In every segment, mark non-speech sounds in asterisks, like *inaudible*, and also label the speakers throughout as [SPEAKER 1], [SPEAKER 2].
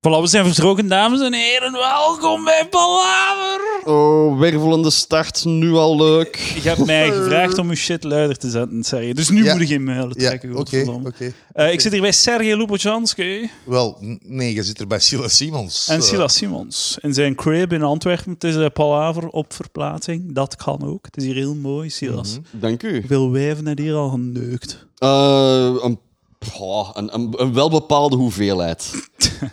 [SPEAKER 1] Palaver zijn vertrokken, dames en heren. Welkom bij Palaver.
[SPEAKER 2] Oh, wervelende start, nu al leuk.
[SPEAKER 1] Ik heb
[SPEAKER 3] Eh,
[SPEAKER 1] mij gevraagd om uw shit luider te zetten, Sergej. Dus nu
[SPEAKER 3] Ja.
[SPEAKER 1] moet ik geen muilen
[SPEAKER 3] Ja,
[SPEAKER 1] trekken.
[SPEAKER 3] oké,
[SPEAKER 1] godverdomme.
[SPEAKER 3] oké.
[SPEAKER 1] Eh, ik zit hier bij Sergej Lupochanski
[SPEAKER 3] Wel, n- nee, je zit er bij Silas Simons.
[SPEAKER 1] en
[SPEAKER 3] Eh,
[SPEAKER 1] Silas Simons. In zijn crib in Antwerpen. Het is eh, Palaver op verplaatsing. Dat kan ook. Het is hier heel mooi, Silas.
[SPEAKER 3] Mhm.
[SPEAKER 2] Dank u.
[SPEAKER 1] Veel wijven hebben hier al geneukt.
[SPEAKER 2] Eh, een, pah, een, een, een welbepaalde hoeveelheid.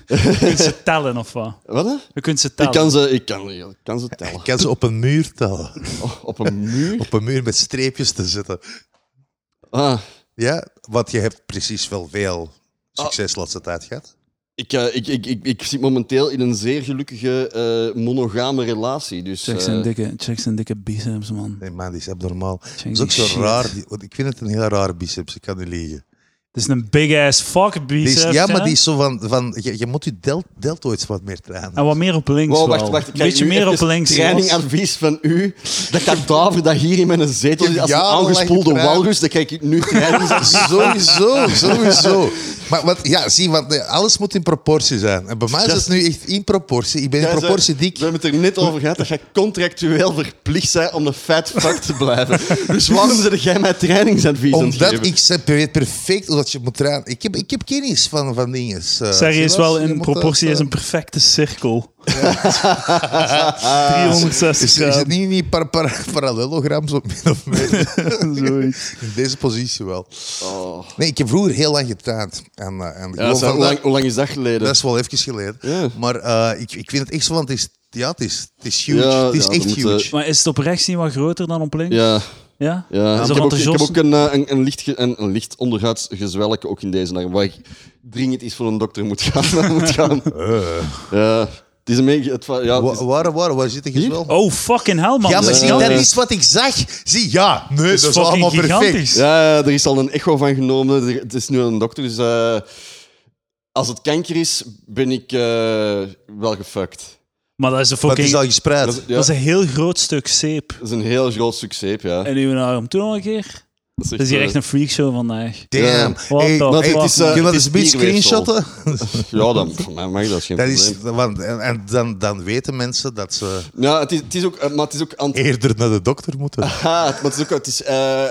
[SPEAKER 1] Je kunt
[SPEAKER 3] *laughs*
[SPEAKER 1] ze tellen, of wat?
[SPEAKER 2] Wat? hè?
[SPEAKER 1] Je kunt ze
[SPEAKER 2] Ik
[SPEAKER 1] tellen.
[SPEAKER 2] kan ze, ik kan, ik kan ze tellen.
[SPEAKER 3] ik kan ze op een muur tellen.
[SPEAKER 2] Oh, op een muur?
[SPEAKER 3] Op een muur met streepjes te zetten.
[SPEAKER 2] *laughs* Ah,
[SPEAKER 3] Ja, want je hebt precies wel veel
[SPEAKER 1] Ah.
[SPEAKER 3] succes de laatste tijd gehad.
[SPEAKER 2] ik, eh, ik, ik, ik, ik zit momenteel in een zeer gelukkige eh, monogame relatie. Dus,
[SPEAKER 1] Check
[SPEAKER 2] eh,
[SPEAKER 1] zijn, dikke, check zijn dikke biceps, man.
[SPEAKER 3] Nee, man, die is abnormaal. Dat is
[SPEAKER 1] die
[SPEAKER 3] ook zo
[SPEAKER 1] shit.
[SPEAKER 3] raar. die- want ik vind het een heel raar biceps, ik kan niet liegen.
[SPEAKER 1] Het is een big-ass fuck
[SPEAKER 3] Die
[SPEAKER 1] biceps.
[SPEAKER 3] is, ja,
[SPEAKER 1] hè?
[SPEAKER 3] maar die is zo van... van je, je moet je del, deltoids wat meer trainen.
[SPEAKER 1] En wat meer op links.
[SPEAKER 2] Wow,
[SPEAKER 1] wel.
[SPEAKER 2] wacht, wacht. Ik
[SPEAKER 1] Een beetje
[SPEAKER 2] krijg nu
[SPEAKER 1] meer op
[SPEAKER 2] even
[SPEAKER 1] links. Jos.
[SPEAKER 2] Trainingadvies van u. Dat kadaver dat hier in mijn zetel zit als een
[SPEAKER 3] Jarenlang
[SPEAKER 2] aangespoelde
[SPEAKER 3] getraind.
[SPEAKER 2] walrus, dat krijg ik nu *laughs* trainen.
[SPEAKER 3] Sowieso, sowieso. Maar wat, ja, zie, want eh, alles moet in proportie zijn. En bij mij is
[SPEAKER 2] Dat
[SPEAKER 3] het nu echt in proportie. Ik ben in proportie dik.
[SPEAKER 2] We hebben het er net over gehad dat je contractueel verplicht bent om de fat fuck te *laughs* blijven. Dus waarom zet jij mij trainingsadvies aan het
[SPEAKER 3] Omdat
[SPEAKER 2] geven?
[SPEAKER 3] ik zeg, je weet perfect hoe dat je moet trainen. Ik heb, ik heb kennis van, van dingen. Eh,
[SPEAKER 1] Sergej is
[SPEAKER 3] Silas,
[SPEAKER 1] wel
[SPEAKER 3] je
[SPEAKER 1] in
[SPEAKER 3] moet
[SPEAKER 1] proportie
[SPEAKER 3] dat,
[SPEAKER 1] is
[SPEAKER 3] eh,
[SPEAKER 1] een perfecte cirkel.
[SPEAKER 3] *laughs* Is,
[SPEAKER 1] 360
[SPEAKER 3] is het
[SPEAKER 1] graden.
[SPEAKER 3] niet in die par, par- *laughs* parallelogram zo min of meer?
[SPEAKER 1] *laughs* Zoiets.
[SPEAKER 3] in deze positie wel.
[SPEAKER 2] Oh.
[SPEAKER 3] Nee, ik heb vroeger heel lang getraind. En, eh,
[SPEAKER 2] Ja,
[SPEAKER 3] en gewoon
[SPEAKER 2] dat is-
[SPEAKER 3] van-
[SPEAKER 2] hoe, lang, hoe lang is dat geleden?
[SPEAKER 3] dat is wel even geleden.
[SPEAKER 2] Ja.
[SPEAKER 3] Maar eh, ik, ik vind het echt zo, want het is, ja, het is, het is huge.
[SPEAKER 2] Ja,
[SPEAKER 3] het is
[SPEAKER 2] ja,
[SPEAKER 3] echt
[SPEAKER 2] dat moet, eh,
[SPEAKER 3] huge.
[SPEAKER 1] Maar is het op rechts niet wat groter dan op links?
[SPEAKER 2] ja,
[SPEAKER 1] Ja?
[SPEAKER 2] ja.
[SPEAKER 1] Is er
[SPEAKER 2] Ik, heb ook, ik heb
[SPEAKER 1] enthousiast?
[SPEAKER 2] ook een, eh, een, een licht, ge- een, een licht onderhuids gezwelk ook in deze arm, waar ik dringend iets voor een dokter moet gaan. *laughs* moet gaan. Eh. Ja, het is een beetje... Het, va- ja, het is-
[SPEAKER 3] Wa- Waar, waar, waar zit je wel?
[SPEAKER 1] Oh, fucking hell, man.
[SPEAKER 3] Ja, maar
[SPEAKER 1] Dat is
[SPEAKER 3] zie,
[SPEAKER 2] ja,
[SPEAKER 3] dat
[SPEAKER 1] gigantisch.
[SPEAKER 3] is wat ik zag. Zie, ja, nee, dat is
[SPEAKER 1] fucking
[SPEAKER 3] allemaal perfect.
[SPEAKER 1] gigantisch.
[SPEAKER 2] Ja, ja, er is al een echo van genomen. Er- Het is nu een dokter. Dus eh, als het kanker is, ben ik eh, wel gefucked.
[SPEAKER 1] Maar dat is een
[SPEAKER 3] Wat
[SPEAKER 1] fucking...
[SPEAKER 3] is al
[SPEAKER 1] Dat
[SPEAKER 3] gespreid?
[SPEAKER 2] Dat is, ja,
[SPEAKER 1] is een heel groot stuk zeep.
[SPEAKER 2] dat is een heel groot succes, ja.
[SPEAKER 1] En uw arm. Toen nog een keer.
[SPEAKER 2] Dat is echt,
[SPEAKER 1] Het is hier
[SPEAKER 2] eh,
[SPEAKER 1] echt een freakshow vandaag.
[SPEAKER 3] Damn.
[SPEAKER 2] Ja.
[SPEAKER 1] What
[SPEAKER 3] Hey,
[SPEAKER 1] the
[SPEAKER 3] hey,
[SPEAKER 1] fuck,
[SPEAKER 3] het is, eh,
[SPEAKER 2] man.
[SPEAKER 3] kun je dat eens
[SPEAKER 2] het
[SPEAKER 3] een
[SPEAKER 2] is
[SPEAKER 3] beetje
[SPEAKER 2] bierweefsel.
[SPEAKER 3] screenshotten?
[SPEAKER 2] Ja, dan voor mij mag dat, is geen
[SPEAKER 3] *laughs* Dat is,
[SPEAKER 2] probleem.
[SPEAKER 3] want, en en dan, dan weten mensen dat ze
[SPEAKER 2] Ja, het is, het is ook... eh, Maar het is ook... anti-
[SPEAKER 3] eerder naar de dokter
[SPEAKER 2] *laughs*
[SPEAKER 3] moeten.
[SPEAKER 2] Ha, het- maar het is ook... Het, is, eh,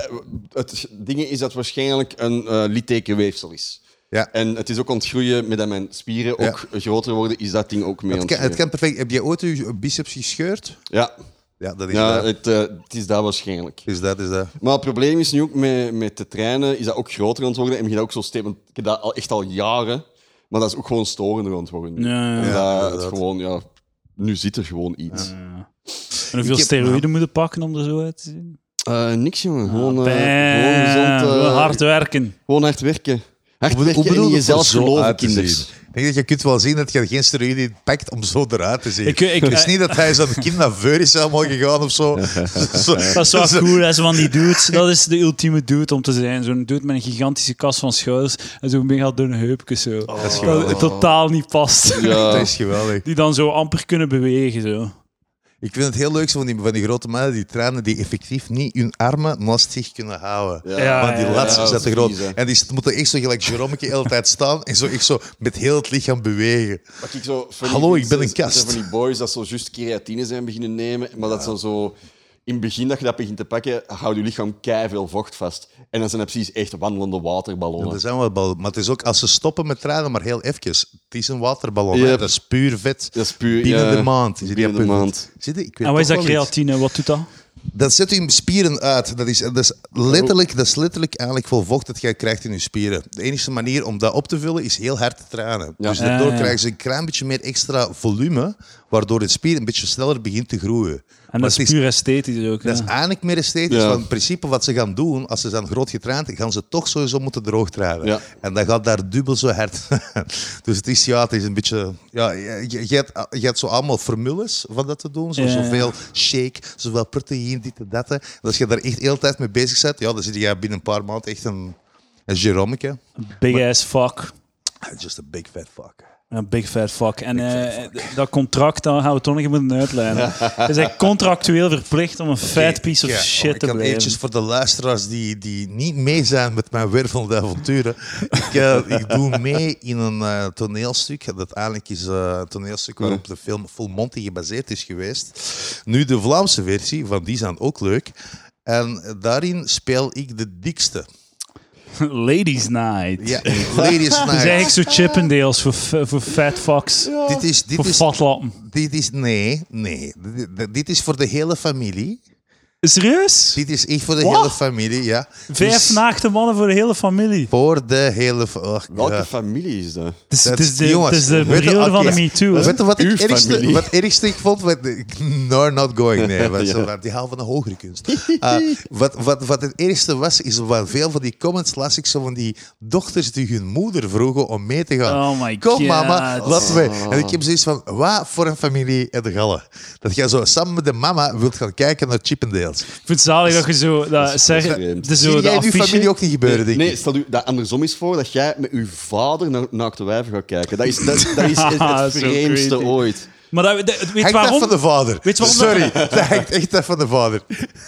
[SPEAKER 2] het ding is dat het waarschijnlijk een eh littekenweefsel is.
[SPEAKER 3] Ja.
[SPEAKER 2] En het is ook ontgroeien met dat mijn spieren
[SPEAKER 3] Ja.
[SPEAKER 2] ook groter worden, is dat ding ook mee
[SPEAKER 3] Het kan, het
[SPEAKER 2] ontgroeien.
[SPEAKER 3] kan perfect. Heb je ooit je biceps gescheurd?
[SPEAKER 2] Ja,
[SPEAKER 3] Ja, dat is
[SPEAKER 2] ja
[SPEAKER 3] dat.
[SPEAKER 2] het, eh, het is dat waarschijnlijk.
[SPEAKER 3] Is dat, is dat.
[SPEAKER 2] Maar het probleem is nu ook met, met de treinen, is dat ook groter aan het worden. En begint dat ook zo steeds, want ik heb dat al, echt al jaren. Maar dat is ook gewoon storender aan het worden.
[SPEAKER 1] Ja, ja, ja.
[SPEAKER 2] Omdat
[SPEAKER 3] Ja,
[SPEAKER 2] het
[SPEAKER 3] inderdaad.
[SPEAKER 2] gewoon, ja, nu zit er gewoon iets.
[SPEAKER 1] En hoeveel
[SPEAKER 3] Ik heb-
[SPEAKER 1] steroïden moeten pakken om er zo uit te zien?
[SPEAKER 2] Eh, niks, jongen. Gewoon, eh, gewoon
[SPEAKER 1] Bam.
[SPEAKER 2] gezond. eh,
[SPEAKER 1] Gewoon hard werken.
[SPEAKER 2] gewoon hard werken. Hard werken en in
[SPEAKER 3] je
[SPEAKER 2] jezelf
[SPEAKER 3] zo
[SPEAKER 2] geloven,
[SPEAKER 3] uit te
[SPEAKER 2] kinders.
[SPEAKER 3] zien? Ik denk dat je kunt wel zien dat je geen steroïden pakt om zo eruit te zien.
[SPEAKER 1] Ik- ik-
[SPEAKER 3] het is niet dat hij zo'n kind naar Veuris zou mogen gaan of zo. Zo-
[SPEAKER 1] Dat is
[SPEAKER 3] *laughs*
[SPEAKER 1] wel cool, hè, zo van die dudes. Dat is de ultieme dude om te zijn. Zo'n dude met een gigantische kast van schouders en zo'n mega dunne heupjes. Zo.
[SPEAKER 3] Oh. Dat is
[SPEAKER 1] Dat
[SPEAKER 3] geweldig.
[SPEAKER 1] het totaal niet past.
[SPEAKER 2] Ja.
[SPEAKER 3] Dat is
[SPEAKER 1] *laughs*
[SPEAKER 3] geweldig.
[SPEAKER 1] Die dan zo amper kunnen bewegen. Zo.
[SPEAKER 3] Ik vind het heel leuk zo van die, van die grote mannen die trainen die effectief niet hun armen naast zich kunnen houden.
[SPEAKER 1] Ja,
[SPEAKER 3] Want die
[SPEAKER 1] ja,
[SPEAKER 3] laatste
[SPEAKER 2] ja,
[SPEAKER 3] is
[SPEAKER 2] dat
[SPEAKER 3] dat
[SPEAKER 2] is
[SPEAKER 3] te groot.
[SPEAKER 2] vies, hè.
[SPEAKER 3] En die s- moeten echt zo gelijk Jeromeke de hele tijd staan en zo, echt zo met heel het lichaam bewegen.
[SPEAKER 2] Wat ik zo funny
[SPEAKER 3] Hallo,
[SPEAKER 2] vind,
[SPEAKER 3] ik ben een
[SPEAKER 2] zijn-
[SPEAKER 3] kast.
[SPEAKER 2] zijn van die boys dat zo juist creatine zijn beginnen nemen, maar dat ze zo... In het begin dat je dat begint te pakken, houdt je lichaam veel vocht vast. En dan zijn dat precies echt wandelende waterballonnen.
[SPEAKER 3] Dat zijn wel ballen. Maar het is ook als ze stoppen met trainen, maar heel even. Het is een waterballon. hè.
[SPEAKER 2] Yep.
[SPEAKER 3] Dat is puur vet.
[SPEAKER 2] Dat is puur,
[SPEAKER 3] Binnen
[SPEAKER 2] ja,
[SPEAKER 3] de maand. Is die
[SPEAKER 2] binnen de
[SPEAKER 3] punt.
[SPEAKER 2] maand.
[SPEAKER 3] Zie je? Ik weet
[SPEAKER 1] En wat is
[SPEAKER 3] toch
[SPEAKER 1] dat
[SPEAKER 3] wel iets.
[SPEAKER 1] creatine? Wat doet dat?
[SPEAKER 3] Dat zet je spieren uit. Dat is, dat is, letterlijk, dat is letterlijk eigenlijk veel vocht dat jij krijgt in je spieren. De enige manier om dat op te vullen is heel hard te trainen.
[SPEAKER 2] Ja.
[SPEAKER 3] Dus daardoor
[SPEAKER 1] Ja, ja.
[SPEAKER 3] krijgen ze een klein beetje meer extra volume, waardoor het spier een beetje sneller begint te groeien.
[SPEAKER 1] En
[SPEAKER 3] Maar
[SPEAKER 1] dat
[SPEAKER 3] het
[SPEAKER 1] is puur esthetisch ook.
[SPEAKER 3] dat is
[SPEAKER 1] ja.
[SPEAKER 3] eigenlijk meer esthetisch.
[SPEAKER 2] Ja.
[SPEAKER 3] Want in principe wat ze gaan doen, als ze zijn groot getraind, gaan ze toch sowieso moeten droog trainen.
[SPEAKER 2] Ja.
[SPEAKER 3] En dat gaat daar dubbel zo hard. *laughs* dus het is, ja, het is een beetje... Ja, je, je- je hebt, je hebt zo allemaal formules van dat te doen. Zo,
[SPEAKER 1] Ja, ja.
[SPEAKER 3] zoveel shake, zoveel proteïne, dit en dat. hè. En als je daar echt heel de tijd mee bezig bent, ja, dan zit je binnen een paar maanden echt een... Een Jeromeke.
[SPEAKER 1] Big ass fuck.
[SPEAKER 3] Just a big fat fuck.
[SPEAKER 1] Een big fat fuck. En eh, dat contract, daar gaan we toch nog even moeten uitlijnen. Het is echt contractueel verplicht om een fat piece of
[SPEAKER 3] Ja, Oh,
[SPEAKER 1] shit
[SPEAKER 3] ik
[SPEAKER 1] te
[SPEAKER 3] kan
[SPEAKER 1] blijven.
[SPEAKER 3] eventjes voor de luisteraars die, die niet mee zijn met mijn wervelende avonturen. ik, eh, ik doe mee in een eh, toneelstuk. Dat eigenlijk is eh, een toneelstuk waarop de film Full Monty gebaseerd is geweest. Nu de Vlaamse versie, van die zijn ook leuk. En daarin speel ik de dikste.
[SPEAKER 1] *laughs* Ladies night. *laughs*
[SPEAKER 3] Ja, Ladies
[SPEAKER 1] Dat is
[SPEAKER 3] Night.
[SPEAKER 1] eigenlijk zo Chippendales voor, fa- voor fat fucks.
[SPEAKER 3] Dit is, dit
[SPEAKER 1] Voor
[SPEAKER 3] is,
[SPEAKER 1] fatlappen.
[SPEAKER 3] dit is, nee, nee. Dit- Dit is voor de hele familie.
[SPEAKER 1] Serieus?
[SPEAKER 3] Dit is echt voor de
[SPEAKER 1] Wat?
[SPEAKER 3] hele familie, ja.
[SPEAKER 1] Vijf
[SPEAKER 3] Dus
[SPEAKER 1] naakte mannen voor de hele familie.
[SPEAKER 3] Voor de hele... fa- oh,
[SPEAKER 2] Welke
[SPEAKER 3] ja.
[SPEAKER 2] familie is dat?
[SPEAKER 1] Het is,
[SPEAKER 3] Dat-
[SPEAKER 1] het is de,
[SPEAKER 3] jongens,
[SPEAKER 1] het is de
[SPEAKER 3] weet je-
[SPEAKER 1] periode van
[SPEAKER 3] oké.
[SPEAKER 1] de MeToo. hè.
[SPEAKER 3] Weet je wat
[SPEAKER 2] Uw
[SPEAKER 3] ik ergste,
[SPEAKER 2] familie.
[SPEAKER 3] wat ergste ik vond? Wat, *laughs* ik- no, not going.
[SPEAKER 2] *laughs*
[SPEAKER 3] Nee, wat,
[SPEAKER 2] Ja.
[SPEAKER 3] die haal van de hogere kunst. Eh, wat, wat, wat het ergste was, is wat veel van die comments las ik zo van die dochters die hun moeder vroegen om mee te gaan.
[SPEAKER 1] Oh my
[SPEAKER 3] Kom
[SPEAKER 1] God.
[SPEAKER 3] mama, laten we. En ik heb zoiets van, wat voor een familie en de gallen. Dat jij zo samen met de mama wilt gaan kijken naar Chippendales.
[SPEAKER 1] Ik vind het zalig dat je zo... Dat, zeg,
[SPEAKER 2] vreemd.
[SPEAKER 1] de, zo
[SPEAKER 3] Zie
[SPEAKER 1] de
[SPEAKER 3] jij in uw familie
[SPEAKER 1] affiche...
[SPEAKER 3] ook niet gebeuren, denk ik.
[SPEAKER 2] Nee, stel u dat andersom is voor dat jij met uw vader naar naakte wijven gaat kijken. Dat is, dat, dat is het,
[SPEAKER 1] *laughs*
[SPEAKER 2] het
[SPEAKER 1] Zo
[SPEAKER 2] vreemdste
[SPEAKER 1] creepy.
[SPEAKER 2] ooit.
[SPEAKER 1] Maar dat, dat- weet je
[SPEAKER 3] Hangt dat
[SPEAKER 1] waarom?
[SPEAKER 3] van de vader.
[SPEAKER 1] Weet je waarom dat-
[SPEAKER 3] Sorry, *laughs* dat hangt echt af van de vader.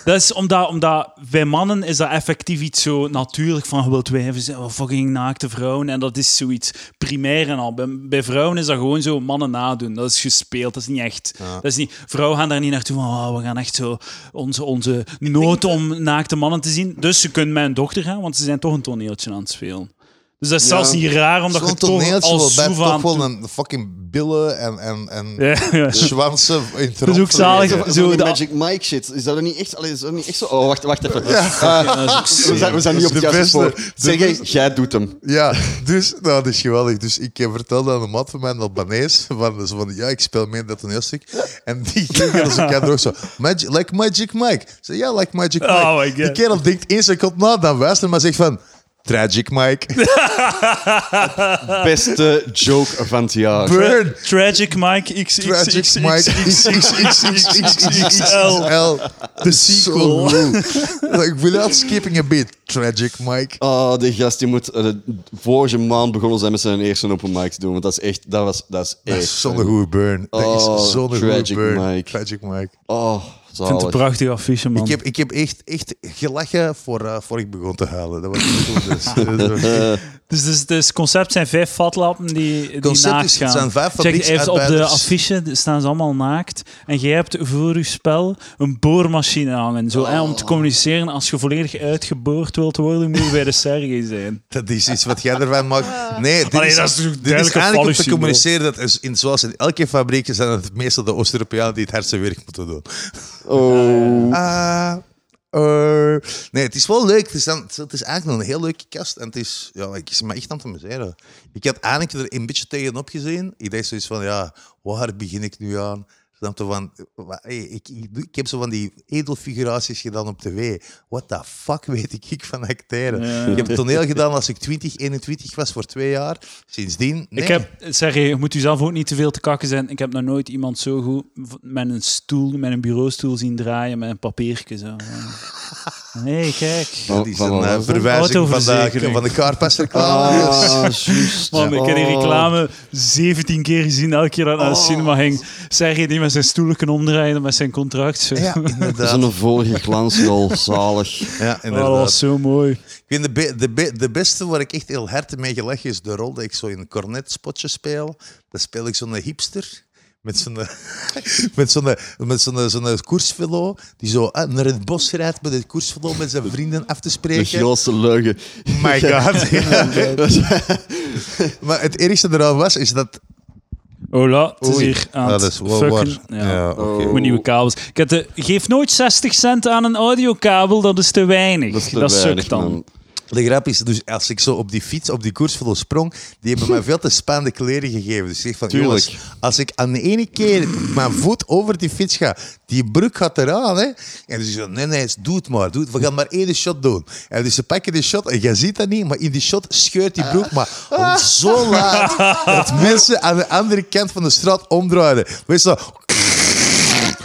[SPEAKER 1] Dat is omdat, omdat bij mannen is dat effectief iets zo natuurlijk van gewild wijven zijn wel fucking naakte vrouwen en dat is zoiets primair en al. Bij, bij vrouwen is dat gewoon zo mannen nadoen. Dat is gespeeld, dat is niet echt. Dat is niet, vrouwen gaan daar niet naartoe van oh, we gaan echt zo onze, onze nood om naakte mannen te zien. Dus ze kunnen met een dochter gaan, want ze zijn toch een toneeltje aan het spelen. Dus dat is zelfs niet raar, omdat je
[SPEAKER 3] Zo'n
[SPEAKER 1] het toch
[SPEAKER 3] toneeltje wel
[SPEAKER 1] als
[SPEAKER 3] blijft
[SPEAKER 1] soef
[SPEAKER 3] toch
[SPEAKER 1] aan *laughs*
[SPEAKER 3] wel
[SPEAKER 1] toe-
[SPEAKER 3] een fucking billen en, en, en
[SPEAKER 1] Ja, ja. *laughs*
[SPEAKER 3] schwansen in
[SPEAKER 1] Dat is ook zalig.
[SPEAKER 2] Zo,
[SPEAKER 1] Zo
[SPEAKER 2] zo die
[SPEAKER 1] de-
[SPEAKER 2] Magic Mike shit. Is dat dan niet echt... allee, is dat niet echt zo? Oh, wacht, wacht even.
[SPEAKER 1] dat is ook
[SPEAKER 2] we, zijn, we zijn niet op
[SPEAKER 3] Dat
[SPEAKER 2] het
[SPEAKER 3] is
[SPEAKER 2] juiste
[SPEAKER 3] de
[SPEAKER 2] spoor.
[SPEAKER 3] beste.
[SPEAKER 2] Zeg,
[SPEAKER 3] De
[SPEAKER 2] jij,
[SPEAKER 3] beste.
[SPEAKER 2] jij doet hem.
[SPEAKER 3] Ja, dus, nou, dat is geweldig. Dus ik eh, vertelde aan een mat van mij, een Albanees, van, dus van, ja, ik speel mee in dat toneelstuk. En die *laughs* ging
[SPEAKER 1] *laughs*
[SPEAKER 3] als een kadroog zo, Magi- like Magic Mike. Ik zei, ja, like Magic Mike.
[SPEAKER 1] Oh my God.
[SPEAKER 3] Die kerel denkt één seconde na, dan wijst hij maar zegt van, Tragic Mike, *laughs*
[SPEAKER 2] Beste joke van het jaar.
[SPEAKER 3] burn,
[SPEAKER 1] Tragic Mike
[SPEAKER 3] Tragic
[SPEAKER 1] XXXXL.
[SPEAKER 3] Mike, XXXXXXXL, de
[SPEAKER 1] sequel.
[SPEAKER 3] *laughs* Like, without skipping a beat, Tragic Mike.
[SPEAKER 2] Oh, die gast die moet eh, de vorige maand begonnen zijn met zijn eerste open mic te doen. Want dat is echt... Dat was, dat is
[SPEAKER 3] Dat
[SPEAKER 2] echt...
[SPEAKER 3] is zo'n goede burn. Dat
[SPEAKER 2] Oh,
[SPEAKER 3] is zo'n goede
[SPEAKER 2] Tragic
[SPEAKER 3] burn.
[SPEAKER 2] Mike.
[SPEAKER 3] Tragic Mike.
[SPEAKER 2] Oh,
[SPEAKER 1] Ik vind het een
[SPEAKER 2] zalig.
[SPEAKER 1] prachtige affiche, man.
[SPEAKER 3] Ik heb, ik heb echt, echt gelachen voor, eh, voor ik begon te huilen. Dat was goed. Dus,
[SPEAKER 2] *laughs*
[SPEAKER 3] dus,
[SPEAKER 1] Dus, dus, dus concept zijn vijf fatlappen die, die
[SPEAKER 3] Concept
[SPEAKER 1] naakt
[SPEAKER 3] is-
[SPEAKER 1] gaan.
[SPEAKER 3] zijn vijf
[SPEAKER 1] Check, even op de
[SPEAKER 3] fabrieksarbeiders.
[SPEAKER 1] affiche staan ze allemaal naakt. En jij hebt voor je spel een boormachine hangen. Zo, hè, om
[SPEAKER 3] Oh.
[SPEAKER 1] te communiceren, als je volledig uitgeboord wilt worden, moet je bij de Sergei zijn.
[SPEAKER 3] dat is iets wat jij ervan maakt. Nee, dit
[SPEAKER 1] Allee,
[SPEAKER 3] is,
[SPEAKER 1] dat is toch
[SPEAKER 3] dit
[SPEAKER 1] duidelijk
[SPEAKER 3] is
[SPEAKER 1] een
[SPEAKER 3] eigenlijk om te
[SPEAKER 1] fallusje,
[SPEAKER 3] communiceren dat is in, zoals in elke fabriek zijn het meestal de Oost-Europeanen die het hardste werk moeten doen.
[SPEAKER 2] Oh.
[SPEAKER 3] Ah, eh, nee, het is wel leuk. Het is, dan, het is eigenlijk een heel leuke kast. En het is, ja, ik is me echt aan het amuseren. Ik had eigenlijk er een beetje tegenop gezien. Ik dacht zoiets van, ja, waar begin ik nu aan? Snap je, van, wa- hey, ik, ik, doe- ik heb zo van die edelfiguraties gedaan op tv. What the fuck weet ik, ik van acteren? Ik heb toneel gedaan als ik 20, 21 was voor twee jaar. Sindsdien, *laughs* nee.
[SPEAKER 1] Ik heb, Sergei, je moet jezelf ook niet te veel te kakken zijn. Ik heb nog nooit iemand zo goed v- met een stoel, met een bureaustoel zien draaien met een papiertje.
[SPEAKER 3] *laughs*
[SPEAKER 1] Zo. Nee, kijk.
[SPEAKER 2] Oh,
[SPEAKER 3] Dat is een eh,
[SPEAKER 2] Van- van-
[SPEAKER 3] verwijzing van de,
[SPEAKER 1] autoverzekering.
[SPEAKER 3] van de *laughs* Carpass-reclame.
[SPEAKER 2] Ah, juist. Ah,
[SPEAKER 1] Man, ik heb die
[SPEAKER 3] Oh.
[SPEAKER 1] reclame 17 keer gezien, elke keer dat ik naar de cinema ging. Sergej die met zijn stoelen kan omdraaien met zijn contract. Oh, Zo.
[SPEAKER 3] Ja,
[SPEAKER 2] Dat is
[SPEAKER 3] inderdaad.
[SPEAKER 2] een vorige glansrol, zalig.
[SPEAKER 3] Ja,
[SPEAKER 1] Oh, dat
[SPEAKER 3] inderdaad.
[SPEAKER 1] was zo mooi.
[SPEAKER 3] Ik vind de, be- de, be- de beste waar ik echt heel hard mee gelachen is de rol dat ik zo in een cornetspotje speel. Dan speel ik zo'n hipster. Met zo'n, *laughs* met zo'n, met zo'n, zo'n koersvelo die zo eh, naar het bos rijdt met het koersvelo met zijn vrienden af te
[SPEAKER 2] De
[SPEAKER 3] spreken. Oh
[SPEAKER 2] grootste leugen. *laughs*
[SPEAKER 3] My *laughs* god. maar het ergste eraan was, is dat...
[SPEAKER 1] Hola, het is
[SPEAKER 3] Oei.
[SPEAKER 1] hier aan
[SPEAKER 3] Ah,
[SPEAKER 1] het
[SPEAKER 3] dat is wel
[SPEAKER 1] fucken.
[SPEAKER 3] waar.
[SPEAKER 1] Ja.
[SPEAKER 3] Ja, oké.
[SPEAKER 1] Moet nieuwe kabels. Ik heb de, geef nooit 60 cent aan een audiokabel, dat is te weinig. Dat,
[SPEAKER 2] is te weinig,
[SPEAKER 1] sukt dan.
[SPEAKER 2] man.
[SPEAKER 3] De grap is, dus als ik zo op die fiets, op die koersvelo sprong, die hebben mij veel te spaande kleren gegeven. Dus ik zeg van,
[SPEAKER 2] Tuurlijk.
[SPEAKER 3] jongens, als ik aan de ene keer mijn voet over die fiets ga, die brug gaat eraan, hè. En dus ik zeg, nee, nee, doe het maar. Doe het. We gaan maar één shot doen. En dus ze pakken die shot, en jij ziet dat niet, maar in die shot scheurt die broek maar om zo laat dat mensen aan de andere kant van de straat omdraaiden. Weet je zo,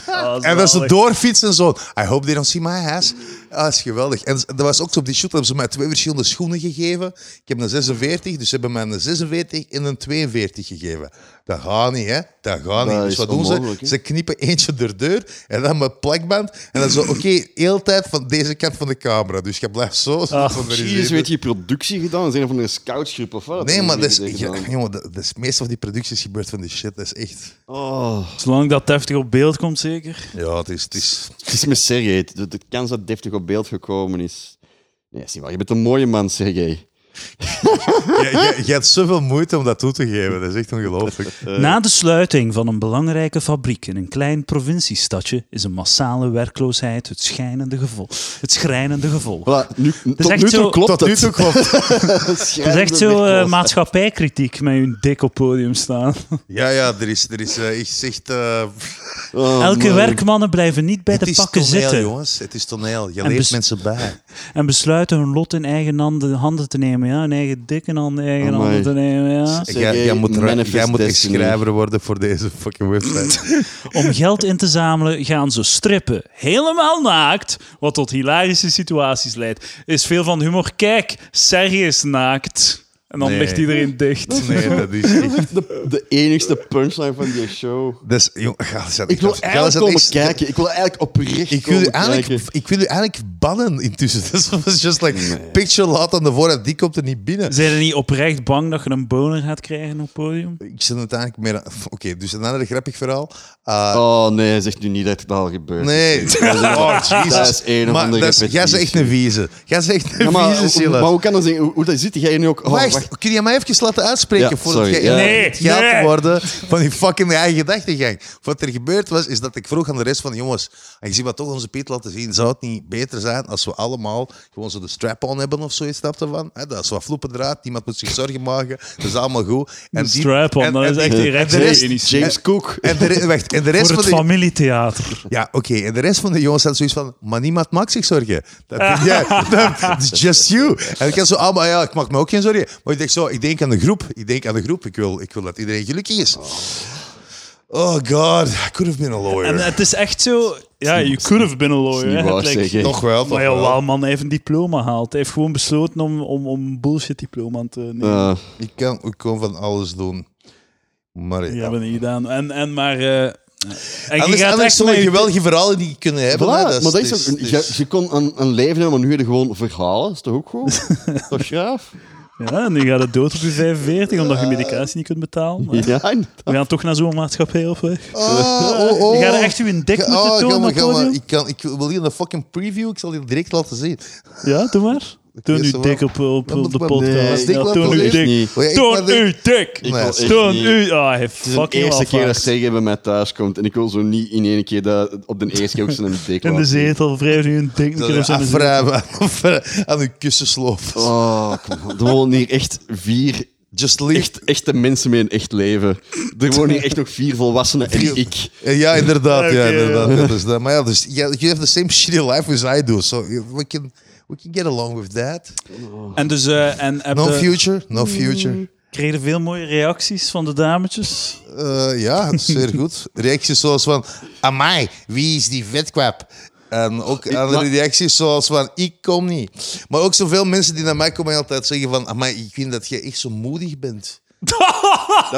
[SPEAKER 1] Ah,
[SPEAKER 3] en dat ze
[SPEAKER 1] zalig.
[SPEAKER 3] doorfietsen zo. I hope they don't see my ass. Ja, dat is geweldig. En dat was ook zo op die shoot, hebben ze mij twee verschillende schoenen gegeven. Ik heb een 46, dus ze hebben mij een 46 en een 42 gegeven. Dat gaat niet, hè? Dat gaat niet.
[SPEAKER 2] Dat
[SPEAKER 3] dus
[SPEAKER 2] is
[SPEAKER 3] wat doen ze?
[SPEAKER 2] onmogelijk, hè?
[SPEAKER 3] Ze knippen eentje door deur en dan met plakband. En dan
[SPEAKER 2] *laughs*
[SPEAKER 3] zo, oké, heel tijd van deze kant van de camera. Dus je blijft zo. zo *laughs*
[SPEAKER 1] Ah,
[SPEAKER 3] van de
[SPEAKER 2] Jezus,
[SPEAKER 3] regisseur.
[SPEAKER 2] weet je, productie gedaan? Dat is een van de scoutsgroep of wat?
[SPEAKER 3] Nee, maar dat is,
[SPEAKER 2] Heb je
[SPEAKER 3] ja,
[SPEAKER 2] gedaan?
[SPEAKER 3] jongen, dat, dat is meestal van die producties gebeurt van die shit. Dat is echt...
[SPEAKER 2] Oh,
[SPEAKER 1] Zolang dat deftig op beeld komt, zeker.
[SPEAKER 3] Ja, het is... Het is
[SPEAKER 2] het is me Sergej. De, de kans dat deftig op beeld gekomen is... Nee, dat is niet waar. Je bent een mooie man, Sergej.
[SPEAKER 3] *laughs* je, je, je hebt zoveel moeite om dat toe te geven. Dat is echt
[SPEAKER 2] *laughs*
[SPEAKER 3] ongelooflijk.
[SPEAKER 1] Na de sluiting van een belangrijke fabriek in een klein provinciestadje is een massale werkloosheid het, schijnende gevolg, het schrijnende gevolg.
[SPEAKER 2] Voilà, nu, tot
[SPEAKER 1] echt
[SPEAKER 2] nu
[SPEAKER 1] zo-
[SPEAKER 2] toe klopt
[SPEAKER 3] Tot nu toe
[SPEAKER 2] *laughs*
[SPEAKER 3] klopt
[SPEAKER 2] Het
[SPEAKER 1] Het is echt zo eh, maatschappijkritiek met hun dik op podium staan.
[SPEAKER 3] Ja, ja, er is, er is eh, echt...
[SPEAKER 1] *laughs*
[SPEAKER 3] echt eh,
[SPEAKER 2] Oh,
[SPEAKER 1] Elke werkmannen blijven niet bij
[SPEAKER 3] het
[SPEAKER 1] de
[SPEAKER 3] is
[SPEAKER 1] pakken
[SPEAKER 3] toneel,
[SPEAKER 1] zitten
[SPEAKER 3] jongens. Het is toneel. Je
[SPEAKER 1] En
[SPEAKER 3] leert
[SPEAKER 1] bes-
[SPEAKER 3] mensen bij.
[SPEAKER 1] en besluiten hun lot in eigen handen, handen te nemen. Ja, hun eigen dik in handen, eigen
[SPEAKER 2] Amai.
[SPEAKER 1] handen te nemen. Ja.
[SPEAKER 2] Zeg
[SPEAKER 3] Jij,
[SPEAKER 2] jij
[SPEAKER 3] jij moet, ra-
[SPEAKER 2] manifest
[SPEAKER 3] jij moet echt
[SPEAKER 2] destiny.
[SPEAKER 3] schrijver worden voor deze fucking website.
[SPEAKER 2] *laughs*
[SPEAKER 1] Om geld in te zamelen gaan ze strippen. Helemaal naakt, wat tot hilarische situaties leidt. Is veel van humor. Kijk, Serge is naakt. En dan
[SPEAKER 3] Nee.
[SPEAKER 1] ligt iedereen dicht.
[SPEAKER 3] Nee, dat is echt...
[SPEAKER 2] *laughs* De, de enigste punchline van die show.
[SPEAKER 3] Dat is, jong, ga eens aan-
[SPEAKER 2] Ik wil
[SPEAKER 3] ga eens
[SPEAKER 2] eigenlijk
[SPEAKER 3] aan
[SPEAKER 2] komen
[SPEAKER 3] echt-
[SPEAKER 2] kijken. Ik wil eigenlijk oprecht
[SPEAKER 3] Ik wil, u
[SPEAKER 2] komen
[SPEAKER 3] eigenlijk,
[SPEAKER 2] kijken.
[SPEAKER 3] ik wil u eigenlijk bannen intussen. *laughs* Dat was just like, picture laat aan de voorraad, die komt er niet binnen.
[SPEAKER 1] Zijn er niet oprecht bang dat je een boner gaat krijgen op het podium?
[SPEAKER 3] Ik zit het eigenlijk meer... aan- *laughs* Oké, dus een ander grappig verhaal. Ah,
[SPEAKER 2] Oh nee, zeg nu niet dat het al gebeurt. *laughs*
[SPEAKER 3] nee. Oh, Jesus.
[SPEAKER 2] Dat is een of
[SPEAKER 3] maar
[SPEAKER 2] andere
[SPEAKER 3] dat is, jij is echt
[SPEAKER 2] repetitie.
[SPEAKER 3] een vieze. Jij is echt een
[SPEAKER 2] Ja, maar,
[SPEAKER 3] vieze,
[SPEAKER 2] hoe-
[SPEAKER 3] Silas.
[SPEAKER 2] maar hoe kan dat zijn? Hoe, hoe dat zit jij hier nu ook? Oh,
[SPEAKER 3] wacht,
[SPEAKER 2] wacht.
[SPEAKER 3] kun je mij even laten uitspreken
[SPEAKER 2] Ja,
[SPEAKER 3] voordat
[SPEAKER 2] sorry,
[SPEAKER 3] jij
[SPEAKER 2] ja.
[SPEAKER 1] Nee,
[SPEAKER 3] het gaat
[SPEAKER 1] nee.
[SPEAKER 3] worden van die fucking eigen gedachtegang? Wat er gebeurd was, is dat ik vroeg aan de rest van jongens, aangezien we toch onze Piet laten zien, zou het niet beter zijn als we allemaal gewoon zo de strap-on hebben of zoiets, snap je van? Hè, dat is wat vloepen draad, niemand moet zich zorgen maken, dat is allemaal goed. En
[SPEAKER 1] Een
[SPEAKER 3] die-
[SPEAKER 1] strap-on,
[SPEAKER 3] en-
[SPEAKER 1] dat
[SPEAKER 3] en
[SPEAKER 1] is
[SPEAKER 3] die-
[SPEAKER 1] echt die
[SPEAKER 3] en
[SPEAKER 1] rechts-
[SPEAKER 3] de rest-
[SPEAKER 1] James-
[SPEAKER 2] James Cook.
[SPEAKER 3] En de, re- wacht, en de rest
[SPEAKER 1] Voor
[SPEAKER 3] van
[SPEAKER 1] het
[SPEAKER 3] de,
[SPEAKER 1] familietheater.
[SPEAKER 3] ja, oké. En de rest van de jongens had zoiets van, maar niemand maakt zich zorgen.
[SPEAKER 1] *laughs*
[SPEAKER 3] Dat ben jij. Dat is just you. En ik had zo, ah, maar ja, ik maak me ook geen zorgen. Maar ik denk zo, ik denk aan de groep. Ik denk aan de groep. Ik wil, ik wil dat iedereen gelukkig is. Oh god, I could have been a
[SPEAKER 1] En eh,
[SPEAKER 3] lawyer.
[SPEAKER 1] het is echt zo... Ja, je could have been a lawyer.
[SPEAKER 2] niet
[SPEAKER 1] hè.
[SPEAKER 2] waar,
[SPEAKER 1] Het lijkt-
[SPEAKER 2] zeg, hè.
[SPEAKER 3] Toch wel, toch
[SPEAKER 1] Maar ja,
[SPEAKER 3] wel.
[SPEAKER 1] wauw, man, hij heeft een diploma gehaald. Hij heeft gewoon besloten om, om, om een bullshit-diploma te nemen.
[SPEAKER 2] Eh,
[SPEAKER 3] Ik kan, ik kon van alles doen. Maar
[SPEAKER 1] Die
[SPEAKER 3] ja.
[SPEAKER 1] hebben niet gedaan. En, en maar... eh, en je
[SPEAKER 3] Anders,
[SPEAKER 1] gaat
[SPEAKER 3] anders
[SPEAKER 1] echt
[SPEAKER 3] zo'n
[SPEAKER 1] met je-
[SPEAKER 3] geweldige verhalen die je kunnen hebben. hè.
[SPEAKER 2] voilà,
[SPEAKER 3] Dat is- dus-
[SPEAKER 2] maar dat
[SPEAKER 3] dat
[SPEAKER 2] is
[SPEAKER 3] is-
[SPEAKER 2] ook- je, je kon een, een leven hebben, maar nu heb je gewoon verhalen. Dat is toch ook goed? toch graaf?
[SPEAKER 1] Ja, nu gaat het dood op je 45, omdat je medicatie niet kunt betalen. Maar
[SPEAKER 2] Ja, inderdaad.
[SPEAKER 1] we gaan toch naar zo'n maatschappij op weg.
[SPEAKER 3] Oh, oh, oh.
[SPEAKER 1] Je gaat er echt uw dik
[SPEAKER 3] Ga-
[SPEAKER 1] moeten
[SPEAKER 3] ga
[SPEAKER 1] tonen
[SPEAKER 3] maar,
[SPEAKER 1] op
[SPEAKER 3] ga maar.
[SPEAKER 1] podium.
[SPEAKER 3] Ik, kan, ik wil hier een fucking preview, ik zal die direct laten zien.
[SPEAKER 1] Ja, doe maar. Toon
[SPEAKER 3] is
[SPEAKER 1] uw
[SPEAKER 3] wel-
[SPEAKER 1] dik op, op,
[SPEAKER 3] Dat moet
[SPEAKER 1] op de
[SPEAKER 3] wel-
[SPEAKER 2] Nee,
[SPEAKER 1] podcast.
[SPEAKER 2] ik
[SPEAKER 1] Ja,
[SPEAKER 3] wil
[SPEAKER 1] toon
[SPEAKER 3] dat
[SPEAKER 1] uw
[SPEAKER 2] echt
[SPEAKER 1] dik.
[SPEAKER 2] niet.
[SPEAKER 3] Oh ja, ik- maar
[SPEAKER 1] Toon
[SPEAKER 3] de-
[SPEAKER 1] uw dik.
[SPEAKER 2] Ik wil
[SPEAKER 3] Nee,
[SPEAKER 2] echt
[SPEAKER 1] Toon
[SPEAKER 2] niet.
[SPEAKER 1] uw... Ah, hij heeft
[SPEAKER 2] Het is de
[SPEAKER 1] fucking
[SPEAKER 2] eerste
[SPEAKER 1] wel
[SPEAKER 2] keer dat
[SPEAKER 1] vaak.
[SPEAKER 2] Sergej bij mij thuis komt. En ik wil zo niet in één keer dat, op de eerste keer ook zijn dik
[SPEAKER 1] In de
[SPEAKER 2] laten zien.
[SPEAKER 1] zetel wrijft u een dik.
[SPEAKER 3] Dat
[SPEAKER 1] Zijn
[SPEAKER 3] is
[SPEAKER 1] zetel.
[SPEAKER 3] *laughs* afruimen aan uw kussensloop.
[SPEAKER 2] Oh, kom op. Er wonen hier echt vier
[SPEAKER 3] Just leave.
[SPEAKER 2] echt, echte mensen met een echt leven. Er wonen hier echt nog vier volwassenen en ik.
[SPEAKER 3] Eh, Ja, inderdaad. ja,
[SPEAKER 1] Oké,
[SPEAKER 3] inderdaad ja. Dus dat, maar ja, dus, yeah, you have the same shitty life as I do. So we can, we can get along with that.
[SPEAKER 1] En dus... eh, en heb
[SPEAKER 3] No
[SPEAKER 1] je-
[SPEAKER 3] future, no future.
[SPEAKER 1] kregen veel mooie reacties van de dametjes.
[SPEAKER 3] Eh, ja, dat is zeer goed. Reacties zoals van... Amai, wie is die vetkwap? En ook andere reacties zoals van... Ik kom niet. Maar ook zoveel mensen die naar mij komen en altijd zeggen van... Amai, ik vind dat jij echt zo moedig
[SPEAKER 2] *laughs*
[SPEAKER 3] bent. Ah,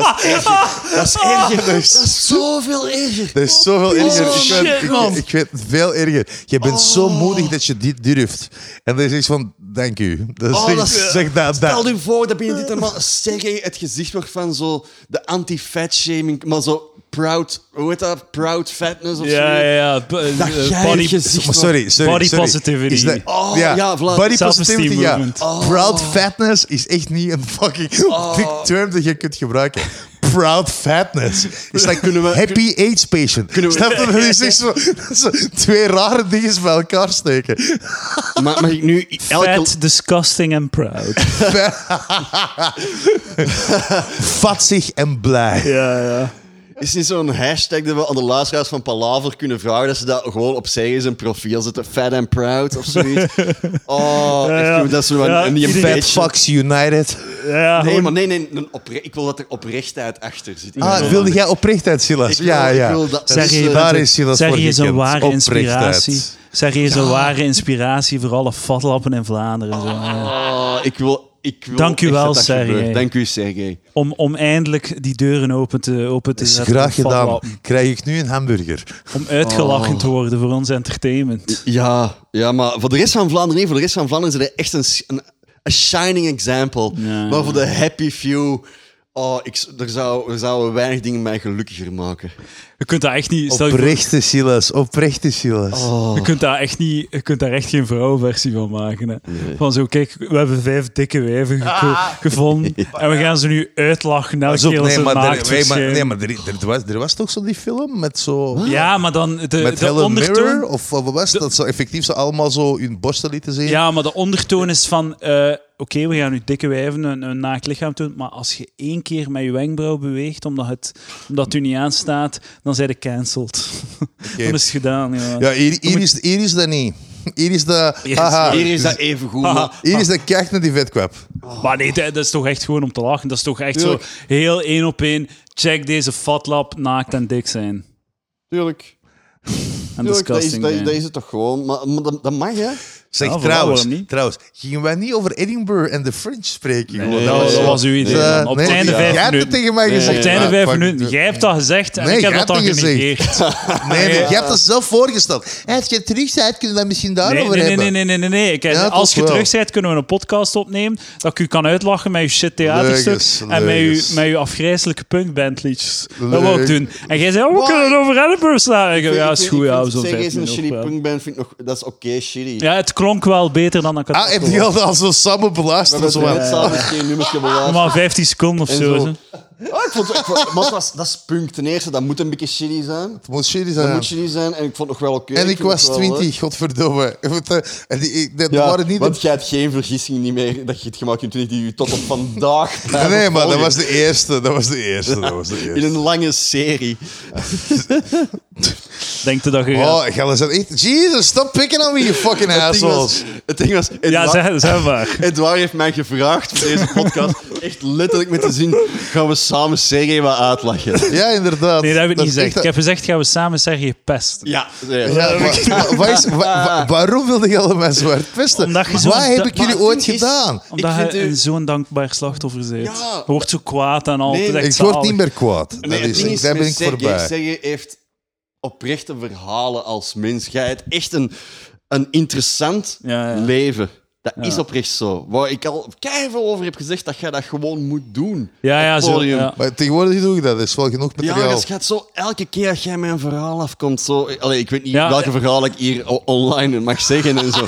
[SPEAKER 2] Dat is erger. Dat is erger. Dat is zoveel erger.
[SPEAKER 3] Dat is zoveel erger. ik,
[SPEAKER 1] shit,
[SPEAKER 3] weet, ik-
[SPEAKER 1] man.
[SPEAKER 3] Ik, weet veel erger. Je bent zo
[SPEAKER 2] Oh.
[SPEAKER 3] moedig dat je dit durft. En dan is iets van, dank u. Dat is
[SPEAKER 2] Oh,
[SPEAKER 3] echt-
[SPEAKER 2] dat is-
[SPEAKER 3] zeg dat,
[SPEAKER 2] Stel
[SPEAKER 3] dat.
[SPEAKER 2] je voor dat binnen dit allemaal Sergej het gezicht wordt van zo de anti-fat shaming, maar zo proud, hoe heet dat? Proud fatness of
[SPEAKER 1] Ja,
[SPEAKER 2] zo.
[SPEAKER 1] ja, ja. B-
[SPEAKER 2] Dat
[SPEAKER 1] eh,
[SPEAKER 2] jij
[SPEAKER 1] body-
[SPEAKER 2] het gezicht
[SPEAKER 3] Maar sorry, sorry.
[SPEAKER 1] Body
[SPEAKER 3] sorry.
[SPEAKER 1] positivity.
[SPEAKER 3] Is dat-
[SPEAKER 2] Oh,
[SPEAKER 3] ja,
[SPEAKER 2] ja, voilà.
[SPEAKER 3] body
[SPEAKER 1] Self-esteem
[SPEAKER 3] positivity, ja.
[SPEAKER 1] movement.
[SPEAKER 3] Proud fatness is echt niet een fucking
[SPEAKER 2] Oh.
[SPEAKER 3] dik term dat je kunt gebruiken. Proud fatness. Is like
[SPEAKER 2] Kunnen we-
[SPEAKER 3] happy AIDS patient.
[SPEAKER 2] kunnen we-
[SPEAKER 3] Snap je? Dat is echt zo,
[SPEAKER 2] *laughs*
[SPEAKER 3] dat is zo twee rare dingen bij elkaar steken.
[SPEAKER 2] Maar mag ik nu elke...
[SPEAKER 1] Fat, disgusting and *laughs* proud.
[SPEAKER 3] Vatzig en blij.
[SPEAKER 1] ja, ja.
[SPEAKER 2] Is niet zo'n hashtag dat we aan de luisteraars van Palaver kunnen vragen dat ze dat gewoon op Sergej zijn profiel zetten? Fat and proud of
[SPEAKER 1] *laughs*
[SPEAKER 2] zoiets. Oh, echt, joh, dat is wel
[SPEAKER 1] Ja,
[SPEAKER 2] een, niet een
[SPEAKER 1] iedereen-
[SPEAKER 2] beetje-
[SPEAKER 3] Fucks United.
[SPEAKER 1] ja
[SPEAKER 2] Nee,
[SPEAKER 1] gewoon-
[SPEAKER 2] maar Ah, nee, nee. een opre- ik wil dat er oprechtheid achter zit. Ik
[SPEAKER 3] Ah,
[SPEAKER 2] wil-
[SPEAKER 3] wilde jij oprechtheid, Silas?
[SPEAKER 2] Ik wil-
[SPEAKER 3] ja,
[SPEAKER 2] ik
[SPEAKER 3] ja.
[SPEAKER 2] wil dat- Dus, eh,
[SPEAKER 3] Dat is-
[SPEAKER 1] Zeg je-
[SPEAKER 3] daar is Silas
[SPEAKER 1] zeg
[SPEAKER 3] voor
[SPEAKER 1] je is een
[SPEAKER 3] gekend.
[SPEAKER 1] ware
[SPEAKER 3] Oprechtheid.
[SPEAKER 1] inspiratie. Zeg je, is een ware inspiratie voor alle fatlappen in Vlaanderen. Zo.
[SPEAKER 2] Ah, ik wil, ik wil
[SPEAKER 1] Dank u
[SPEAKER 2] echt
[SPEAKER 1] wel,
[SPEAKER 2] dat dat
[SPEAKER 1] Sergej.
[SPEAKER 2] gebeurt. Dank u, Sergej.
[SPEAKER 1] Om, om eindelijk die deuren open te, open te
[SPEAKER 3] Is
[SPEAKER 1] zetten.
[SPEAKER 3] graag
[SPEAKER 1] voor
[SPEAKER 3] gedaan.
[SPEAKER 1] fatlappen.
[SPEAKER 3] Krijg ik nu een hamburger?
[SPEAKER 1] Om uitgelachen te worden voor ons entertainment.
[SPEAKER 2] Ja, ja, maar voor de rest van Vlaanderen niet. Voor de rest van Vlaanderen is er echt een, sh- een, een shining example.
[SPEAKER 1] Ja.
[SPEAKER 2] Maar voor de happy few... Oh, ik, s- er, zou, er zouden weinig dingen mij gelukkiger maken.
[SPEAKER 1] Je kunt daar echt niet... Stel je, voor,
[SPEAKER 3] Oprechte Silas, oprechte Silas.
[SPEAKER 1] je, kunt daar echt niet je kunt daar echt geen vrouwenversie van maken. Hè. Van zo, kijk, we hebben vijf dikke wijven geko-
[SPEAKER 3] *laughs*
[SPEAKER 1] gevonden. en we gaan ze nu uitlachen. Elke
[SPEAKER 3] Pas op,
[SPEAKER 1] keer als
[SPEAKER 3] nee,
[SPEAKER 1] ze
[SPEAKER 3] maar,
[SPEAKER 1] naakt
[SPEAKER 3] er, nee, maar,
[SPEAKER 1] verschijnen.
[SPEAKER 3] nee, maar er, er was, er was toch zo die film met zo...
[SPEAKER 1] Ja, maar dan de,
[SPEAKER 3] Met
[SPEAKER 1] de
[SPEAKER 3] Helen
[SPEAKER 1] ondertoon...
[SPEAKER 3] Mirror? Of wat was het? Dat ze effectief ze allemaal zo hun borsten lieten zien?
[SPEAKER 1] Ja, maar de ondertoon is van... eh, Oké, we gaan nu dikke wijven een, een naakt lichaam doen, maar als je één keer met je wenkbrauw beweegt, omdat het, omdat het u niet aanstaat, dan zijn de cancelled. *laughs* dan is het gedaan, ja.
[SPEAKER 3] Ja, hier, hier, is, hier is dat niet. Hier is dat...
[SPEAKER 1] Hier is-
[SPEAKER 3] haha,
[SPEAKER 2] Hier is dat even goed.
[SPEAKER 1] Haha.
[SPEAKER 2] maar-
[SPEAKER 3] hier is dat kijk naar die vetkwap.
[SPEAKER 1] Maar nee, dat dat is toch echt gewoon om te lachen. Dat is toch echt
[SPEAKER 2] Tuurlijk.
[SPEAKER 1] zo heel één op één. Check deze fatlap, naakt en dik zijn.
[SPEAKER 2] Tuurlijk.
[SPEAKER 1] En
[SPEAKER 2] Tuurlijk, dat, is,
[SPEAKER 1] disgusting
[SPEAKER 2] dat, is-
[SPEAKER 1] zijn.
[SPEAKER 2] dat is het toch gewoon. Maar, maar dat, dat mag, hè?
[SPEAKER 3] Zeg,
[SPEAKER 1] Ja, voilà,
[SPEAKER 3] trouwens,
[SPEAKER 1] waarom niet?
[SPEAKER 3] trouwens, gingen wij niet over Edinburgh en de French spreken?
[SPEAKER 1] Nee,
[SPEAKER 3] Gewoon,
[SPEAKER 1] dat was- dat was uw idee,
[SPEAKER 3] eh,
[SPEAKER 1] man. Op het einde
[SPEAKER 3] jij
[SPEAKER 1] vijf
[SPEAKER 3] hebt het
[SPEAKER 1] minuten.
[SPEAKER 3] tegen mij gezegd.
[SPEAKER 1] Op het einde
[SPEAKER 3] Ah,
[SPEAKER 1] vijf
[SPEAKER 3] fuck.
[SPEAKER 1] minuten. Jij hebt dat gezegd en
[SPEAKER 3] Nee,
[SPEAKER 1] ik heb
[SPEAKER 3] jij
[SPEAKER 1] dat
[SPEAKER 3] hebt
[SPEAKER 1] dan
[SPEAKER 3] dat gezegd. *laughs*
[SPEAKER 1] genegeerd.
[SPEAKER 3] Nee, nee, jij hebt dat zelf voorgesteld. Hé, Als je terug bent, kunnen we dat misschien
[SPEAKER 1] Nee,
[SPEAKER 3] daarover
[SPEAKER 1] nee,
[SPEAKER 3] hebben.
[SPEAKER 1] nee, nee, nee, nee, nee. Kijk,
[SPEAKER 3] Ja,
[SPEAKER 1] als
[SPEAKER 3] toch
[SPEAKER 1] je
[SPEAKER 3] wel.
[SPEAKER 1] terug bent, kunnen we een podcast opnemen. Dat ik u kan uitlachen met je shit theaterstuk.
[SPEAKER 3] Leugens,
[SPEAKER 1] en met
[SPEAKER 3] leugens.
[SPEAKER 1] je, met je afgrijzelijke punkbandliedjes. Dat wil ik
[SPEAKER 3] Leuk.
[SPEAKER 1] doen. En jij zei, oh, we kunnen het over Edinburgh slaan. Ik- Ja, is goed. Ja,
[SPEAKER 2] zo
[SPEAKER 1] zo'n vijf
[SPEAKER 2] Sergej is een
[SPEAKER 1] minuten
[SPEAKER 2] shitty
[SPEAKER 1] praten.
[SPEAKER 2] punkband, vind ik nog... Dat is oké, shitty.
[SPEAKER 1] Ja, het klonk wel beter dan ik had
[SPEAKER 3] Ah, heb
[SPEAKER 1] verwacht.
[SPEAKER 3] je al, al zo samen
[SPEAKER 2] We
[SPEAKER 3] belast?
[SPEAKER 2] hebben
[SPEAKER 3] Zo van,
[SPEAKER 2] net samen
[SPEAKER 1] *laughs*
[SPEAKER 2] geen nummertje beluisterd.
[SPEAKER 1] Maar 15 seconden of
[SPEAKER 2] En
[SPEAKER 1] zo.
[SPEAKER 2] zo.
[SPEAKER 1] hè.
[SPEAKER 2] Ah, ik vond, ik vond- maar dat, was, dat is punk. Ten eerste, dat moet een beetje shitty zijn.
[SPEAKER 3] Het moet shitty
[SPEAKER 2] Dat
[SPEAKER 3] zijn.
[SPEAKER 2] moet shitty zijn. En ik vond het nog wel oké.
[SPEAKER 3] En ik
[SPEAKER 2] vind
[SPEAKER 3] was
[SPEAKER 2] het wel leuk.
[SPEAKER 3] 20, godverdomme. Want, eh, En die, ik- dat
[SPEAKER 2] Ja,
[SPEAKER 3] waren niet de
[SPEAKER 2] want jij hebt geen vergissing niet meer dat je het gemaakt in 20 die je tot op vandaag...
[SPEAKER 3] *laughs* Nee, nee, maar dat
[SPEAKER 2] vervolgen.
[SPEAKER 3] was de eerste. Dat was de eerste. Dat was de
[SPEAKER 2] In een
[SPEAKER 3] eerste.
[SPEAKER 2] lange serie.
[SPEAKER 1] Denk je dat je gaat-
[SPEAKER 3] Oh, Gelle zei echt... Jesus, stop pikken on me, you
[SPEAKER 2] *laughs*
[SPEAKER 3] fucking
[SPEAKER 2] Het ding was...
[SPEAKER 3] assholes.
[SPEAKER 2] Het ding was
[SPEAKER 1] Ja,
[SPEAKER 2] Edouard-
[SPEAKER 1] zeg, zeg maar.
[SPEAKER 2] Edouard heeft mij gevraagd voor deze podcast, echt letterlijk met de zin, gaan we samen Sergej wat uitlachen?
[SPEAKER 3] Ja, inderdaad.
[SPEAKER 1] Nee, dat heb ik niet
[SPEAKER 3] is
[SPEAKER 1] gezegd.
[SPEAKER 3] echt-
[SPEAKER 1] Ik heb gezegd, gaan we samen Sergej pesten.
[SPEAKER 2] Ja, serieus.
[SPEAKER 3] Ja, maar- maar- waar is- *laughs* wa- wa- waarom wilde Gelle mij zwart pesten?
[SPEAKER 1] Omdat je zo-
[SPEAKER 3] Wat heb
[SPEAKER 1] dat-
[SPEAKER 3] ik jullie
[SPEAKER 2] maar het
[SPEAKER 3] ooit
[SPEAKER 2] ding is-
[SPEAKER 3] gedaan?
[SPEAKER 1] Omdat
[SPEAKER 2] Ik
[SPEAKER 1] hij
[SPEAKER 2] vind u-
[SPEAKER 1] een zo'n dankbaar slachtoffer bent.
[SPEAKER 2] Ja.
[SPEAKER 1] Je wordt zo kwaad en altijd.
[SPEAKER 2] Nee,
[SPEAKER 1] echt
[SPEAKER 3] Ik word
[SPEAKER 1] zalig.
[SPEAKER 3] niet meer kwaad. Dat
[SPEAKER 2] Nee, het
[SPEAKER 3] is,
[SPEAKER 2] ding is,
[SPEAKER 3] daar ben ik
[SPEAKER 2] met Sergej,
[SPEAKER 3] voorbij.
[SPEAKER 2] Sergej heeft oprechte verhalen als mens. Jij hebt echt een, een interessant
[SPEAKER 1] Ja, ja.
[SPEAKER 2] leven. Dat is oprecht zo. Waar ik al keihard over heb gezegd dat jij dat gewoon moet doen.
[SPEAKER 1] Ja, ja,
[SPEAKER 2] Op
[SPEAKER 1] zo.
[SPEAKER 2] podium.
[SPEAKER 1] Ja.
[SPEAKER 3] Maar tegenwoordig doe ik dat. Er is wel genoeg
[SPEAKER 2] Ja,
[SPEAKER 3] materiaal.
[SPEAKER 2] het gaat zo elke keer dat jij mijn verhaal afkomt. Zo, allee, ik weet niet
[SPEAKER 1] Ja,
[SPEAKER 2] welke
[SPEAKER 1] eh.
[SPEAKER 2] verhaal ik hier o- online mag zeggen en zo.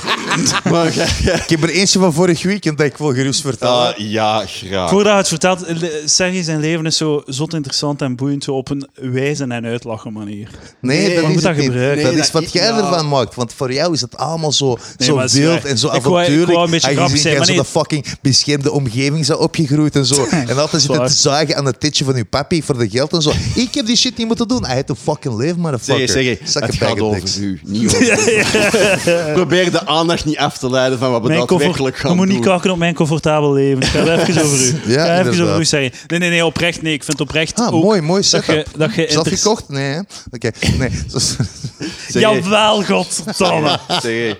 [SPEAKER 2] maar jij- jij-
[SPEAKER 3] Ik heb er eentje van vorig weekend dat ik wil gerust vertellen.
[SPEAKER 2] Ah, ja, graag.
[SPEAKER 1] Voordat je het vertelt, eh, Sergej zijn leven is zo zot interessant en boeiend zo op een wijze en uitlachen manier.
[SPEAKER 3] Nee,
[SPEAKER 2] Nee,
[SPEAKER 3] dat
[SPEAKER 2] je
[SPEAKER 3] is
[SPEAKER 1] moet dat
[SPEAKER 3] het niet.
[SPEAKER 1] gebruiken.
[SPEAKER 3] dat
[SPEAKER 2] Nee,
[SPEAKER 3] is
[SPEAKER 2] dat
[SPEAKER 3] wat
[SPEAKER 2] is-
[SPEAKER 3] jij
[SPEAKER 2] ja.
[SPEAKER 3] ervan maakt. Want voor jou is het allemaal zo, zo
[SPEAKER 1] maar het is
[SPEAKER 3] wild
[SPEAKER 1] waar.
[SPEAKER 3] en zo
[SPEAKER 1] Ik wou- ik
[SPEAKER 3] avontuurlijk.
[SPEAKER 1] wou een beetje
[SPEAKER 3] Aangezien
[SPEAKER 1] grappig zijn,
[SPEAKER 3] jij
[SPEAKER 1] maar
[SPEAKER 3] zo
[SPEAKER 1] nee.
[SPEAKER 3] de fucking beschermde omgeving zou
[SPEAKER 1] *laughs*
[SPEAKER 3] opgegroeid en zo. En altijd zitten
[SPEAKER 1] Zwaar.
[SPEAKER 3] te zagen aan het titje van je papi voor de geld en zo. Ik heb die shit niet moeten doen. Hij heeft een fucking leven, motherfucker.
[SPEAKER 2] Zeg, zeg,
[SPEAKER 3] Zakken
[SPEAKER 2] het gaat
[SPEAKER 3] bag of dicks.
[SPEAKER 2] over u, niet over ons. Probeer de aandacht niet af te leiden van wat we
[SPEAKER 1] Mijn comfort,
[SPEAKER 2] daadwerkelijk
[SPEAKER 1] je
[SPEAKER 2] gaan
[SPEAKER 1] moet niet
[SPEAKER 2] doen.
[SPEAKER 1] kakken op mijn comfortabel leven. Ik ga het even over u. Ik ga het even
[SPEAKER 3] inderdaad.
[SPEAKER 1] over u zeggen. Nee, nee, nee, oprecht. Nee, ik vind oprecht.
[SPEAKER 3] Ah,
[SPEAKER 1] ook
[SPEAKER 3] mooi, mooi
[SPEAKER 1] dat
[SPEAKER 3] setup.
[SPEAKER 1] je, dat je
[SPEAKER 3] Is dat
[SPEAKER 1] inter-
[SPEAKER 3] gekocht? Nee, hè? Oké.
[SPEAKER 1] *laughs*
[SPEAKER 3] Nee.
[SPEAKER 2] Zeg,
[SPEAKER 1] Jawel,
[SPEAKER 3] *laughs*
[SPEAKER 1] godverdomme.
[SPEAKER 2] Zeg,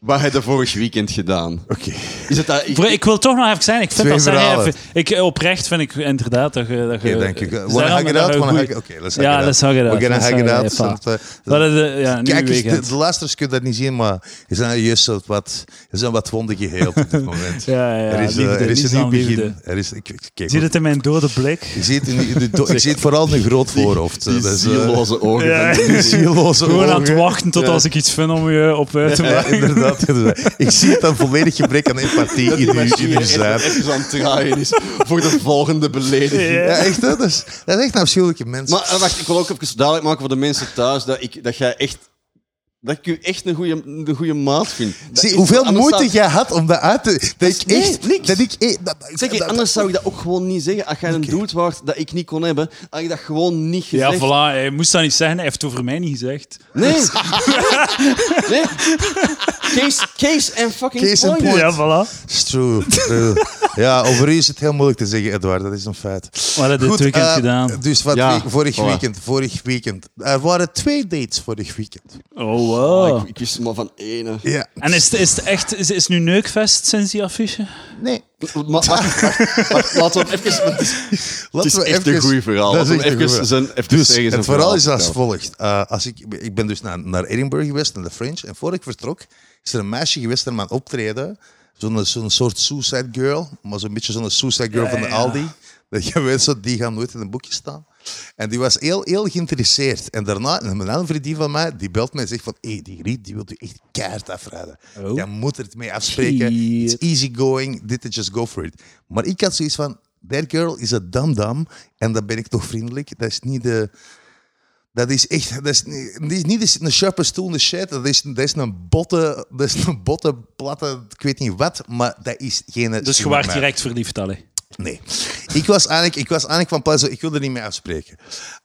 [SPEAKER 2] wat heb je vorig weekend gedaan?
[SPEAKER 3] Oké.
[SPEAKER 2] Is het dat...
[SPEAKER 1] Voor- Ik wil toch nog even zijn. Ik vind
[SPEAKER 3] Twee
[SPEAKER 1] dat Sergej
[SPEAKER 3] verhalen.
[SPEAKER 1] even- ik, eh, oprecht vind ik inderdaad dat je... dat je-
[SPEAKER 3] Oké, dank
[SPEAKER 1] eh,
[SPEAKER 3] je.
[SPEAKER 1] Sergej,
[SPEAKER 3] Wanna hang it
[SPEAKER 1] dat
[SPEAKER 3] out?
[SPEAKER 1] je
[SPEAKER 3] Wanna
[SPEAKER 1] goed-
[SPEAKER 3] hang- Oké, let's hang
[SPEAKER 1] Ja,
[SPEAKER 3] it out.
[SPEAKER 1] let's hang it out.
[SPEAKER 3] We're gonna
[SPEAKER 1] Let's
[SPEAKER 3] hang it
[SPEAKER 1] hang
[SPEAKER 3] out.
[SPEAKER 1] it out.
[SPEAKER 3] want, eh,
[SPEAKER 1] Wat is de- ja, nu
[SPEAKER 3] Kijk, eens, de,
[SPEAKER 1] weekend.
[SPEAKER 3] de luisteraars kunnen dat niet zien, maar er zijn juist zo wat, er zijn wat wonden geheeld op dit
[SPEAKER 1] *laughs*
[SPEAKER 3] moment.
[SPEAKER 1] Ja, ja,
[SPEAKER 3] er is, eh,
[SPEAKER 1] liefde,
[SPEAKER 3] er is
[SPEAKER 1] liefde
[SPEAKER 3] een nieuw
[SPEAKER 1] aan
[SPEAKER 3] begin.
[SPEAKER 1] liefde.
[SPEAKER 3] Er is, ik, ik- kijk,
[SPEAKER 1] Zie je het in mijn dode blik?
[SPEAKER 3] *laughs* ik zie het in die- de do-
[SPEAKER 1] *laughs*
[SPEAKER 3] ik zie het vooral in een groot voorhoofd.
[SPEAKER 2] Die
[SPEAKER 3] dat is, eh, *laughs*
[SPEAKER 2] zieloze ogen.
[SPEAKER 1] Ja.
[SPEAKER 2] van die-
[SPEAKER 1] *laughs*
[SPEAKER 3] zieloze
[SPEAKER 1] Gewoon aan het
[SPEAKER 3] ogen.
[SPEAKER 1] wachten tot als ik iets vind om je op uit te
[SPEAKER 3] Ja,
[SPEAKER 1] maken.
[SPEAKER 3] eh, inderdaad, inderdaad. Ik zie het dan volledig gebrek aan empathie in uw, in uw zijn.
[SPEAKER 2] Even aan het draaien is voor de volgende belediging.
[SPEAKER 1] Ja.
[SPEAKER 3] Ja, echt, hè? dat is, dat is echt een afschuwelijke mens.
[SPEAKER 2] Maar eh, wacht, ik wil ook even duidelijk maken voor de mensen thuis dat, ik, dat jij echt... Dat ik u echt een goede een goeie maat vind. Dat
[SPEAKER 3] zie,
[SPEAKER 2] is-
[SPEAKER 3] hoeveel
[SPEAKER 2] anders
[SPEAKER 3] moeite
[SPEAKER 2] zou-
[SPEAKER 3] jij had om dat uit te... Dat ik
[SPEAKER 2] nee,
[SPEAKER 3] echt...
[SPEAKER 2] niks.
[SPEAKER 3] dat ik, eh, dat-
[SPEAKER 2] Zeg,
[SPEAKER 3] dat-
[SPEAKER 2] je, anders zou ik dat ook gewoon niet zeggen. Als jij een doet waard dat ik niet kon hebben, had ik dat gewoon niet
[SPEAKER 1] Ja,
[SPEAKER 2] gezegd.
[SPEAKER 1] voilà. Hij moest dat niet zeggen. Hij heeft het over mij niet gezegd.
[SPEAKER 2] Nee. nee. Case, case en fucking
[SPEAKER 3] Case in
[SPEAKER 2] point.
[SPEAKER 3] point.
[SPEAKER 1] Ja, voilà.
[SPEAKER 3] It's true. true. Ja, over u is het heel moeilijk te zeggen, Edouard. Dat is een feit.
[SPEAKER 1] We hadden dit
[SPEAKER 3] Goed,
[SPEAKER 1] weekend
[SPEAKER 3] eh,
[SPEAKER 1] gedaan.
[SPEAKER 3] Dus wat
[SPEAKER 2] Ja,
[SPEAKER 3] we- vorig
[SPEAKER 2] voilà.
[SPEAKER 3] weekend, vorig weekend. Er waren twee dates vorig weekend.
[SPEAKER 1] Oh, wow.
[SPEAKER 2] Ik, ik wist er maar van ene.
[SPEAKER 3] Ja.
[SPEAKER 1] En is het, is het echt... Is, is het nu neukfest sinds die affiche?
[SPEAKER 3] Nee.
[SPEAKER 2] Maar, wacht, wacht, wacht, laten we hem even... want Het is, het is
[SPEAKER 3] Laten we
[SPEAKER 2] echt
[SPEAKER 3] even-
[SPEAKER 2] een goed verhaal.
[SPEAKER 3] Dat is
[SPEAKER 2] Laten we
[SPEAKER 3] echt
[SPEAKER 2] hem even
[SPEAKER 3] een goed
[SPEAKER 2] zijn, even
[SPEAKER 3] Dus
[SPEAKER 2] zeggen zijn
[SPEAKER 3] het verhaal is als
[SPEAKER 2] vertellen.
[SPEAKER 3] volgt. Eh, als ik, ik ben dus naar, naar Edinburgh geweest, naar de French. En voor ik vertrok, is er een meisje geweest naar mijn optreden. Zo'n zo'n soort suicide girl. Maar zo'n beetje zo'n suicide girl van de
[SPEAKER 1] ja.
[SPEAKER 3] Aldi. Dat je weet, zo, die gaan nooit in een boekje staan. En die was heel, heel geïnteresseerd. En daarna, een andere vriendin van mij, die belt mij en zegt van... Hé, hey, die Riet, die wil je echt keihard afraden.
[SPEAKER 1] Oh.
[SPEAKER 3] Jij moet er het mee afspreken.
[SPEAKER 1] Shit.
[SPEAKER 3] It's easy going. Dit is just go for it. Maar ik had zoiets van... That girl is a dam-dam. En dan ben ik toch vriendelijk. Dat is niet de... Dat is echt, dat is niet, dat is niet eens een sharpe stoel in de shit. Dat is, dat is een botte, dat is een botte, platte, ik weet niet wat. Maar dat is geen...
[SPEAKER 1] Dus je waart direct verliefd, allee.
[SPEAKER 3] Nee. Ik was eigenlijk, ik was eigenlijk van plan, zo, ik wil er niet mee afspreken.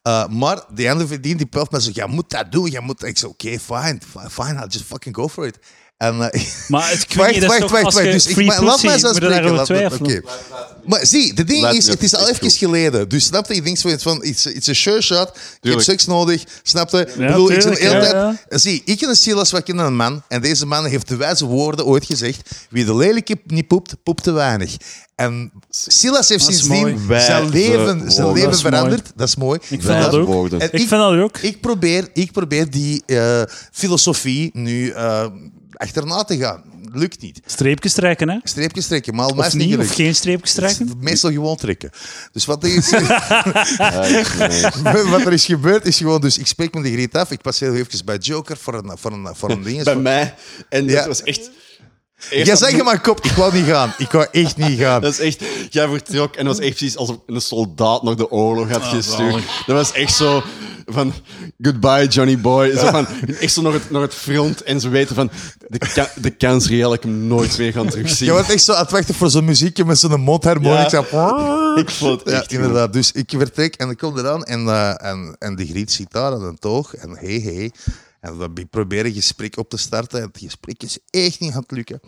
[SPEAKER 3] Eh, maar die andere verdient, die pelt me zo, jij moet dat doen, jij moet... Ik zei, oké, fine, fi- fine, I'll just fucking go for it. En, eh, *laughs*
[SPEAKER 1] Maar het- ik weet niet, dat is toch als je
[SPEAKER 3] Dus ik-
[SPEAKER 1] free
[SPEAKER 3] maar laat
[SPEAKER 1] pussy,
[SPEAKER 3] mij zo
[SPEAKER 1] moet je
[SPEAKER 3] spreken.
[SPEAKER 1] daarover
[SPEAKER 3] laat me-
[SPEAKER 1] twijfelen.
[SPEAKER 3] oké. Maar zie, de ding
[SPEAKER 2] Laat
[SPEAKER 3] is,
[SPEAKER 2] me-
[SPEAKER 3] het is al
[SPEAKER 2] ik
[SPEAKER 3] even geleden. Dus snap je, je denkt zoiets van, it's, it's a sure shot, je hebt
[SPEAKER 2] Tuurlijk.
[SPEAKER 3] seks nodig, snap je? Ik
[SPEAKER 1] Ja,
[SPEAKER 3] bedoel, ik zit de hele
[SPEAKER 1] tuurlijk,
[SPEAKER 3] tijd...
[SPEAKER 1] ja,
[SPEAKER 3] Zie, ik en Silas, wij kennen een man. En deze man heeft de wijze woorden ooit gezegd. Wie de lelijke niet poept, poept te weinig. En Silas heeft
[SPEAKER 1] Dat is mooi.
[SPEAKER 3] sindsdien zijn
[SPEAKER 2] Wijze
[SPEAKER 3] leven,
[SPEAKER 2] woorden.
[SPEAKER 3] zijn leven
[SPEAKER 1] Dat is mooi.
[SPEAKER 3] veranderd. Dat is mooi.
[SPEAKER 1] Ik vind dat
[SPEAKER 2] dat
[SPEAKER 1] ook.
[SPEAKER 2] woorden.
[SPEAKER 1] Ik
[SPEAKER 3] En
[SPEAKER 1] vind dat ook.
[SPEAKER 3] Ik probeer, ik probeer die eh, filosofie nu eh, achterna te gaan. Lukt niet.
[SPEAKER 1] Streepjes trekken, hè?
[SPEAKER 3] Streepjes trekken, maar al mij
[SPEAKER 1] Of
[SPEAKER 3] is niet
[SPEAKER 1] niet, of
[SPEAKER 3] gelukt.
[SPEAKER 1] geen streepjes trekken?
[SPEAKER 3] Meestal gewoon trekken. Dus wat er, is, *laughs*
[SPEAKER 2] Ja, ik- nee.
[SPEAKER 3] wat er is gebeurd, is gewoon... Dus ik spreek met de Griet af. Ik pas heel even bij Joker voor een, voor een, voor
[SPEAKER 1] *laughs*
[SPEAKER 3] een ding.
[SPEAKER 2] Bij mij. En
[SPEAKER 3] Ja.
[SPEAKER 2] dat was echt...
[SPEAKER 3] Jij zei je maar kop, ik wou niet gaan. Ik wou echt niet
[SPEAKER 1] *laughs*
[SPEAKER 3] gaan.
[SPEAKER 2] Dat is echt, jij vertrok en dat was echt precies alsof een soldaat nog de oorlog had gestuurd.
[SPEAKER 1] zalig.
[SPEAKER 2] Dat was echt zo van, goodbye Johnny boy. Zo van, echt zo naar het, naar het front en ze weten van, de, ka- de kans reëel dat ik hem nooit weer gaan terugzien.
[SPEAKER 3] Je wordt echt zo aan het wachten voor zo'n muziekje met zo'n mondharmonica.
[SPEAKER 2] ik
[SPEAKER 3] *laughs*
[SPEAKER 2] vond het
[SPEAKER 3] Ja,
[SPEAKER 2] echt goed.
[SPEAKER 3] inderdaad. Dus ik vertrek en ik kom eraan en, eh, en, en de griet zit daar aan een toog en hey hey. En we proberen een gesprek op te starten en het gesprek is echt niet aan het lukken.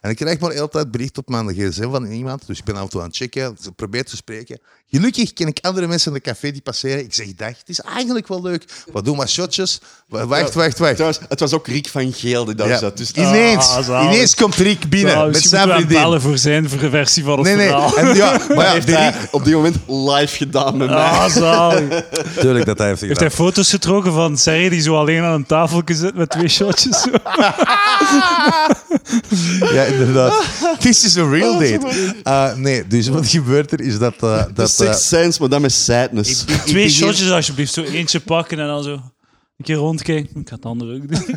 [SPEAKER 3] En ik krijg maar de hele tijd bericht op mijn gsm van iemand, dus ik ben af en toe aan het checken, ze probeert te spreken. Gelukkig ken ik andere mensen in de café die passeren. Ik zeg, dag, het is eigenlijk wel leuk. We doen maar shotjes. Wa- Wacht, wacht, wacht.
[SPEAKER 2] Trouwens, het was ook Riek van Geel die daar
[SPEAKER 3] Ja.
[SPEAKER 2] zat. Dus
[SPEAKER 3] ineens,
[SPEAKER 1] Ah, zalig.
[SPEAKER 3] ineens komt Rick binnen
[SPEAKER 1] Ja,
[SPEAKER 3] met
[SPEAKER 1] misschien
[SPEAKER 3] zijn
[SPEAKER 1] moeten we hem bellen
[SPEAKER 3] vriendin.
[SPEAKER 1] voor zijn versie van het
[SPEAKER 3] Nee, nee.
[SPEAKER 1] verhaal. *laughs*
[SPEAKER 3] En, ja, maar ja,
[SPEAKER 2] heeft
[SPEAKER 3] de
[SPEAKER 2] hij
[SPEAKER 3] Rick-
[SPEAKER 2] op die moment live gedaan met mij.
[SPEAKER 1] Ah, zalig.
[SPEAKER 3] Tuurlijk dat hij heeft
[SPEAKER 1] Heeft
[SPEAKER 3] gedaan.
[SPEAKER 1] hij foto's getrokken van Serre die zo alleen aan een tafeltje zit met twee *laughs* shotjes? Zo.
[SPEAKER 3] Ja, inderdaad.
[SPEAKER 2] *laughs*
[SPEAKER 3] This is a real date. Eh, nee, dus wat gebeurt er is dat... eh,
[SPEAKER 2] Oh, De
[SPEAKER 3] dat eh,
[SPEAKER 2] Sixth Sense, maar dan met sadness.
[SPEAKER 3] ik- ik
[SPEAKER 1] Twee
[SPEAKER 3] begin-
[SPEAKER 1] shotjes alsjeblieft, zo eentje pakken en dan zo een keer rondkijken. Ik ga het andere ook doen.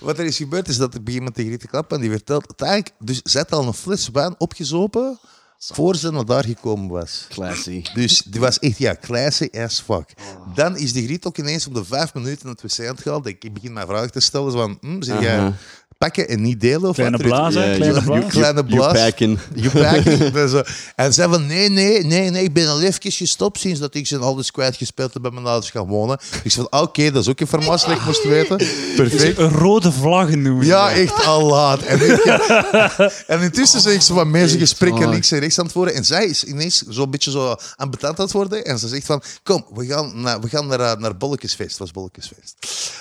[SPEAKER 3] Wat er is gebeurd is dat ik begin met de Griet te klappen en die vertelt... dat eigenlijk- Dus zij had al een fles wijn opgezopen voor ze naar daar gekomen was.
[SPEAKER 2] Classy.
[SPEAKER 3] Dus die was echt, ja, classy as fuck. Dan is die Griet ook ineens op de vijf minuten naar het wc aan het gaan. Ik ik begin mijn vragen te stellen. zo van, hm, zeg jij
[SPEAKER 2] Aha.
[SPEAKER 3] pakken en niet delen? Of
[SPEAKER 1] Kleine
[SPEAKER 3] wat? Er is-
[SPEAKER 1] blaas, hè?
[SPEAKER 2] Ja,
[SPEAKER 1] Kleine
[SPEAKER 2] you- you-
[SPEAKER 1] blaas.
[SPEAKER 3] Kleine
[SPEAKER 2] you
[SPEAKER 3] blaas.
[SPEAKER 2] packing.
[SPEAKER 3] Je packing. *laughs* en, zo. en zei van, nee, nee, nee, nee, ik ben al even gestopt sinds dat ik zijn alles kwijtgespeeld heb bij mijn ouders gaan wonen. Ik zei van, ah, oké, dat is ook informatie dat ik moest weten. Perfect.
[SPEAKER 1] Een rode vlaggen noemen.
[SPEAKER 3] Ja, echt al laat. En, ik- *laughs* en intussen zijn ik zo van mensen gesprekken
[SPEAKER 2] waar.
[SPEAKER 3] links en rechts aan het worden. En zij is ineens zo'n beetje zo ambetant aan het worden. En ze zegt van, kom, we gaan naar, we gaan naar, eh, naar Bolkesfeest. Het was Bolkesfeest.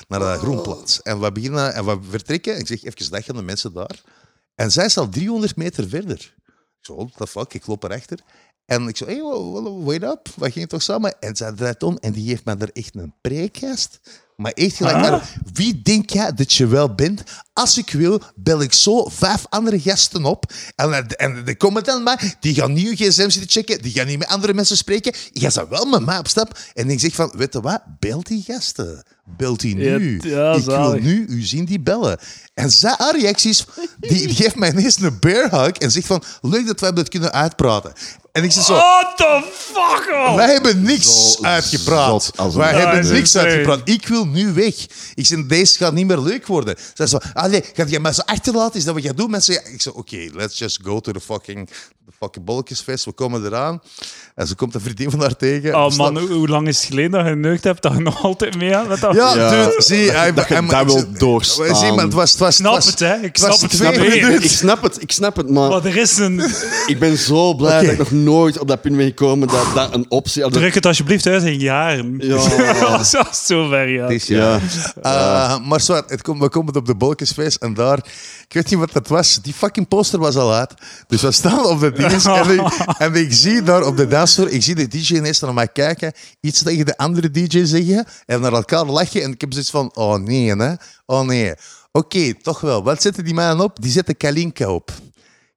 [SPEAKER 3] Naar de Groenplaats. En we, beginnen, en we vertrekken. Ik zeg, even dag aan de mensen daar. En zij is al 300 meter verder. Ik zo, what the fuck, ik loop erachter. En ik zo, hey, wa- wa- wait up, we gingen toch samen? En zij draait om en die geeft mij er echt een preekkast. Maar echt gelijk,
[SPEAKER 1] Ah.
[SPEAKER 3] maar wie denk jij dat je wel bent? Als ik wil, bel ik zo vijf andere gasten op. En, dan- en de commentant maar, die gaan niet je gsm zitten checken, die gaan niet met andere mensen spreken. Je gaat wel met mij op stap. En ik zeg van, weet je wat, bel die gasten. Bel die nu.
[SPEAKER 1] Ja, ja,
[SPEAKER 3] ik wil
[SPEAKER 1] zalig.
[SPEAKER 3] nu nu u zien die bellen. En zij,
[SPEAKER 1] *laughs*
[SPEAKER 3] haar reacties, die, die geeft mij ineens een bear hug en zegt van, leuk dat wij dat kunnen uitpraten. En ik zit zo...
[SPEAKER 1] What the fuck, man?
[SPEAKER 3] Wij hebben niks
[SPEAKER 2] Zo
[SPEAKER 3] uitgepraat.
[SPEAKER 2] zot als een
[SPEAKER 3] Wij
[SPEAKER 2] duivel.
[SPEAKER 3] hebben niks
[SPEAKER 1] Nee.
[SPEAKER 3] uitgepraat. Ik wil nu weg. Ik zei, deze gaat niet meer leuk worden. Ze zei zo, allee, gaat jij mij zo achterlaten? Is dat wat jij doet? Mensen, ik zei, oké, let's just go to the fucking, the fucking bolletjesfest. We komen eraan. En ze komt een vriendin van haar tegen. Dus
[SPEAKER 1] Oh
[SPEAKER 3] We
[SPEAKER 2] dus
[SPEAKER 3] staan-
[SPEAKER 1] man, hoe, hoe lang is het geleden dat je geneukt hebt dat je *laughs* nog altijd mee aan met dat?
[SPEAKER 3] Ja,
[SPEAKER 2] Ja,
[SPEAKER 3] dude, zie, hij...
[SPEAKER 2] dat je
[SPEAKER 3] hij-
[SPEAKER 2] daar
[SPEAKER 3] ik
[SPEAKER 2] wil
[SPEAKER 3] zei-
[SPEAKER 2] doorstaan.
[SPEAKER 3] Zie, maar het was... Het was
[SPEAKER 1] snap
[SPEAKER 3] was-
[SPEAKER 1] het, hè. Ik
[SPEAKER 3] was
[SPEAKER 1] snap het. Ik
[SPEAKER 3] twee
[SPEAKER 1] snap het.
[SPEAKER 3] minuten.
[SPEAKER 2] Ik snap het, ik snap het, maar
[SPEAKER 1] Maar er is een...
[SPEAKER 2] ik ben zo blij
[SPEAKER 3] Oké.
[SPEAKER 2] dat ik nog nooit op dat punt ben gekomen dat dat een optie... Dat,
[SPEAKER 1] Druk het alsjeblieft uit in *laughs* jaren.
[SPEAKER 2] Ja.
[SPEAKER 1] Als het zo ver gaat.
[SPEAKER 3] Dit jaar.
[SPEAKER 2] ja.
[SPEAKER 3] Eh, maar zo, het komt, we komen op de Bolkensfeest en daar, ik weet niet wat dat was, die fucking poster was al uit. Dus we staan op de dinges en, ik, en ik zie daar op de dansvloer, ik zie de DJ ineens naar mij kijken, iets tegen de andere DJ zeggen en naar elkaar lachen. En ik heb zoiets van, oh nee, hè? oh nee. Oké, toch wel. Wat zetten die mannen op? Die zetten Kalinka op.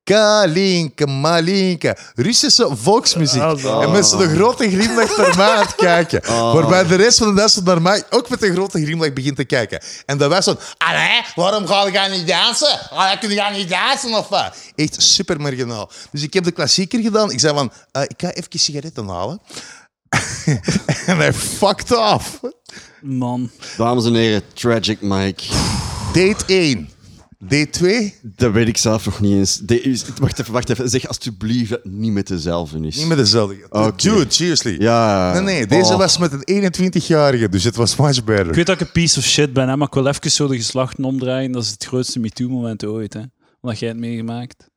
[SPEAKER 3] Kalinka, Malinka. Russische volksmuziek.
[SPEAKER 1] Ah, zo.
[SPEAKER 3] En
[SPEAKER 2] Oh.
[SPEAKER 3] mensen de grote glimlach naar mij aan
[SPEAKER 2] *laughs*
[SPEAKER 3] het kijken. Waarbij de rest van de mensen naar mij ook met een grote glimlach begint te kijken. En dat was zo'n... Allee, waarom ga je niet dansen? Allee, kun je niet dansen of wat? Echt super marginaal. Dus ik heb de klassieker gedaan. Ik zei van, eh, ik ga even sigaretten halen. *laughs* en hij fucked off.
[SPEAKER 1] Man.
[SPEAKER 2] Dames en heren, Tragic Mike.
[SPEAKER 3] Date 1. Date 2.
[SPEAKER 2] Dat weet ik zelf nog niet eens. De, is- wacht even, wacht even. Zeg alsjeblieft dat het niet met dezelfde is.
[SPEAKER 3] Niet met dezelfde.
[SPEAKER 2] Oké.
[SPEAKER 3] Dude, seriously.
[SPEAKER 2] Ja.
[SPEAKER 3] Nee, nee, deze
[SPEAKER 2] Oh.
[SPEAKER 3] was met een 21-jarige, dus het was much better.
[SPEAKER 1] Ik weet dat ik een piece of shit ben, hè, maar ik wil even zo de geslachten omdraaien. Dat is het grootste MeToo-moment ooit, hè. Omdat jij het meegemaakt.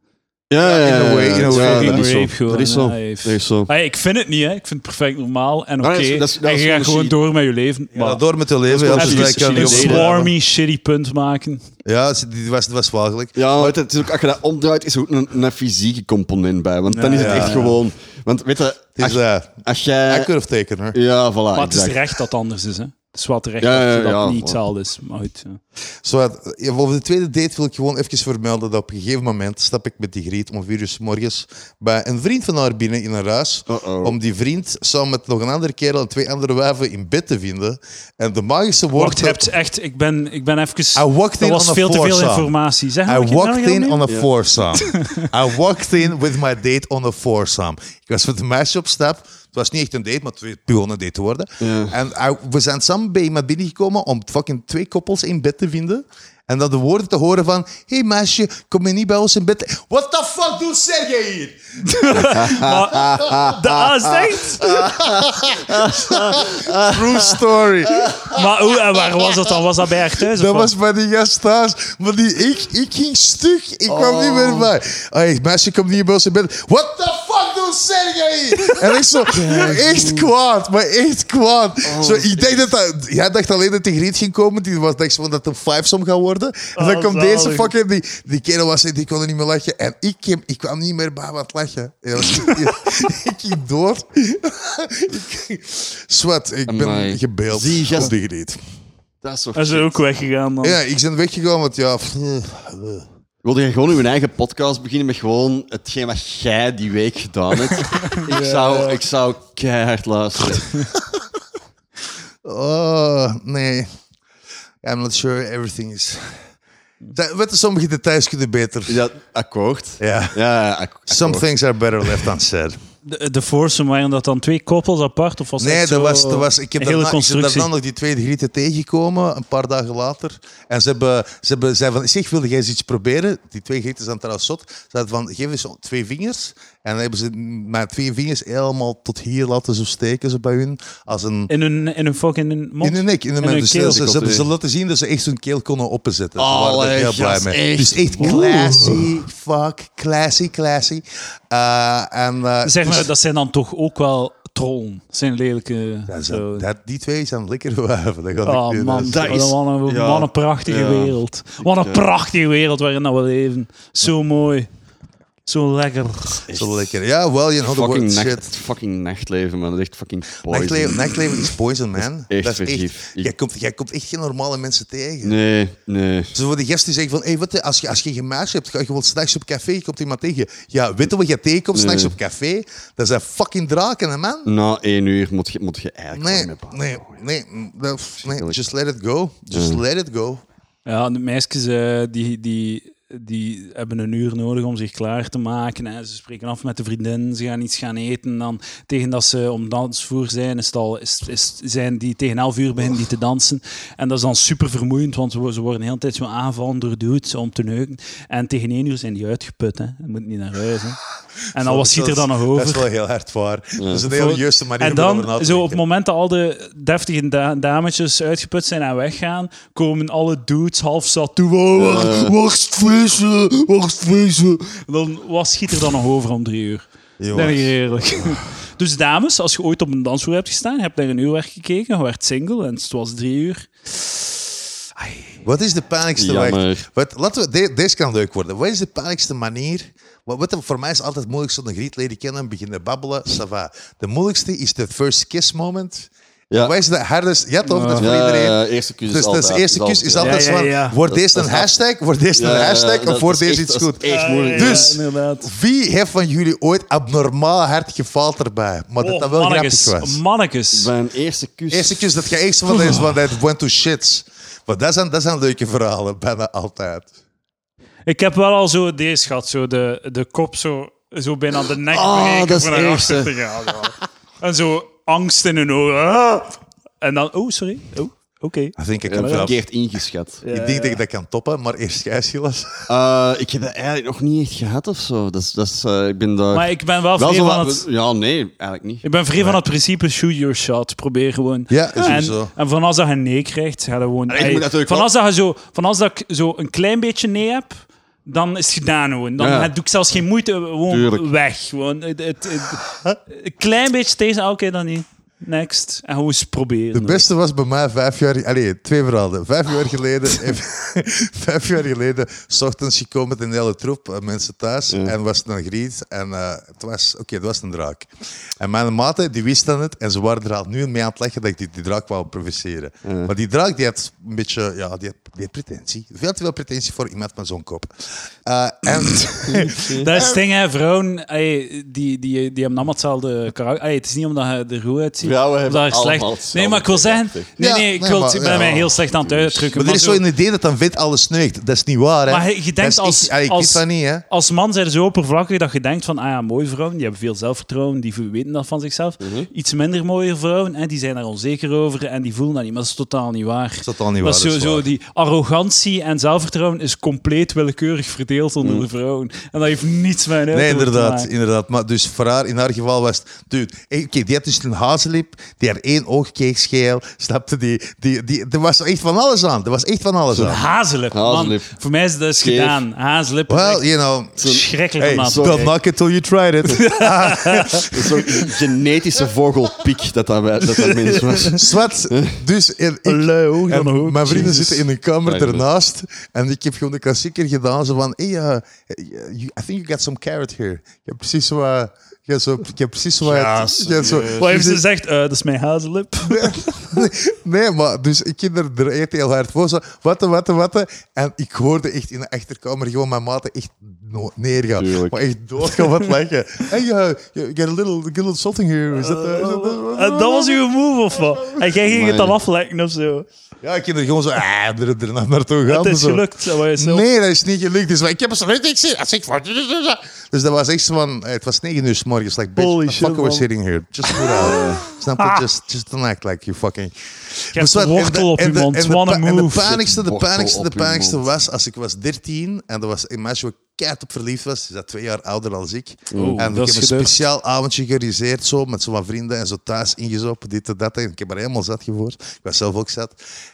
[SPEAKER 2] Ja, ja,
[SPEAKER 3] in a
[SPEAKER 2] ja,
[SPEAKER 3] way,
[SPEAKER 2] ja,
[SPEAKER 3] in a
[SPEAKER 2] ja,
[SPEAKER 3] way.
[SPEAKER 2] dat is zo.
[SPEAKER 1] Rape gewoon,
[SPEAKER 2] Dat is
[SPEAKER 3] eh,
[SPEAKER 2] zo.
[SPEAKER 1] hè, heeft-
[SPEAKER 2] Dat is zo.
[SPEAKER 1] Ah, ja, ik vind het niet, hè. Ik vind het perfect normaal en oké.
[SPEAKER 2] dat is- dat is- dat
[SPEAKER 1] en
[SPEAKER 2] is
[SPEAKER 1] je gaat
[SPEAKER 2] een
[SPEAKER 1] gewoon
[SPEAKER 2] shit.
[SPEAKER 1] door met je leven. Maar
[SPEAKER 3] Ja, door met te leven. Ja,
[SPEAKER 2] Dat is eh,
[SPEAKER 3] dus wij
[SPEAKER 2] precies
[SPEAKER 3] kunnen
[SPEAKER 1] een
[SPEAKER 2] precies
[SPEAKER 3] niet op-
[SPEAKER 2] hetzelfde.
[SPEAKER 1] swarmy, shitty punt maken.
[SPEAKER 3] Ja, ze- die was, die was walgelijk.
[SPEAKER 2] Ja, maar het is ook, als je dat omdraait, is er ook een, een fysieke component bij. Want dan is het
[SPEAKER 3] Ja,
[SPEAKER 2] echt
[SPEAKER 3] ja.
[SPEAKER 2] gewoon... Want weet je,
[SPEAKER 3] Het is
[SPEAKER 2] als,
[SPEAKER 3] eh
[SPEAKER 2] als jij...
[SPEAKER 3] accurve taken, hoor.
[SPEAKER 2] Ja, voilà,
[SPEAKER 1] Maar het is
[SPEAKER 2] exact.
[SPEAKER 1] terecht dat het anders is, hè. Het is wel terecht
[SPEAKER 2] Ja, ja,
[SPEAKER 1] dat
[SPEAKER 2] ja,
[SPEAKER 1] dat niet
[SPEAKER 2] voilà.
[SPEAKER 1] hetzelfde is. Maar goed, ja.
[SPEAKER 3] Zo, het- ja, over de tweede date wil ik gewoon even vermelden dat op een gegeven moment stap ik met die Griet om vier uur 's morgens bij een vriend van haar binnen in haar huis.
[SPEAKER 2] Uh-oh.
[SPEAKER 3] Om die vriend samen met nog een andere kerel en twee andere wijven in bed te vinden. En de magische
[SPEAKER 1] Wacht, je
[SPEAKER 3] woorden...
[SPEAKER 1] hebt echt... Ik ben, ik ben even...
[SPEAKER 3] I walked
[SPEAKER 1] dat
[SPEAKER 3] in
[SPEAKER 1] was
[SPEAKER 3] on a
[SPEAKER 1] veel te veel
[SPEAKER 3] foursome.
[SPEAKER 1] informatie. Zeg maar,
[SPEAKER 3] I
[SPEAKER 1] wat je
[SPEAKER 3] walked
[SPEAKER 1] nou heel *laughs*
[SPEAKER 3] in on a
[SPEAKER 2] Ja. *laughs*
[SPEAKER 3] foursome. I walked in with my date on a foursome. Ik was met een meisje op stap. Het was niet echt een date, maar het begon een date te worden.
[SPEAKER 2] Ja.
[SPEAKER 3] En I- we zijn samen bij iemand binnengekomen om fucking twee koppels in bed te vinden. En dan de woorden te horen van... hey meisje, kom je niet bij ons in bed? What the fuck doet Sergej hier?
[SPEAKER 1] Maar, dat Ah, is echt...
[SPEAKER 3] *laughs* True story.
[SPEAKER 1] Maar hoe, en waar was dat dan? Was dat bij haar thuis? of
[SPEAKER 3] Dat
[SPEAKER 1] wat?
[SPEAKER 3] was bij die gast thuis. Maar die, ik, ik ging stuk. Ik kwam niet
[SPEAKER 2] Oh.
[SPEAKER 3] meer bij. Hey, meisje, kom niet bij ons in bed. What the fuck doet Sergej? En ik zo, echt kwaad. Maar echt kwaad.
[SPEAKER 2] Oh,
[SPEAKER 3] zo, ik denk dat dat... Jij dacht alleen dat die Griet ging komen. Die was, dacht zo dat het een fivesom gaat worden. En dan
[SPEAKER 1] Oh,
[SPEAKER 3] komt deze
[SPEAKER 1] zalig.
[SPEAKER 3] fucking... Die, die kerel was die kon er niet meer lachen. En ik, kwam- ik kwam niet meer bij wat lachen. En dat was- *laughs* ik ging door. ik, zwart, ik
[SPEAKER 2] Amai.
[SPEAKER 3] ben gebeeld
[SPEAKER 2] Zie, gast-
[SPEAKER 3] op de Griet.
[SPEAKER 2] Dat is toch
[SPEAKER 1] Hij is
[SPEAKER 2] shit.
[SPEAKER 1] er ook weggegaan dan.
[SPEAKER 3] Ja, ik ben weggegaan, want ja... pff,
[SPEAKER 2] Wilde jij gewoon uw eigen podcast beginnen met gewoon hetgeen wat jij die week gedaan
[SPEAKER 3] *laughs*
[SPEAKER 2] hebt? ik, zou, ik zou keihard luisteren.
[SPEAKER 3] Oh, nee. I'm not sure everything is. Da- Weet je, sommige details kunnen beter.
[SPEAKER 2] Is dat akkoord?
[SPEAKER 3] Ja.
[SPEAKER 2] Ja, ak- akkoord.
[SPEAKER 3] Some things are better left
[SPEAKER 1] *laughs*
[SPEAKER 3] unsaid.
[SPEAKER 1] De, de foursome, waren dat dan twee koppels apart? Of was
[SPEAKER 3] Nee,
[SPEAKER 1] echt
[SPEAKER 3] dat
[SPEAKER 1] zo
[SPEAKER 3] was, dat was, ik heb
[SPEAKER 1] een hele
[SPEAKER 3] daarna, ik ben
[SPEAKER 1] constructie.
[SPEAKER 3] daarna nog die tweede grieten tegengekomen, een paar dagen later. En ze hebben, ze hebben zei van, zeg, wilde jij eens iets proberen? Die twee grieten zijn trouwens zot. Ze zeiden van, geef eens twee vingers. En dan hebben ze mijn twee vingers helemaal tot hier laten zo steken, ze bij hun. Als een,
[SPEAKER 1] In hun, in hun fucking mond?
[SPEAKER 3] In hun nek, in de
[SPEAKER 1] In hun
[SPEAKER 3] mond. Dus
[SPEAKER 1] keel.
[SPEAKER 3] ze, ze, ze,
[SPEAKER 2] Dichotomie.
[SPEAKER 3] ze laten zien dat ze echt hun keel konden opzetten. Ze
[SPEAKER 2] Allee,
[SPEAKER 3] waren er heel blij
[SPEAKER 2] gast,
[SPEAKER 3] mee.
[SPEAKER 2] echt.
[SPEAKER 3] Dus echt classy, fuck, classy, classy. Eh, en, eh,
[SPEAKER 1] Zeg maar,
[SPEAKER 3] dus-
[SPEAKER 1] dat zijn dan toch ook wel trollen. Dat zijn lelijke...
[SPEAKER 3] Ja, ze-
[SPEAKER 1] zo.
[SPEAKER 3] dat, die twee zijn lekker *laughs* wuiven. Dat ga
[SPEAKER 1] Oh
[SPEAKER 3] ik nu-
[SPEAKER 1] man,
[SPEAKER 3] dat
[SPEAKER 2] Ah, dat is-
[SPEAKER 1] wat, een,
[SPEAKER 2] ja.
[SPEAKER 1] wat een prachtige
[SPEAKER 2] Ja.
[SPEAKER 1] wereld. Wat een prachtige wereld waarin dat we leven. Zo mooi. Zo lekker.
[SPEAKER 3] is zo lekker. Ja, well, you know the word
[SPEAKER 2] Fucking,
[SPEAKER 3] shit.
[SPEAKER 2] nacht, fucking nachtleven, man. Dat is echt fucking poison.
[SPEAKER 3] Nachtleven, nachtleven is poison, man.
[SPEAKER 2] echt
[SPEAKER 3] Dat is echt,
[SPEAKER 2] vergif. Ik-
[SPEAKER 3] jij, komt, jij komt echt geen normale mensen tegen.
[SPEAKER 2] Nee, nee.
[SPEAKER 3] Zo voor die gasten die zeggen van, hey, wat, als, je, als je geen meisje hebt, ga je gewoon s'nachts op café, je komt iemand tegen. Ja, weet je wat je tegenkomt s'nachts
[SPEAKER 2] Nee.
[SPEAKER 3] op café? Dat zijn fucking draken, hè, man.
[SPEAKER 2] Na één uur moet je, moet je eigenlijk
[SPEAKER 3] Nee,
[SPEAKER 2] gewoon mee
[SPEAKER 3] nee,
[SPEAKER 2] bouwen.
[SPEAKER 3] nee, dat-
[SPEAKER 2] Mm.
[SPEAKER 3] nee, Just let it go. Just let it go.
[SPEAKER 1] Ja, de meisjes eh, die, die die hebben een uur nodig om zich klaar te maken. En ze spreken af met de vriendin, ze gaan iets gaan eten. Dan, tegen dat ze om dansvoer zijn, is het al, is, is, zijn die tegen elf uur beginnen die te dansen. En dat is dan super vermoeiend, want ze ze worden de hele tijd zo aanvallen door dudes om te neuken. En tegen één uur zijn die uitgeput, hè. Je moet niet naar huis, hè. En dan Nou, wat ziet er dan nog over?
[SPEAKER 3] Dat is wel heel hard waar. Dat is een heel
[SPEAKER 1] Voor-
[SPEAKER 3] juiste manier
[SPEAKER 1] En
[SPEAKER 3] om
[SPEAKER 1] dan,
[SPEAKER 3] erover na te
[SPEAKER 1] zo op het
[SPEAKER 3] denken.
[SPEAKER 1] moment dat al de deftige da- dametjes uitgeput zijn en weggaan, komen alle dudes half zat toe. Oh,
[SPEAKER 2] Eh.
[SPEAKER 1] *laughs* wacht, wacht, vissen, wacht, vissen. Dan, wat schiet er dan nog over om drie uur?
[SPEAKER 3] Jongens.
[SPEAKER 1] Ben ik eerlijk. *laughs* Dus dames, als je ooit op een dansvloer hebt gestaan, je hebt naar een uurwerk gekeken, je werd single en het was drie uur.
[SPEAKER 3] Wat is de pijnlijkste weg?
[SPEAKER 2] Jammer.
[SPEAKER 3] Wat, laten we, de- deze kan leuk worden. Wat is de pijnlijkste manier? Wat, wat voor mij is altijd moeilijk zo'n griet leren kennen, beginnen babbelen, ça va. De moeilijkste is de first kiss moment.
[SPEAKER 2] Ja.
[SPEAKER 3] Wat is de hardest? Ja, toch? Dat is voor
[SPEAKER 2] Ja,
[SPEAKER 3] iedereen.
[SPEAKER 2] ja, ja, eerste kus is
[SPEAKER 3] dus
[SPEAKER 2] altijd-
[SPEAKER 3] Dus de eerste
[SPEAKER 2] is
[SPEAKER 3] kus is
[SPEAKER 2] altijd-
[SPEAKER 3] altijd
[SPEAKER 1] Ja,
[SPEAKER 3] zo van,
[SPEAKER 1] ja, ja.
[SPEAKER 3] wordt deze een
[SPEAKER 2] dat is
[SPEAKER 3] hashtag? Wordt deze
[SPEAKER 2] Ja,
[SPEAKER 3] een
[SPEAKER 2] ja,
[SPEAKER 3] hashtag?
[SPEAKER 2] dat
[SPEAKER 3] Of wordt
[SPEAKER 2] is echt-
[SPEAKER 3] deze iets
[SPEAKER 2] dat is
[SPEAKER 3] goed?
[SPEAKER 2] echt moeilijk.
[SPEAKER 3] ja. Dus-
[SPEAKER 1] inderdaad.
[SPEAKER 3] Wie heeft van jullie ooit abnormaal hard gefaald erbij? Maar dat
[SPEAKER 1] Oh,
[SPEAKER 3] dat wel
[SPEAKER 1] mannekes,
[SPEAKER 3] grappig was.
[SPEAKER 1] mannekes.
[SPEAKER 2] Dus Mijn eerste kus.
[SPEAKER 3] Eerste kus dat je echt zo van, dat is van, that went to shits. Maar dat zijn, dat zijn leuke verhalen, bijna altijd.
[SPEAKER 1] Ik heb wel al zo deze gehad, zo de, de kop zo, zo bijna de nek
[SPEAKER 2] Ah,
[SPEAKER 1] breken
[SPEAKER 2] dat is
[SPEAKER 1] voor naar
[SPEAKER 2] het
[SPEAKER 1] achter te gaan. zo. en zo angst in hun ogen. Ah! En dan, oh, sorry. Oh, oké.
[SPEAKER 3] Dat
[SPEAKER 2] Ik
[SPEAKER 3] vind ik
[SPEAKER 2] heb
[SPEAKER 3] een
[SPEAKER 2] het
[SPEAKER 3] grap.
[SPEAKER 2] verkeerd ingeschat.
[SPEAKER 3] Ik denk dat ik dat kan toppen, maar eerst jij, Silas.
[SPEAKER 2] Eh, ik heb dat eigenlijk nog niet echt gehad of zo. Dat is, dat is, eh, ik ben daar...
[SPEAKER 1] Maar ik ben wel
[SPEAKER 2] wel
[SPEAKER 1] vrij
[SPEAKER 2] zo
[SPEAKER 1] van
[SPEAKER 2] wat-
[SPEAKER 1] het...
[SPEAKER 2] Ja, nee, eigenlijk niet.
[SPEAKER 1] Ik ben vrij van het principe shoot your shot. Probeer gewoon.
[SPEAKER 3] Ja, is
[SPEAKER 1] en,
[SPEAKER 3] zo.
[SPEAKER 1] en van als dat je nee krijgt, ga dat gewoon.
[SPEAKER 2] je
[SPEAKER 1] ey,
[SPEAKER 2] moet natuurlijk
[SPEAKER 1] van,
[SPEAKER 2] wel-
[SPEAKER 1] als dat je zo, van als dat ik zo een klein beetje nee heb, dan is het gedaan gewoon. Dan
[SPEAKER 2] Ja.
[SPEAKER 1] heb- doe ik zelfs geen moeite, gewoon
[SPEAKER 2] Tuurlijk.
[SPEAKER 1] weg. Gewoon, het, het, het- een klein beetje deze, ah, oké dan niet. Next. En gewoon eens proberen.
[SPEAKER 3] De beste was bij mij vijf jaar... Allee, twee verhalen. Vijf jaar
[SPEAKER 1] *laughs*
[SPEAKER 3] geleden... *laughs* vijf jaar geleden, s ochtends gekomen met een hele troep eh, mensen thuis. En was het een griet. En eh, het was... Oké, het was een draak. En mijn maten, die wisten het. En ze waren er al nu mee aan het leggen dat ik die, die draak wou provoceren. Maar die draak, die had een beetje... Ja, die had, die had pretentie. Veel te veel pretentie voor iemand met zo'n kop. Eh,
[SPEAKER 1] *laughs*
[SPEAKER 3] en...
[SPEAKER 1] Dat is het ding, hè. Vrouwen, ey, die, die, die hebben allemaal hetzelfde karakter. Ey, het is niet omdat je er goed uitziet.
[SPEAKER 2] Vrouwen
[SPEAKER 1] of
[SPEAKER 2] hebben
[SPEAKER 1] dat je
[SPEAKER 2] allemaal
[SPEAKER 1] slecht...
[SPEAKER 2] hetzelfde
[SPEAKER 1] Nee, maar ik wil zeggen...
[SPEAKER 2] karakter.
[SPEAKER 1] Nee,
[SPEAKER 3] Ja,
[SPEAKER 1] nee, ik,
[SPEAKER 3] nee,
[SPEAKER 1] wil,
[SPEAKER 3] maar-
[SPEAKER 1] ik ben
[SPEAKER 3] ja.
[SPEAKER 1] mij heel slecht aan het uitdrukken.
[SPEAKER 3] Maar er is
[SPEAKER 1] zo-
[SPEAKER 3] zo'n idee dat dan wit alles neukt. Dat is niet waar, hè?
[SPEAKER 1] Maar je- je denkt
[SPEAKER 3] Dat is
[SPEAKER 1] als-
[SPEAKER 3] echt- Allee, ik
[SPEAKER 1] als-
[SPEAKER 3] weet dat niet, hè?
[SPEAKER 1] als man zijn ze zo oppervlakkig dat je denkt van, ah ja, mooie vrouwen, die hebben veel zelfvertrouwen, die weten dat van zichzelf.
[SPEAKER 3] Mhm.
[SPEAKER 1] Iets minder mooie vrouwen, hè, die zijn daar onzeker over en die voelen dat niet. Maar dat is totaal niet waar.
[SPEAKER 3] Dat is al niet waar.
[SPEAKER 1] Dat is
[SPEAKER 3] dat is
[SPEAKER 1] sowieso,
[SPEAKER 3] waar.
[SPEAKER 1] die arrogantie en zelfvertrouwen is compleet willekeurig verdeeld onder de vrouwen. En dat heeft niets met een
[SPEAKER 3] Mhm. Nee,
[SPEAKER 1] uiterlijk te
[SPEAKER 3] inderdaad,
[SPEAKER 1] maken.
[SPEAKER 3] inderdaad. Maar dus voor haar, in haar geval was het... Dude, eh, oké, die had dus een hazenlip, die haar één oog keek scheel, snapte die, die, die... Er was echt van alles aan. Er was echt van alles aan.
[SPEAKER 1] Hazelip, man.
[SPEAKER 2] Hazelip.
[SPEAKER 1] Voor mij is dat eens
[SPEAKER 2] Scheef.
[SPEAKER 1] gedaan. Hazelip is
[SPEAKER 3] Well,
[SPEAKER 1] echt
[SPEAKER 3] you know...
[SPEAKER 1] schrikkelijk
[SPEAKER 3] Hey,
[SPEAKER 1] om aan te
[SPEAKER 3] don't knock it till you tried it.
[SPEAKER 2] Dat is Zo'n genetische vogelpiek dat dat, wij- dat, dat mens was.
[SPEAKER 3] Zwat, dus... en ik-
[SPEAKER 1] Hallo,
[SPEAKER 3] en
[SPEAKER 1] dan ook.
[SPEAKER 3] mijn vrienden
[SPEAKER 1] Jezus.
[SPEAKER 3] zitten in een kamer
[SPEAKER 2] Nee, dat-
[SPEAKER 3] ernaast en ik heb gewoon de klassieker gedaan. Zo van, hey, eh, you- I think you got some carrot here. Ik heb precies zo wat... Ik heb, zo, ik heb precies zo wat... ik heb zo-
[SPEAKER 1] Wat heeft ze gezegd? Eh, dat is mijn
[SPEAKER 3] *laughs*
[SPEAKER 1] hazelip.
[SPEAKER 3] Nee, maar dus ik ging er, er echt heel hard voor. Zo, watte, watte, watte. En ik hoorde echt in de achterkamer gewoon mijn maten echt no- neergaan.
[SPEAKER 2] Tuurlijk.
[SPEAKER 3] Maar echt doodgaan van het lachen. Hey, uh, you got a little, got a little something here. Is that, eh, is that-
[SPEAKER 1] En dat was uw move of wat? En jij ging het
[SPEAKER 2] Amai.
[SPEAKER 1] dan aflekken of zo.
[SPEAKER 3] Ja, ik ging er gewoon zo ah, er, er naar- naartoe gaan.
[SPEAKER 1] Het is
[SPEAKER 3] zo.
[SPEAKER 1] gelukt. zo wou je zelf-
[SPEAKER 3] Nee, dat is niet gelukt. Dus ik heb het zo weet ik zie. Als ik van- Dus dat was echt zo van, eh, het was negen uur s morgens. Like, bitch,
[SPEAKER 1] Holy
[SPEAKER 3] what the
[SPEAKER 1] shit,
[SPEAKER 3] fuck we're
[SPEAKER 1] man. Ah.
[SPEAKER 3] sitting here. Just put
[SPEAKER 1] *laughs*
[SPEAKER 3] out. Snap je? Just, just don't act like you fucking...
[SPEAKER 1] Je hebt een wortel op je mond. Wat een
[SPEAKER 3] En de
[SPEAKER 1] move.
[SPEAKER 3] pijnlijkste, de
[SPEAKER 2] Wortel
[SPEAKER 3] pijnlijkste, de
[SPEAKER 2] op uw
[SPEAKER 3] pijnlijkste
[SPEAKER 2] mond.
[SPEAKER 3] was als ik was 13 en dat was een meisje waar ik keihard op verliefd was. Ze is twee jaar ouder dan ik.
[SPEAKER 1] Oeh,
[SPEAKER 3] en
[SPEAKER 1] dat
[SPEAKER 3] ik
[SPEAKER 1] is
[SPEAKER 3] heb een
[SPEAKER 1] gedeugd.
[SPEAKER 3] speciaal avondje georganiseerd zo, met zo'n vrienden en zo thuis ingezopen, dit en dat. En ik heb er helemaal zat gevoerd. Ik was zelf ook zat.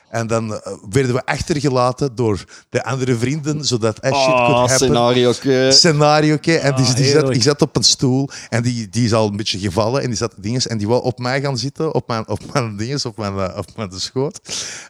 [SPEAKER 3] En dan eh, werden we achtergelaten door de andere vrienden, zodat eh, shit could
[SPEAKER 2] Ah,
[SPEAKER 3] happen.
[SPEAKER 2] scenario. eh,
[SPEAKER 3] Scenario, oké. En die,
[SPEAKER 1] Ah,
[SPEAKER 3] die zat,
[SPEAKER 1] heerlijk.
[SPEAKER 3] ik zat op een stoel en die, die is al een beetje gevallen en die zat dinges en die wou op mij gaan zitten, op mijn, op mijn dinges, op mijn, eh, op mijn schoot.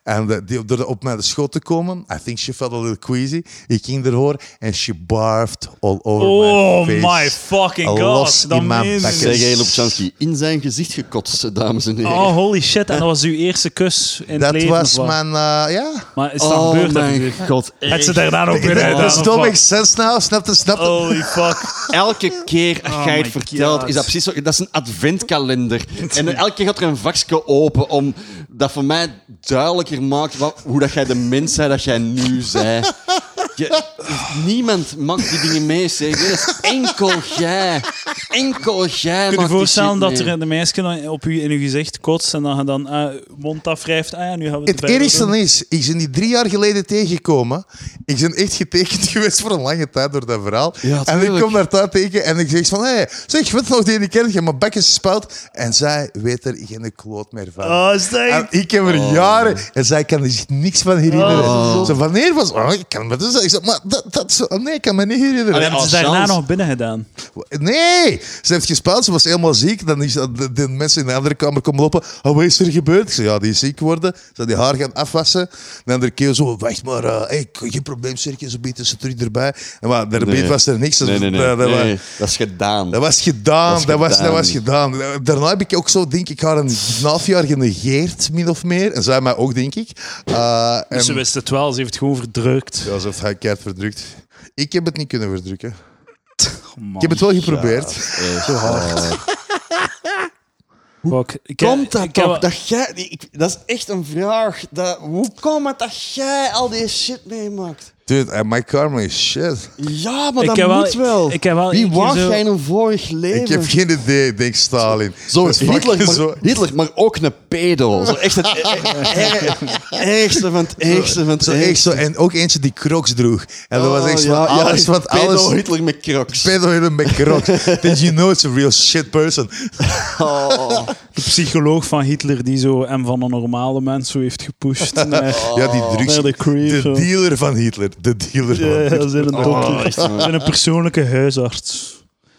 [SPEAKER 3] En eh, die, door op mijn schoot te komen, I think she felt a little queasy. Ik ging ervoor en she barfed all over
[SPEAKER 1] Oh
[SPEAKER 3] my face.
[SPEAKER 1] my fucking
[SPEAKER 3] Al
[SPEAKER 1] god.
[SPEAKER 3] los
[SPEAKER 1] dat
[SPEAKER 3] in mijn
[SPEAKER 1] meen ik.
[SPEAKER 3] bakken.
[SPEAKER 2] Zeg Gail Lopchansky, in zijn gezicht gekotst, dames en heren.
[SPEAKER 1] Oh, holy shit. En dat was uw eerste kus in het
[SPEAKER 3] Dat
[SPEAKER 1] leven.
[SPEAKER 3] was
[SPEAKER 1] of wat?
[SPEAKER 3] mijn, eh, ja.
[SPEAKER 1] Maar is dat gebeurd? Dat gebeurd?
[SPEAKER 2] Oh god.
[SPEAKER 1] Het ze daarna nog binnen
[SPEAKER 3] Dat
[SPEAKER 1] gedaan,
[SPEAKER 3] is
[SPEAKER 1] of
[SPEAKER 3] domweg
[SPEAKER 1] wat?
[SPEAKER 3] sens nou, snap je, snap je?
[SPEAKER 1] Holy fuck.
[SPEAKER 2] Elke keer als
[SPEAKER 1] Oh
[SPEAKER 2] jij
[SPEAKER 1] my
[SPEAKER 2] het vertelt,
[SPEAKER 1] God.
[SPEAKER 2] is dat precies zo. Dat is een
[SPEAKER 3] *laughs*
[SPEAKER 2] adventkalender. En elke keer gaat er een vakje open om dat voor mij duidelijker maakt wat, hoe dat jij de mens bent dat jij nu bent. Je- niemand mag die dingen meezeggen. Dat is enkel jij. Enkel jij
[SPEAKER 1] Kun je
[SPEAKER 2] mag
[SPEAKER 1] je
[SPEAKER 2] die
[SPEAKER 1] voorstellen
[SPEAKER 2] shit
[SPEAKER 1] dat
[SPEAKER 2] mee.
[SPEAKER 1] er een meisje dan op u in uw gezicht kotst en dat je dan eh, mond afwrijft? Ah ja, nu gaan we
[SPEAKER 3] Het
[SPEAKER 1] verder
[SPEAKER 3] ergste
[SPEAKER 1] doen.
[SPEAKER 3] is, ik ben die drie jaar geleden tegengekomen. Ik ben echt getekend *laughs* geweest voor een lange tijd door dat verhaal.
[SPEAKER 2] Ja,
[SPEAKER 3] en ik
[SPEAKER 2] tuurlijk.
[SPEAKER 3] kom daar thuis tegen en ik zeg van... Hé, zeg, je weet nog die ene keer dat je mijn bek is spuit? En zij weet er geen kloot meer van.
[SPEAKER 1] Oh, is dat
[SPEAKER 3] En ik heb er jaren... En zij kan er zich niks van herinneren.
[SPEAKER 1] Oh.
[SPEAKER 3] Zo, wanneer was... Oh, ik kan me dus... Ik zeg, maar dat, dat zo... oh, Nee, ik kan me niet herinneren.
[SPEAKER 2] Allee,
[SPEAKER 1] Hebben ze
[SPEAKER 2] als
[SPEAKER 1] daarna
[SPEAKER 2] chance.
[SPEAKER 1] nog binnen gedaan?
[SPEAKER 3] Nee, ze heeft gespuit, ze was helemaal ziek. Dan is dat- de, de mensen in de andere kamer komen lopen. Oh, wat is er gebeurd? Ik zei, ja, die is ziek geworden. Ze had die haar gaan afwassen. De andere keer zo, wacht maar, eh, hey, geen probleem, Sergio, zo bieten ze terug erbij. En maar, daarbeet
[SPEAKER 2] Nee.
[SPEAKER 3] was er niks. Dus
[SPEAKER 2] Nee, nee, nee.
[SPEAKER 3] dat- dat was-
[SPEAKER 2] Nee, Dat is gedaan.
[SPEAKER 3] Dat was gedaan, dat,
[SPEAKER 2] Dat is
[SPEAKER 3] was, dat
[SPEAKER 2] gedaan.
[SPEAKER 3] was gedaan. Daarna heb ik ook zo, denk ik, haar een half jaar genegeerd, min of meer. En zij mij ook, denk ik. Eh, en,
[SPEAKER 1] Dus ze wist het wel, ze heeft het gewoon verdrukt.
[SPEAKER 3] ja, alsof hij keihard verdrukt. Ik heb het niet kunnen verdrukken.
[SPEAKER 1] Oh, man.
[SPEAKER 3] Ik heb het wel geprobeerd.
[SPEAKER 2] Zo hard.
[SPEAKER 1] Fuck. Ik-
[SPEAKER 2] Komt dat
[SPEAKER 1] ik heb-
[SPEAKER 2] toch? Dat, jij, ik- dat is echt een vraag. Dat, hoe komt het dat jij al die shit meemaakt?
[SPEAKER 3] Dude, eh, my karma is shit.
[SPEAKER 2] Ja, maar
[SPEAKER 1] Ik
[SPEAKER 2] dat
[SPEAKER 1] heb wel-
[SPEAKER 2] moet wel.
[SPEAKER 1] ik heb wel
[SPEAKER 2] Wie
[SPEAKER 1] één keer
[SPEAKER 2] was
[SPEAKER 1] zo-
[SPEAKER 2] jij in een vorig leven?
[SPEAKER 3] Ik heb geen idee, denk Stalin.
[SPEAKER 2] Zo,
[SPEAKER 3] Dat is
[SPEAKER 2] Hitler,
[SPEAKER 3] fucking
[SPEAKER 2] maar,
[SPEAKER 3] zo-
[SPEAKER 2] Hitler, maar ook een pedo. Zo echt het *laughs* er- ergste van het ergste van het
[SPEAKER 3] Zo echt zo. En ook eentje die crocs droeg. En dat was echt van alles, wat
[SPEAKER 2] Oh, Pedo
[SPEAKER 3] alles...
[SPEAKER 2] Hitler met crocs.
[SPEAKER 3] Pedo Hitler met
[SPEAKER 2] *laughs*
[SPEAKER 3] crocs. Did you know it's a real shit person?
[SPEAKER 2] Oh.
[SPEAKER 1] de psycholoog van Hitler die zo hem van een normale mens zo heeft gepusht. Oh. naar-
[SPEAKER 3] *laughs* Ja,
[SPEAKER 2] Oh,
[SPEAKER 3] die drugs...
[SPEAKER 1] naar de creep.
[SPEAKER 3] De
[SPEAKER 1] zo.
[SPEAKER 3] dealer van Hitler. De dealer van
[SPEAKER 1] Ja,
[SPEAKER 3] Hitler.
[SPEAKER 1] ze zijn een dokter. Ze zijn een persoonlijke huisarts.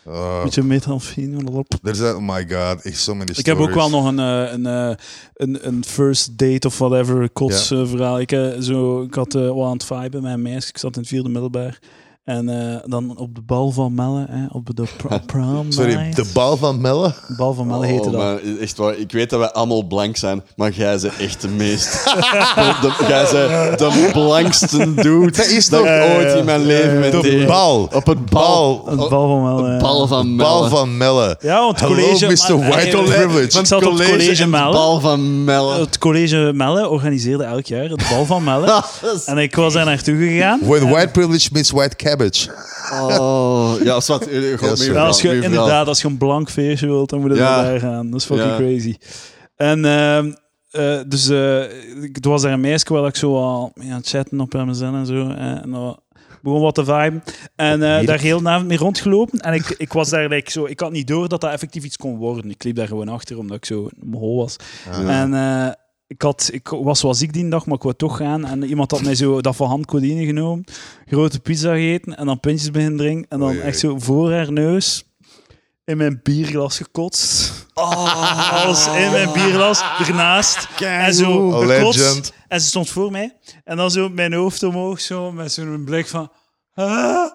[SPEAKER 3] Oh,
[SPEAKER 1] Beetje metamfine. lop.
[SPEAKER 3] er zijn- oh my god, echt zo many
[SPEAKER 1] Ik heb ook wel
[SPEAKER 3] stories.
[SPEAKER 1] nog een, eh, een, eh, een, een first date of whatever kots eh, verhaal. Ik, eh, zo, ik had eh wel aan het viben met een meisje. Ik zat in het vierde middelbaar. En eh, dan op de bal van Melle, hè, op de pr- prom
[SPEAKER 3] Sorry,
[SPEAKER 1] night.
[SPEAKER 3] de bal van Melle.
[SPEAKER 1] bal van Melle heette
[SPEAKER 2] *laughs* Oh,
[SPEAKER 1] dat.
[SPEAKER 2] maar echt waar, ik weet dat wij allemaal blank zijn, maar jij bent echt de meest. *laughs* de, de- jij bent de blankste dude
[SPEAKER 3] Dat is
[SPEAKER 2] dat
[SPEAKER 3] toch...
[SPEAKER 2] ik ooit in mijn leven met
[SPEAKER 3] De bal.
[SPEAKER 2] Op het bal.
[SPEAKER 1] Een bal van Melle. Oh, eh, ja.
[SPEAKER 2] Bal van Melle.
[SPEAKER 3] Bal van Melle.
[SPEAKER 1] Ja, want het
[SPEAKER 3] Hello,
[SPEAKER 1] college...
[SPEAKER 3] Mr.
[SPEAKER 1] maar-
[SPEAKER 3] White
[SPEAKER 1] eh,
[SPEAKER 3] Privilege.
[SPEAKER 1] Ik zat op het college Melle. Oh,
[SPEAKER 2] Bal van Melle.
[SPEAKER 1] Het college Melle organiseerde elk jaar het bal van
[SPEAKER 2] *laughs*
[SPEAKER 1] Melle. en ik was daar naartoe gegaan.
[SPEAKER 3] When white privilege meets white cabbage.
[SPEAKER 2] Oh, ja, zwart. eh, Gewoon
[SPEAKER 3] Ja,
[SPEAKER 2] meer
[SPEAKER 3] sorry.
[SPEAKER 1] Ja, als je,
[SPEAKER 2] verhaal, meer verhaal.
[SPEAKER 1] inderdaad, als je een blank feestje wilt, dan moet je
[SPEAKER 2] Ja.
[SPEAKER 1] daar gaan. Dat is fucking
[SPEAKER 2] Ja.
[SPEAKER 1] crazy. En ehm, eh, dus eh, ik- er was daar een meisje waar ik zo al mee aan het chatten op MSN en zo. eh, en dan begon wat te vibe. En eh, daar heel de avond mee rondgelopen. En ik, ik was daar like, zo... Ik had niet door dat dat effectief iets kon worden. Ik liep daar gewoon achter, omdat ik zo een hol was. En eh, ik, had, ik was wel ziek die dag, maar ik wou toch gaan. En iemand had mij zo dat van hand codeïne genomen. Grote pizza gegeten en dan pintjes beginnen drinken. En dan
[SPEAKER 3] Oei, oei.
[SPEAKER 1] echt zo voor haar neus in mijn bierglas gekotst. Alles in mijn bierglas, ernaast. En zo
[SPEAKER 3] goed. Oh, Legend.
[SPEAKER 1] gekotst. En ze stond voor mij. En dan zo mijn hoofd omhoog, zo met zo'n blik van... "Ah."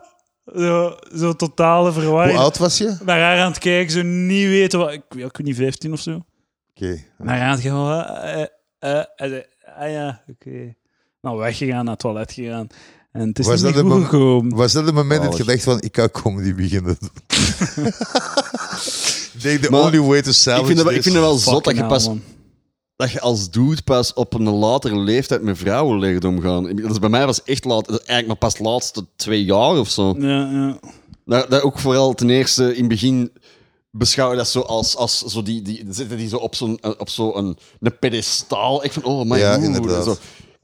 [SPEAKER 1] Zo, zo totale
[SPEAKER 3] Hoe
[SPEAKER 1] verwarring.
[SPEAKER 3] oud was je? Oké.
[SPEAKER 1] Naar haar aan het kijken, zo niet weten wat... Ik, ja, ik weet niet, 15 of zo. Maar hij had gewoon... eh, eh, eh, hij zei, ah ja, oké. Nou, weggegaan, naar het toilet gegaan. En het is
[SPEAKER 3] Was
[SPEAKER 1] niet
[SPEAKER 3] dat
[SPEAKER 1] goed
[SPEAKER 3] de mom-
[SPEAKER 1] gekomen.
[SPEAKER 3] Was dat het moment dat je
[SPEAKER 2] Zalig.
[SPEAKER 3] dacht van, ik kan comedy
[SPEAKER 2] *laughs*
[SPEAKER 3] beginnen doen? Ik denk, the
[SPEAKER 2] Maar
[SPEAKER 3] only way to
[SPEAKER 2] Ik
[SPEAKER 3] salvage
[SPEAKER 2] vind, dat, wel- ik
[SPEAKER 3] this.
[SPEAKER 2] vind het wel zot dat
[SPEAKER 1] Fucking
[SPEAKER 2] je,
[SPEAKER 1] hell,
[SPEAKER 2] pas,
[SPEAKER 1] man.
[SPEAKER 2] dat je als dude pas op een latere leeftijd met vrouwen leert omgaan. Ik- Dat is bij mij was echt laat, dat is eigenlijk maar pas de laatste twee jaar of zo.
[SPEAKER 1] Ja, ja.
[SPEAKER 2] Dat, dat ook vooral ten eerste in het begin beschouwen dat zo als, als zo die, die zitten die zo op zo'n op zo een, een pedestaal. Ik van oh my
[SPEAKER 3] Ja,
[SPEAKER 2] oeh,
[SPEAKER 3] inderdaad.
[SPEAKER 2] Zo.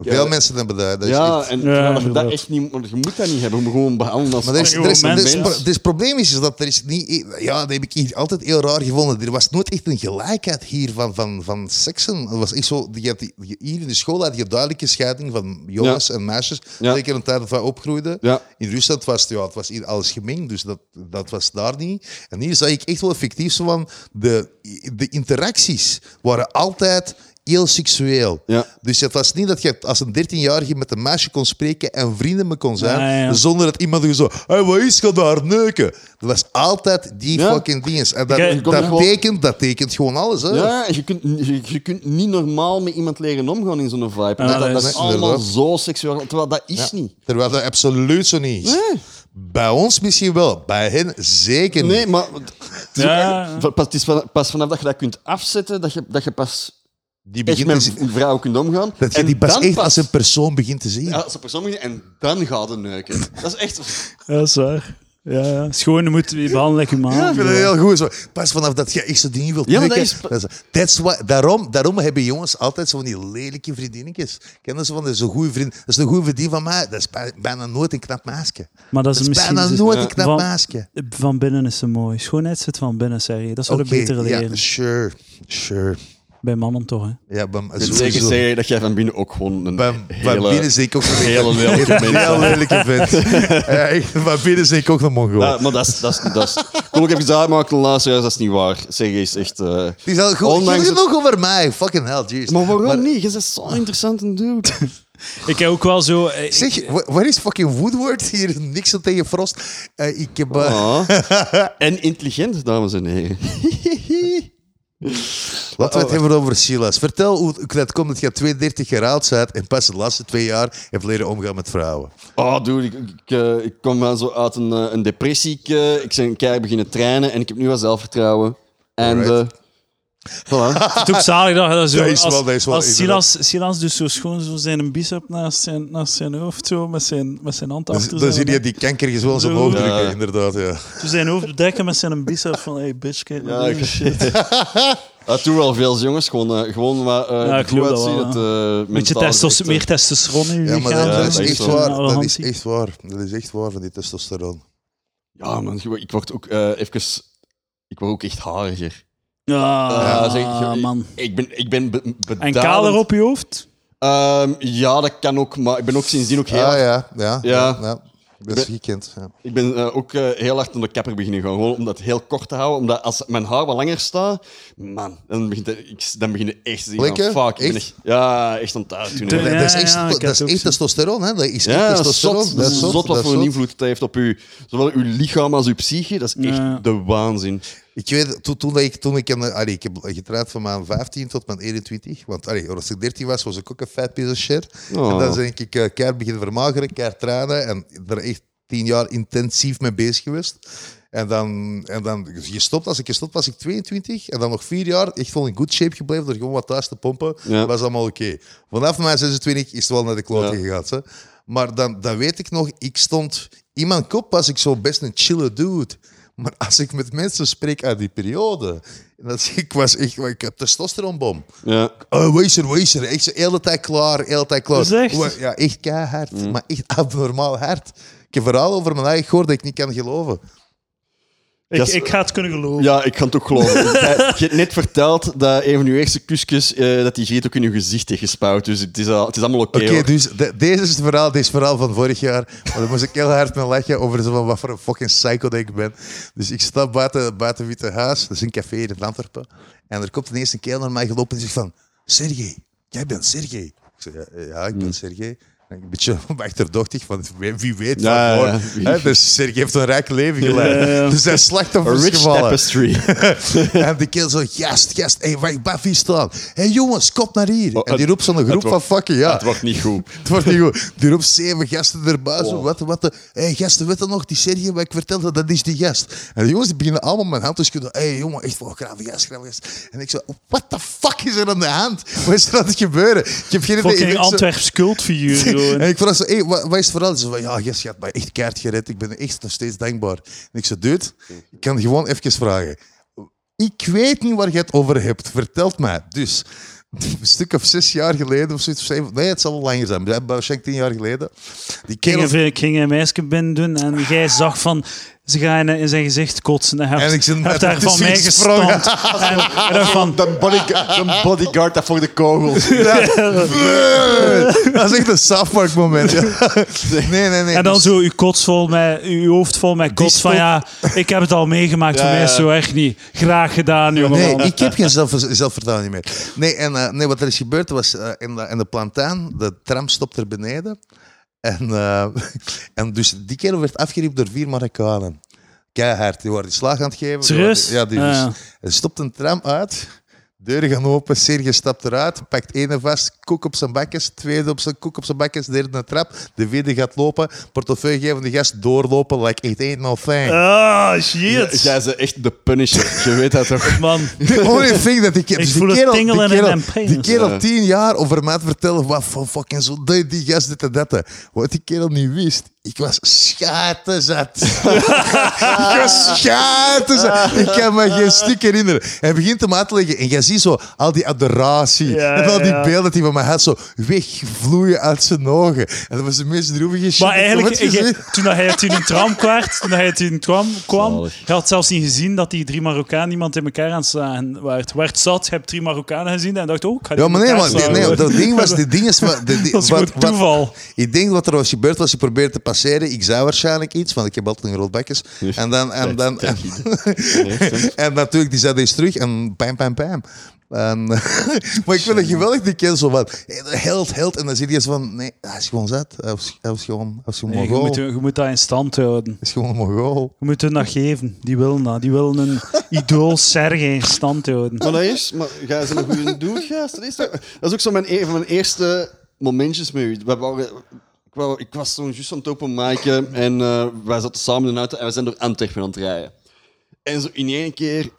[SPEAKER 3] Veel
[SPEAKER 2] Ja.
[SPEAKER 3] mensen hebben dat. dat is
[SPEAKER 2] Ja,
[SPEAKER 3] echt-
[SPEAKER 2] en
[SPEAKER 1] Ja,
[SPEAKER 2] terwijl dat je
[SPEAKER 1] inderdaad.
[SPEAKER 2] dat echt niet, want je moet dat niet hebben. Je moet gewoon behandelen als
[SPEAKER 3] Maar er is,
[SPEAKER 1] Gewoon
[SPEAKER 3] er is, er is-
[SPEAKER 1] mensen.
[SPEAKER 3] pro- dus het probleem is, is dat er is niet... Ja, dat heb ik hier altijd heel raar gevonden. Er was nooit echt een gelijkheid hier van, van, van seksen. Het was echt zo... Je hebt die- je- hier in de school had je duidelijke scheiding van jongens en meisjes.
[SPEAKER 2] Ja.
[SPEAKER 3] Zeker een tijd dat wij opgroeiden.
[SPEAKER 2] Ja.
[SPEAKER 3] In Rusland was het, ja, het was hier alles gemengd, dus dat, dat was daar niet. En hier zag ik echt wel effectief zo van... De, de interacties waren altijd heel seksueel.
[SPEAKER 2] Ja.
[SPEAKER 3] Dus het was niet dat je als een 13-jarige met een meisje kon spreken en vrienden me kon zijn,
[SPEAKER 1] Ah, ja.
[SPEAKER 3] zonder dat iemand zo, hey, wat is, ga daar neuken. Dat was altijd die
[SPEAKER 2] Ja.
[SPEAKER 3] fucking dinges. En dat,
[SPEAKER 1] Kijk, je
[SPEAKER 2] komt
[SPEAKER 3] dat,
[SPEAKER 2] gewoon-
[SPEAKER 3] tekent, dat tekent gewoon alles, hè.
[SPEAKER 2] Ja, en je kunt, je, je kunt niet normaal met iemand leren omgaan in zo'n vibe.
[SPEAKER 1] Ja,
[SPEAKER 2] dat, dat,
[SPEAKER 1] dat is
[SPEAKER 2] is allemaal
[SPEAKER 3] Ah, inderdaad.
[SPEAKER 2] zo seksueel, terwijl dat is niet.
[SPEAKER 3] Terwijl dat absoluut zo niet is.
[SPEAKER 2] Nee.
[SPEAKER 3] Bij ons misschien wel, bij hen zeker niet.
[SPEAKER 2] Nee, maar het is ook-
[SPEAKER 1] Ja.
[SPEAKER 2] Pas, het is wel- pas vanaf dat je dat kunt afzetten, dat je, dat je pas
[SPEAKER 3] Die
[SPEAKER 2] echt
[SPEAKER 3] begint te
[SPEAKER 2] met
[SPEAKER 3] zien-
[SPEAKER 2] een vrouw kunt omgaan.
[SPEAKER 3] dat je
[SPEAKER 2] En
[SPEAKER 3] die pas
[SPEAKER 2] dan
[SPEAKER 3] echt als een persoon begint te zien.
[SPEAKER 2] Ja, als een persoon begint en dan gaat het neuken. Dat is echt...
[SPEAKER 1] Ja, dat is waar. Ja, ja. Schoon moet je behandelen like je man.
[SPEAKER 3] Ja, Ah, ik vind het heel goed. Zo. Pas vanaf dat je eerst dat ding wilt
[SPEAKER 2] Ja, maar dat
[SPEAKER 3] neuken,
[SPEAKER 2] is-
[SPEAKER 3] dat is- that's why- daarom, daarom hebben jongens altijd zo van die lelijke vriendinnetjes. Kennen ze van, dat is een goede vriend. Dat is een goede vriendin van mij. Dat is bij- bijna nooit een knap maasje.
[SPEAKER 1] Maar dat is
[SPEAKER 3] Dat is
[SPEAKER 1] misschien...
[SPEAKER 3] bijna
[SPEAKER 1] ze-
[SPEAKER 3] nooit een knap
[SPEAKER 1] van-
[SPEAKER 3] maasje.
[SPEAKER 1] Van binnen is ze mooi. Schoonheid zit van binnen, zeg je. Dat zou
[SPEAKER 3] Oké,
[SPEAKER 1] ik beter leren.
[SPEAKER 3] Ja, sure. Sure.
[SPEAKER 1] Bij mannen toch, hè.
[SPEAKER 3] Ja, bij,
[SPEAKER 2] Ik zeker
[SPEAKER 3] sowieso.
[SPEAKER 2] zeggen dat jij van binnen ook gewoon een
[SPEAKER 3] Bij, bij
[SPEAKER 2] hele...
[SPEAKER 3] binnen zie ik ook een
[SPEAKER 2] hele lelijke mens,
[SPEAKER 3] Heel
[SPEAKER 2] hè.
[SPEAKER 3] lelijke vent.
[SPEAKER 2] *laughs*
[SPEAKER 3] Ja, echt, Bij binnen zie ik ook een Mongool.
[SPEAKER 2] Ja, maar dat is... Dat is, dat is kom, ik heb iets uitgemaakt de laatste jaar, dat is niet waar. Zeg eens echt... eh,
[SPEAKER 3] Die zal gewoon
[SPEAKER 2] ondanks het-
[SPEAKER 3] nog over mij. Fucking hell, jeez.
[SPEAKER 2] Maar waarom niet? Je bent zo'n interessante dude.
[SPEAKER 1] Ik heb ook wel zo... eh, ik-
[SPEAKER 3] Zeg, wa- waar is fucking Woodward? Hier niks tegen Frost. Eh, ik heb... eh,
[SPEAKER 2] Ah. En intelligent, dus dames en heren.
[SPEAKER 3] Laten
[SPEAKER 2] Oh.
[SPEAKER 3] we het hebben over Silas. Vertel hoe het- dat komt dat je 32 jaar oud bent en pas de laatste twee jaar hebt leren omgaan met vrouwen.
[SPEAKER 2] Oh, dude, ik, ik, eh, ik kom wel zo uit een, eh, een depressie. Ik, eh, ik ben keihard beginnen trainen en ik heb nu wel zelfvertrouwen. En... eh
[SPEAKER 1] *laughs*
[SPEAKER 3] Alright.
[SPEAKER 2] voilà.
[SPEAKER 1] Het is ook zalig dat je dat zo...
[SPEAKER 3] Dat is
[SPEAKER 1] als
[SPEAKER 3] wel- dat is wel
[SPEAKER 1] als
[SPEAKER 3] inderdaad.
[SPEAKER 1] Silas, Silas dus zo schoon zo zijn bicep naast zijn, naast zijn hoofd, zo, met zijn, met zijn hand
[SPEAKER 3] Dus,
[SPEAKER 1] achter
[SPEAKER 3] dan
[SPEAKER 1] zijn
[SPEAKER 3] zie je die kankertjes wel zo
[SPEAKER 1] Zo.
[SPEAKER 3] omhoog drukken,
[SPEAKER 2] Ja.
[SPEAKER 3] inderdaad. Ja.
[SPEAKER 1] Zo zijn hoofd bedekken met zijn bicep van... Hey, bitch, kijk
[SPEAKER 2] Ja,
[SPEAKER 1] naar
[SPEAKER 2] ik-
[SPEAKER 1] die shit.
[SPEAKER 2] Dat doen Ah, wel veel jongens. Gewoon, eh, gewoon wat eh
[SPEAKER 1] Ja, ik
[SPEAKER 2] goed
[SPEAKER 1] geloof dat
[SPEAKER 2] uitzien.
[SPEAKER 1] wel,
[SPEAKER 2] Het,
[SPEAKER 1] Beetje
[SPEAKER 2] eh mentaal
[SPEAKER 1] testos,
[SPEAKER 2] is echt, eh,
[SPEAKER 1] meer testosteron in je
[SPEAKER 3] Ja, maar
[SPEAKER 1] lichaam,
[SPEAKER 3] dat,
[SPEAKER 2] Ja,
[SPEAKER 1] zo,
[SPEAKER 3] is
[SPEAKER 2] dat is
[SPEAKER 3] echt
[SPEAKER 2] zo.
[SPEAKER 1] zo'n
[SPEAKER 3] waar. Dat is
[SPEAKER 1] arrogantie.
[SPEAKER 3] echt waar. Dat is echt waar van die testosteron.
[SPEAKER 2] Ja, man, ik- ik word ook eh even. Ik word ook echt hariger.
[SPEAKER 1] Ja,
[SPEAKER 2] Ja, zeg, ik-
[SPEAKER 1] Ah, man.
[SPEAKER 2] Ik ben, ik ben be
[SPEAKER 1] En
[SPEAKER 2] bedaald.
[SPEAKER 1] kaler op je hoofd?
[SPEAKER 2] Ehm, ja, dat kan ook, maar ik ben ook sindsdien ook heel.
[SPEAKER 3] Ah, ja, ja, ja.
[SPEAKER 2] Ja.
[SPEAKER 3] ja. Dat is gekend. Ja.
[SPEAKER 2] Ik ben eh, ook eh, heel hard naar de kapper beginnen gaan. Gewoon om dat heel kort te houden. Omdat als mijn haar wat langer staat, man, dan begint het, ik, dan begin je echt te zien. van,
[SPEAKER 3] Blikken?
[SPEAKER 2] Fuck, ik ben
[SPEAKER 3] Echt?
[SPEAKER 2] echt- ja, ja, echt aan het uitdoen.
[SPEAKER 1] Te-
[SPEAKER 2] hè.
[SPEAKER 3] Dat,
[SPEAKER 1] Ja,
[SPEAKER 3] is echt,
[SPEAKER 1] ja, ik
[SPEAKER 3] dat
[SPEAKER 1] heb
[SPEAKER 3] is
[SPEAKER 1] het ook
[SPEAKER 3] echt
[SPEAKER 1] zo.
[SPEAKER 3] testosteron, hè? Dat is echt
[SPEAKER 2] Ja, dat is
[SPEAKER 3] testosteron.
[SPEAKER 2] zot. Dat is zot
[SPEAKER 3] dat
[SPEAKER 2] wat
[SPEAKER 3] is
[SPEAKER 2] voor een
[SPEAKER 3] zot.
[SPEAKER 2] invloed het heeft op u. Zowel uw lichaam als uw psyche. Dat is echt
[SPEAKER 1] Ja.
[SPEAKER 2] de waanzin.
[SPEAKER 3] Ik weet, toen, toen, dat ik, toen ik, hem, eh, allee, ik heb getraind van mijn 15 tot mijn 21. Want allee, als ik 13 was, was ik ook een fat piece of shit.
[SPEAKER 2] Oh.
[SPEAKER 3] En dan ben ik eh keihard beginnen vermageren, keihard trainen. En er echt 10 jaar intensief mee bezig geweest. En dan, en dan gestopt, als ik gestopt was, ik 22. En dan nog vier jaar, echt wel in good shape gebleven. Door gewoon wat thuis te pompen.
[SPEAKER 2] Ja.
[SPEAKER 3] Was allemaal oké. Vanaf mijn 26 is het wel naar de klote
[SPEAKER 2] Ja.
[SPEAKER 3] gegaan. Hè? Maar dan, dan weet ik nog, ik stond... In mijn kop was ik zo best een chille dude. Maar als ik met mensen spreek uit die periode... en Dat, ik was echt... Ik heb testosteronbom.
[SPEAKER 2] Ja.
[SPEAKER 3] Oh, wees er, wees er. Echt zo, hele tijd klaar, hele tijd klaar.
[SPEAKER 1] Dat is echt?
[SPEAKER 3] Wa- Ja, echt keihard. Maar echt abnormaal hard. Ik heb verhaal over mijn eigen gehoord dat ik niet kan geloven.
[SPEAKER 1] Ik,
[SPEAKER 2] Dat is-
[SPEAKER 1] ik ga het kunnen geloven.
[SPEAKER 2] Ja, ik kan het ook
[SPEAKER 3] *laughs*
[SPEAKER 2] geloven. Jij- Je hebt net verteld dat een van uw eerste kusjes, eh, dat die geet ook in uw gezicht heeft gespouwd. Dus het is, al, het is allemaal oké.
[SPEAKER 3] Oké,
[SPEAKER 2] hoor.
[SPEAKER 3] dus de- deze is het verhaal, dit is het verhaal van vorig jaar. Maar daar moest ik heel hard mee lachen over zo van wat voor een fucking psycho dat ik ben. Dus ik stap buiten, buiten Witte Huis, dat is een café in Antwerpen. En er komt ineens een kerel naar mij gelopen en zegt van... Sergej, jij bent Sergej. Ik zeg, ja, ja, ik
[SPEAKER 2] Hmm.
[SPEAKER 3] ben Sergej. En ik Een beetje *laughs* achterdochtig, van wie wie weet van
[SPEAKER 2] Ja, ja,
[SPEAKER 3] waar.
[SPEAKER 2] ja.
[SPEAKER 3] Hè, Dus Sergej heeft een rijk leven geleid.
[SPEAKER 1] Ja, ja, ja.
[SPEAKER 3] Dus hij is
[SPEAKER 2] A
[SPEAKER 3] slachtoffer
[SPEAKER 2] rich *laughs*
[SPEAKER 3] gevallen.
[SPEAKER 2] tapestry.
[SPEAKER 3] en de kerel zo, gast, gast, hey, wacht, Buffy staan. hey, jongens, kom naar hier. en die
[SPEAKER 2] Oh, het-
[SPEAKER 3] roept zo'n groep
[SPEAKER 2] het
[SPEAKER 3] van
[SPEAKER 2] wordt-
[SPEAKER 3] fucking, *laughs* ja.
[SPEAKER 2] Het wordt niet goed.
[SPEAKER 3] Het wordt niet goed. Die roept zeven gasten erbuiten. zo, Wat, wat, de- hey, gasten, weet je nog? Die serie wat ik vertelde, dat is die gast. En de jongens die beginnen allemaal mijn hand te schudden. Hé, hey, jongen, echt wel grave gast, grave gast. En ik zo, what the fuck is er aan de hand? Wat is er aan het gebeuren? Ik heb geen idee.
[SPEAKER 1] Fucking
[SPEAKER 3] En ik zo-
[SPEAKER 1] Antwerps
[SPEAKER 3] *laughs*
[SPEAKER 1] cultfiguur. gewoon.
[SPEAKER 3] en ik vraag zo, hey, wat, wat is het vooral? Ze van, ja, yes, je hebt mij echt kaart gered. Ik ben echt nog steeds dankbaar. En ik zo, dude, ik kan gewoon even vragen. Ik weet niet waar je het over hebt. Vertelt mij. Dus, *laughs* een stuk of zes jaar geleden of zoiets. of zeven- Nee, het zal wel langer zijn. maar Waarschijnlijk tien jaar geleden. Die
[SPEAKER 1] Ik ging
[SPEAKER 3] kerel-
[SPEAKER 1] een- ik ging een meisje binnen doen en jij zag van... Ze gaan in zijn gezicht kotsen. En,
[SPEAKER 3] En ik zit
[SPEAKER 1] heb daar van
[SPEAKER 3] ertussen
[SPEAKER 1] mij
[SPEAKER 3] gesprongen.
[SPEAKER 1] gestampt.
[SPEAKER 3] *laughs*
[SPEAKER 1] En, en dan van...
[SPEAKER 2] De, *laughs* bodyguard dat voor de *laughs* kogels.
[SPEAKER 3] *laughs*
[SPEAKER 1] *laughs*
[SPEAKER 3] Dat is echt een South Park moment. ja. Nee, nee, Dus- nee.
[SPEAKER 1] En dan zo uw kots vol met, uw hoofd vol met kots van ja, ik heb het al meegemaakt, voor
[SPEAKER 2] Ja,
[SPEAKER 1] mij is
[SPEAKER 2] ja.
[SPEAKER 1] zo echt niet. Graag gedaan, jongen.
[SPEAKER 3] Nee, ik heb geen zelf, zelfvertrouwen niet meer. Nee, en, eh, nee, wat er is gebeurd was eh, in, de, in de plantaan, de tram stopt er beneden. En, eh, *laughs* en dus die kerel werd afgeriept door vier Marokkanen. Keihard, die waren die slag aan het geven. die
[SPEAKER 1] Serieus?
[SPEAKER 3] waren- ja, die
[SPEAKER 1] Ah, ja.
[SPEAKER 3] dus- er stopt een tram uit. Deuren gaan open, Serge stapt eruit, pakt ene vast, koek op zijn bakjes, tweede op zijn koek op zijn bakjes, derde naar de trap, de vierde gaat lopen, portefeuille geven van de gast, doorlopen, like it ain't no thing.
[SPEAKER 1] Ah, shit.
[SPEAKER 2] Jij bent echt de punisher. Je weet dat toch?
[SPEAKER 3] *laughs*
[SPEAKER 1] Man,
[SPEAKER 3] The only thing dat ik heb.
[SPEAKER 1] Ik
[SPEAKER 3] Dus
[SPEAKER 1] voel
[SPEAKER 3] die
[SPEAKER 1] het
[SPEAKER 3] kerel,
[SPEAKER 1] tingelen
[SPEAKER 3] die
[SPEAKER 1] in
[SPEAKER 3] kerel,
[SPEAKER 1] mijn
[SPEAKER 3] Die
[SPEAKER 1] penis.
[SPEAKER 3] kerel
[SPEAKER 2] Ja.
[SPEAKER 3] tien jaar over mij te vertellen wat voor fucking zo die, die gast dit en dat. Wat die kerel niet wist. Ik was schatenzat. *laughs* ik was schatenzat. Ik kan me geen stuk herinneren. Hij begint hem uit te leggen en jij ziet zo al die adoratie
[SPEAKER 1] Ja,
[SPEAKER 3] en al die
[SPEAKER 1] ja.
[SPEAKER 3] beelden die van mij had zo wegvloeien uit zijn ogen. En dat was de meest droevige shit.
[SPEAKER 1] Maar
[SPEAKER 3] die ik
[SPEAKER 1] eigenlijk,
[SPEAKER 3] ooit gezien.
[SPEAKER 1] je- toen dat hij uit een tram kwam, toen dat hij uit een tram kwam,
[SPEAKER 2] Zalig.
[SPEAKER 1] je had zelfs niet gezien dat die drie Marokkanen iemand in elkaar aan het slaan waren. Werd zat, je hebt drie Marokkanen gezien en dacht ook, ik ga die
[SPEAKER 3] Ja, maar
[SPEAKER 1] in
[SPEAKER 3] nee,
[SPEAKER 1] elkaar
[SPEAKER 3] maar, nee,
[SPEAKER 1] slaan.
[SPEAKER 3] nee, dat ding was, dit ding is... wat-
[SPEAKER 1] *laughs*
[SPEAKER 3] dit ding-
[SPEAKER 1] Dat is
[SPEAKER 3] wat-
[SPEAKER 1] gewoon
[SPEAKER 3] wat-
[SPEAKER 1] toeval.
[SPEAKER 3] ik denk wat er was gebeurd was, je probeerde te passeren. Ik zei waarschijnlijk iets, want ik heb altijd een rood bakjes. En dan... En, dan, en, *laughs* en natuurlijk, die zei eens terug en pam, pam, pam. En, *laughs* maar ik vind het geweldig, die kerel zo van... Held, held. En dan zie je eens van... Nee, hij is gewoon zat. Hij was, hij was gewoon, hij was gewoon
[SPEAKER 1] Nee, je,
[SPEAKER 3] Mongool.
[SPEAKER 1] moet, je moet dat in stand houden.
[SPEAKER 3] Hij is gewoon een Mongool.
[SPEAKER 1] Je moet hun dat geven. Die willen dat. Die willen
[SPEAKER 3] *laughs*
[SPEAKER 1] een idool Serge in stand houden.
[SPEAKER 2] Maar dat is, maar jij bent een goede dude, gast. Dat is, toch- dat is ook zo mijn, een van mijn eerste momentjes met u. We waren- ik, wou- ik was toen juist aan het openmaken en eh, wij zaten samen in de auto en we zijn door Antwerpen aan het rijden. En zo in één keer,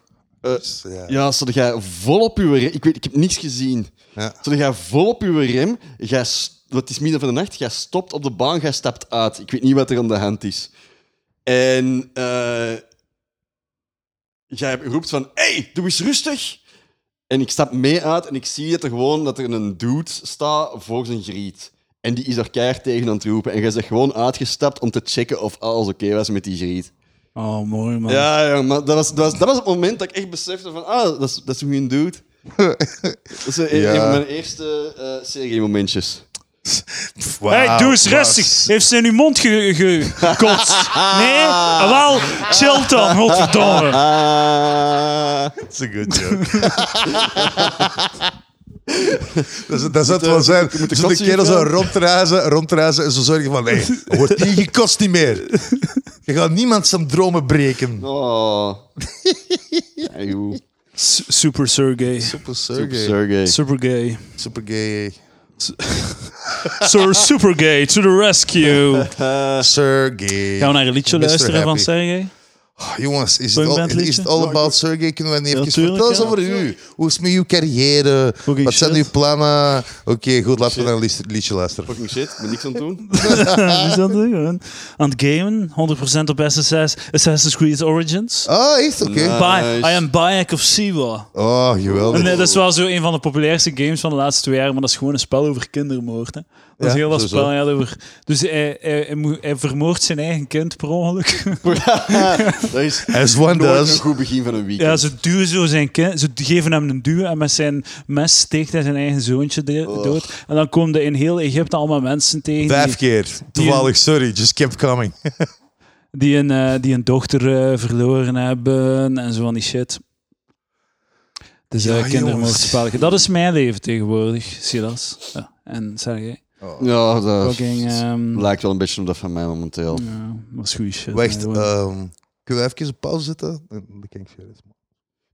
[SPEAKER 2] eh,
[SPEAKER 3] ja.
[SPEAKER 2] ja, zodat jij vol op je rem, ik weet, ik heb niks gezien.
[SPEAKER 3] Ja.
[SPEAKER 2] Zodat jij vol op je rem, jij, s- het is midden van de nacht, jij stopt op de baan, jij stapt uit. Ik weet niet wat er aan de hand is. En eh, jij roept van, hey, doe eens rustig. En ik stap mee uit en ik zie dat er gewoon dat er een dude staat voor zijn griet. En die is er keihard tegen aan het roepen. En jij bent gewoon uitgestapt om te checken of alles oké was met die griet.
[SPEAKER 1] Oh, mooi
[SPEAKER 3] Ah.
[SPEAKER 1] man.
[SPEAKER 2] Ja, ja, maar dat was, dat, was, dat was het moment dat ik echt besefte van, ah, dat is, dat is een goede
[SPEAKER 3] *laughs*
[SPEAKER 2] dude. dat is een,
[SPEAKER 3] Ja.
[SPEAKER 2] een van mijn eerste eh serie momentjes.
[SPEAKER 1] hey,
[SPEAKER 3] Wauw,
[SPEAKER 1] doe eens
[SPEAKER 3] wauw.
[SPEAKER 1] rustig. Heeft ze in uw mond ge- ge- gekotst?
[SPEAKER 3] *laughs*
[SPEAKER 1] nee? Ah, wel, chill dan,
[SPEAKER 3] *laughs*
[SPEAKER 1] godverdomme.
[SPEAKER 2] Ah,
[SPEAKER 3] That's a good
[SPEAKER 2] *laughs*
[SPEAKER 3] joke. dat, is- dat zou het wel zijn.
[SPEAKER 2] eh, de
[SPEAKER 3] Zo de
[SPEAKER 2] kotsen
[SPEAKER 3] kerel
[SPEAKER 2] hier
[SPEAKER 3] zo
[SPEAKER 2] gaan?
[SPEAKER 3] rondreizen, rondreizen en zo zorgen
[SPEAKER 2] *laughs*
[SPEAKER 3] van... Nee, wordt die gekost niet meer. Je gaat niemand zijn dromen breken.
[SPEAKER 2] oh. Ja, joh.
[SPEAKER 1] S- Super Sergey.
[SPEAKER 2] Super
[SPEAKER 3] Super Sergey.
[SPEAKER 2] Sergey.
[SPEAKER 1] Super gay.
[SPEAKER 3] Super gay.
[SPEAKER 1] Sir Super Gay to the rescue.
[SPEAKER 3] Eh. Sergey.
[SPEAKER 1] Gaan we naar een liedje
[SPEAKER 3] Mr.
[SPEAKER 1] luisteren van
[SPEAKER 3] Happy.
[SPEAKER 1] Sergej?
[SPEAKER 3] Oh, jongens, is het all,
[SPEAKER 1] Punkband
[SPEAKER 3] is
[SPEAKER 1] liedje?
[SPEAKER 3] it all about Sergey? Kunnen we niet even
[SPEAKER 1] tuurlijk,
[SPEAKER 3] vertellen
[SPEAKER 1] ja,
[SPEAKER 3] over u? Hoe is het met uw carrière?
[SPEAKER 1] Oké,
[SPEAKER 3] Wat zijn
[SPEAKER 1] shit.
[SPEAKER 3] uw plannen? Oké, goed, laten we naar een liedje- liedje luisteren.
[SPEAKER 2] Fucking shit, ik ben niks aan het
[SPEAKER 3] *laughs*
[SPEAKER 2] doen.
[SPEAKER 1] *laughs* Is dat het gewoon? Aan het gamen, 100% op SSS, Assassin's Creed Origins.
[SPEAKER 3] Oh, echt? Oké.
[SPEAKER 2] Nou.
[SPEAKER 1] Bi-
[SPEAKER 2] nice.
[SPEAKER 1] I am Bayek of Siwa.
[SPEAKER 3] Oh, geweldig.
[SPEAKER 1] En, eh, dat is wel zo een van de populairste games van de laatste twee jaar, maar dat is gewoon een spel over kindermoord. Hè. Dat is
[SPEAKER 3] Ja,
[SPEAKER 1] heel dat
[SPEAKER 3] sowieso.
[SPEAKER 1] spel ja, over. Dus hij, hij, hij, moet- hij vermoordt zijn eigen kind per ongeluk. *laughs*
[SPEAKER 2] Dat is
[SPEAKER 3] As one
[SPEAKER 2] nooit een
[SPEAKER 3] does.
[SPEAKER 2] goed begin van een weekend.
[SPEAKER 1] ja, ze duwen zo zijn kind, ze geven hem een duw en met zijn mes steekt hij zijn eigen zoontje de- dood. En dan komen er in heel Egypte allemaal mensen tegen. die-
[SPEAKER 3] Vijf keer. Toevallig, sorry. Just kept coming.
[SPEAKER 1] die een, eh, die een dochter eh, verloren hebben en zo van die shit. Dus
[SPEAKER 3] Ja,
[SPEAKER 1] eh kindermoordspelletje.
[SPEAKER 3] jongens.
[SPEAKER 1] Dat is mijn leven tegenwoordig, Silas. Ja. En Sergej.
[SPEAKER 2] Ja, dat
[SPEAKER 1] Fucking, ehm,
[SPEAKER 2] lijkt wel een beetje op dat van mij momenteel.
[SPEAKER 1] ja, dat is goede shit.
[SPEAKER 3] Wacht,
[SPEAKER 1] hè, gewoon.
[SPEAKER 3] ehm, kunnen we even op pauze zetten? Dan dan kan ik verder.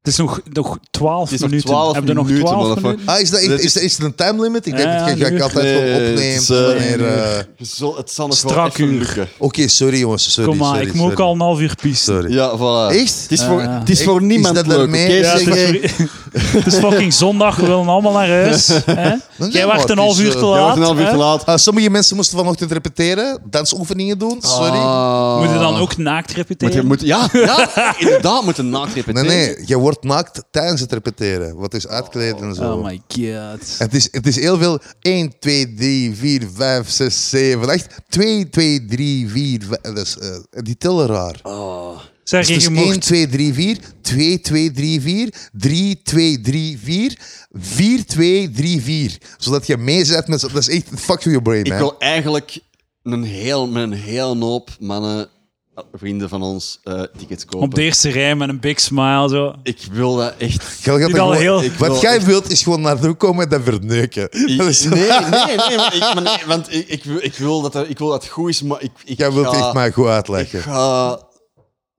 [SPEAKER 1] het is nog, nog 12
[SPEAKER 2] Het is nog
[SPEAKER 1] minuten.
[SPEAKER 2] 12
[SPEAKER 1] Hebben we nog
[SPEAKER 2] minuten,
[SPEAKER 1] 12
[SPEAKER 2] motherfucker.
[SPEAKER 1] minuten?
[SPEAKER 3] Ah, is, dat,
[SPEAKER 2] Dit
[SPEAKER 3] echt-
[SPEAKER 2] is-
[SPEAKER 3] is, is er een time limit? Ik denk
[SPEAKER 1] Ja,
[SPEAKER 3] dat ik- dat
[SPEAKER 1] een
[SPEAKER 3] ik
[SPEAKER 1] uur.
[SPEAKER 3] altijd
[SPEAKER 2] Nee,
[SPEAKER 3] gewoon
[SPEAKER 2] het
[SPEAKER 3] opneem.
[SPEAKER 2] is, eh,
[SPEAKER 3] wanneer, eh,
[SPEAKER 2] Je zal- het zal nog
[SPEAKER 1] Strak
[SPEAKER 2] wel even
[SPEAKER 1] uur.
[SPEAKER 2] lukken.
[SPEAKER 3] Oké, sorry jongens. Sorry,
[SPEAKER 1] Kom maar,
[SPEAKER 3] sorry,
[SPEAKER 1] ik moet ook
[SPEAKER 3] sorry.
[SPEAKER 1] al een half uur piezen.
[SPEAKER 3] Sorry.
[SPEAKER 2] Ja, voilà.
[SPEAKER 3] Echt?
[SPEAKER 2] Het is voor,
[SPEAKER 1] Ah.
[SPEAKER 2] het is voor
[SPEAKER 3] Ik- is
[SPEAKER 2] niemand
[SPEAKER 3] dat
[SPEAKER 2] leuk,
[SPEAKER 3] daarmee?
[SPEAKER 2] oké?
[SPEAKER 1] Ja, het, is,
[SPEAKER 2] Sergej?
[SPEAKER 1] *laughs* het is fucking zondag, we willen allemaal naar huis. Hè?
[SPEAKER 3] Dan
[SPEAKER 1] Jij
[SPEAKER 3] maar,
[SPEAKER 1] wacht een
[SPEAKER 3] het is,
[SPEAKER 1] half uur
[SPEAKER 3] eh,
[SPEAKER 1] te
[SPEAKER 3] jij
[SPEAKER 1] laat.
[SPEAKER 2] Ja, wat een half uur
[SPEAKER 1] hè?
[SPEAKER 2] te laat.
[SPEAKER 3] Ah, sommige mensen moesten vanochtend repeteren, dansoefeningen doen. Sorry.
[SPEAKER 2] Ah.
[SPEAKER 1] Moet je dan ook naakt
[SPEAKER 2] Want je
[SPEAKER 1] repeteren?
[SPEAKER 2] moet,
[SPEAKER 3] *laughs*
[SPEAKER 2] ja, ja, inderdaad, moet een naakt
[SPEAKER 3] nee,
[SPEAKER 2] repeteren.
[SPEAKER 3] nee, je wordt naakt tijdens het repeteren. Wat is uitkleden en zo.
[SPEAKER 1] Oh my god.
[SPEAKER 3] Het is, het is heel veel 1, 2, 3, 4, 5, 6, 7, 8. 2, 2, 3, 4, 5. Dat is, eh, die tellen raar.
[SPEAKER 1] Oh. Zeg
[SPEAKER 3] Dus het
[SPEAKER 1] je,
[SPEAKER 3] is
[SPEAKER 1] je
[SPEAKER 3] 1,
[SPEAKER 1] mocht
[SPEAKER 3] 2, 3, 4, 2, 2, 3, 4, 3, 2, 3, 4, 4, 2, 3, 4. Zodat je meezet met... z'n- Dat is echt... Fuck your brain,
[SPEAKER 2] Ik
[SPEAKER 3] man.
[SPEAKER 2] wil eigenlijk een heel, met een heel hoop mannen, eh, vrienden van ons, eh, tickets kopen.
[SPEAKER 1] op de eerste rij met een big smile zo.
[SPEAKER 2] Ik wil dat
[SPEAKER 3] *laughs*
[SPEAKER 2] echt.
[SPEAKER 3] Jij gaat
[SPEAKER 1] Die
[SPEAKER 3] er
[SPEAKER 1] al
[SPEAKER 3] gewoon-
[SPEAKER 1] heel-
[SPEAKER 3] Wat
[SPEAKER 2] wil
[SPEAKER 3] jij wilt, is gewoon naartoe komen en dat verneuken.
[SPEAKER 2] Ik-
[SPEAKER 3] *laughs* Dat is-
[SPEAKER 2] nee, nee, nee, maar ik, maar nee, want ik, ik, wil, ik, wil dat, er- ik wil dat het goed is, maar ik, ik
[SPEAKER 3] Jij wilt
[SPEAKER 2] ga-
[SPEAKER 3] echt maar goed
[SPEAKER 2] Ik
[SPEAKER 3] uitleggen.
[SPEAKER 2] ga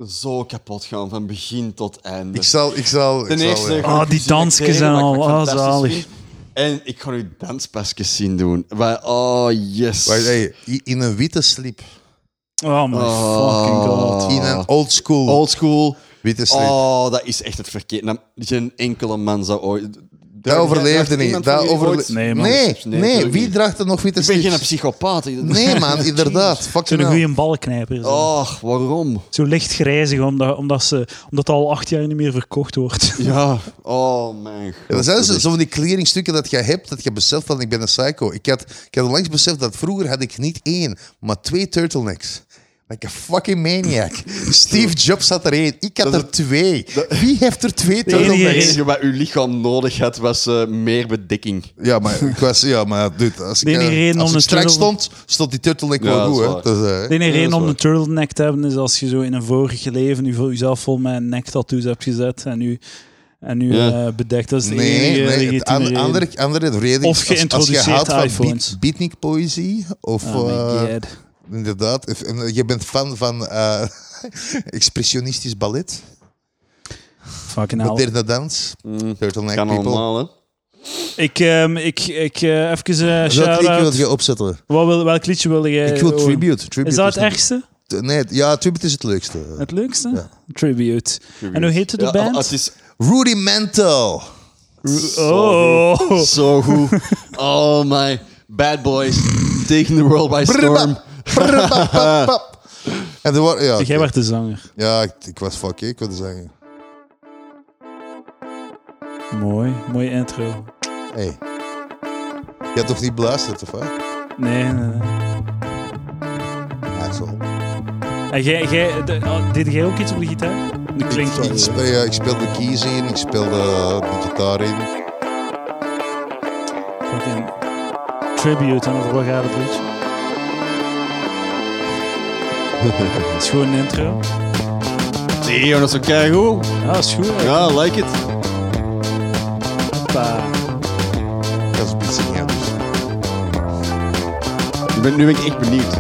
[SPEAKER 2] zo kapot gaan van begin tot einde.
[SPEAKER 3] Ik zal, ik zal, eh, ik
[SPEAKER 2] Ten eerste,
[SPEAKER 3] zal, ja.
[SPEAKER 2] gewoon
[SPEAKER 1] Ah, die
[SPEAKER 2] fysieke
[SPEAKER 1] dansjes
[SPEAKER 2] training,
[SPEAKER 1] en
[SPEAKER 2] wat ik
[SPEAKER 1] al. Ah,
[SPEAKER 2] fantastisch
[SPEAKER 1] zalig.
[SPEAKER 2] vind. En ik ga nu danspasjes zien doen. Waar- oh, yes.
[SPEAKER 3] Wacht, hey, i- in een witte slip.
[SPEAKER 1] Oh my
[SPEAKER 2] Oh.
[SPEAKER 1] fucking god.
[SPEAKER 3] In een old school
[SPEAKER 2] Old school.
[SPEAKER 3] witte slip.
[SPEAKER 2] Oh, dat is echt het verkeerde. Nou, Geen enkele man zou ooit...
[SPEAKER 3] dat overleefde
[SPEAKER 2] Draagt
[SPEAKER 3] niet.
[SPEAKER 2] iemand
[SPEAKER 3] Dat
[SPEAKER 2] van jullie
[SPEAKER 3] overle-
[SPEAKER 2] ooit-
[SPEAKER 1] Nee, man.
[SPEAKER 3] nee,
[SPEAKER 2] Nee,
[SPEAKER 3] nee,
[SPEAKER 2] natuurlijk
[SPEAKER 3] Wie
[SPEAKER 2] niet.
[SPEAKER 3] draagt er nog witte
[SPEAKER 2] Ik ben
[SPEAKER 3] slips?
[SPEAKER 2] geen psychopaat. *laughs*
[SPEAKER 3] Nee, man, inderdaad. nou. Fucking
[SPEAKER 1] Zo'n
[SPEAKER 3] hell.
[SPEAKER 1] goede balknijper. Zo,
[SPEAKER 2] Och, waarom?
[SPEAKER 1] zo licht grijzig, omdat, omdat, ze, omdat het al acht jaar niet meer verkocht wordt.
[SPEAKER 2] Ja, oh mijn god.
[SPEAKER 3] Ja, dat zijn zo,
[SPEAKER 2] is-
[SPEAKER 3] zo van die kledingstukken dat je hebt, dat je beseft van ik ben een psycho. Ik had, ik had onlangs beseft dat vroeger had ik niet één, maar twee turtlenecks. Like a fucking
[SPEAKER 2] *laughs*
[SPEAKER 3] maniac. Steve Jobs had er één, ik had
[SPEAKER 2] Dat is
[SPEAKER 3] er twee. Wie heeft er twee
[SPEAKER 1] enige
[SPEAKER 3] turtlenecks?
[SPEAKER 2] Het enige wat uw lichaam nodig had, was eh, meer bedekking.
[SPEAKER 3] Ja, maar ik was, ja, maar dude, als ik,
[SPEAKER 1] De enige
[SPEAKER 3] eh,
[SPEAKER 1] reden
[SPEAKER 3] als
[SPEAKER 1] om
[SPEAKER 3] ik
[SPEAKER 1] een
[SPEAKER 3] strak
[SPEAKER 1] turtle-
[SPEAKER 3] stond, stond die turtleneck
[SPEAKER 2] Ja,
[SPEAKER 3] wel
[SPEAKER 2] dat is
[SPEAKER 3] goed. Hè?
[SPEAKER 2] waar.
[SPEAKER 3] Dat is, eh,
[SPEAKER 1] De enige
[SPEAKER 2] Ja, dat
[SPEAKER 1] reden
[SPEAKER 2] is
[SPEAKER 1] om
[SPEAKER 2] waar.
[SPEAKER 1] een turtleneck te hebben is als je zo in een vorige leven je, jezelf vol met nektattoos hebt gezet en nu, en nu
[SPEAKER 2] Ja.
[SPEAKER 1] eh, bedekt. Dat is de
[SPEAKER 3] Nee,
[SPEAKER 1] enige
[SPEAKER 3] nee, het
[SPEAKER 1] legitieme
[SPEAKER 3] an-
[SPEAKER 1] eh, reden.
[SPEAKER 3] andere, andere
[SPEAKER 1] Of
[SPEAKER 3] reden is als- als je
[SPEAKER 1] geïntroduceerd
[SPEAKER 3] houdt van
[SPEAKER 1] iPhones.
[SPEAKER 3] beat, beatnik-poëzie, of...
[SPEAKER 1] Oh my
[SPEAKER 3] eh,
[SPEAKER 1] god.
[SPEAKER 3] Inderdaad. If- en, eh, Je bent fan van eh, *laughs* expressionistisch ballet,
[SPEAKER 1] Fucking hell.
[SPEAKER 3] moderne dans, turtleneck
[SPEAKER 2] Mm, Kan
[SPEAKER 3] people.
[SPEAKER 2] allemaal, hè?
[SPEAKER 1] Ik, ehm, ik, ik eh, even eh
[SPEAKER 3] Welk liedje wil
[SPEAKER 1] shout-out.
[SPEAKER 3] je opzetten?
[SPEAKER 1] Wat wil- Welk liedje wil jij?
[SPEAKER 3] ik wil
[SPEAKER 1] horen?
[SPEAKER 3] Tribute. tribute
[SPEAKER 1] Is dat het
[SPEAKER 3] nog-
[SPEAKER 1] ergste?
[SPEAKER 3] T- Nee, het- ja, Tribute is het leukste.
[SPEAKER 1] Het leukste?
[SPEAKER 3] Ja.
[SPEAKER 1] Tribute. En hoe heette de
[SPEAKER 2] Ja,
[SPEAKER 1] band?
[SPEAKER 2] Het is
[SPEAKER 3] Rudimental.
[SPEAKER 1] Oh.
[SPEAKER 3] *laughs*
[SPEAKER 2] zo goed. Oh my. Bad boys. Taking the world by storm.
[SPEAKER 3] Brrrrap, brrrrap,
[SPEAKER 1] *laughs*
[SPEAKER 3] pap, pap. En er wa- ja,
[SPEAKER 1] Jij
[SPEAKER 3] oké.
[SPEAKER 1] werd de zanger.
[SPEAKER 3] ja ik, ik was fucking, ik wilde zeggen.
[SPEAKER 1] Mooi. Mooie intro.
[SPEAKER 3] Hey. Je hebt toch niet beluisterd, of wat?
[SPEAKER 1] Nee, nee, nee.
[SPEAKER 3] Ja, Ah, zo.
[SPEAKER 1] En jij, jij, de- oh, deed jij ook iets op de gitaar? Dat klinkt wel.
[SPEAKER 3] Ik, speel, ja, ik speel de keys in, ik speel de, de gitaar in.
[SPEAKER 1] *laughs* Fucking tribute aan over wat gaat het liedje? Het is gewoon een intro.
[SPEAKER 2] Nee, joh, dat is ook keigoed.
[SPEAKER 1] Ja, dat is goed. hè.
[SPEAKER 2] Ja, I like it.
[SPEAKER 1] Hoppa.
[SPEAKER 3] Dat is een beetje gek.
[SPEAKER 2] Ik ben, nu ben ik echt benieuwd.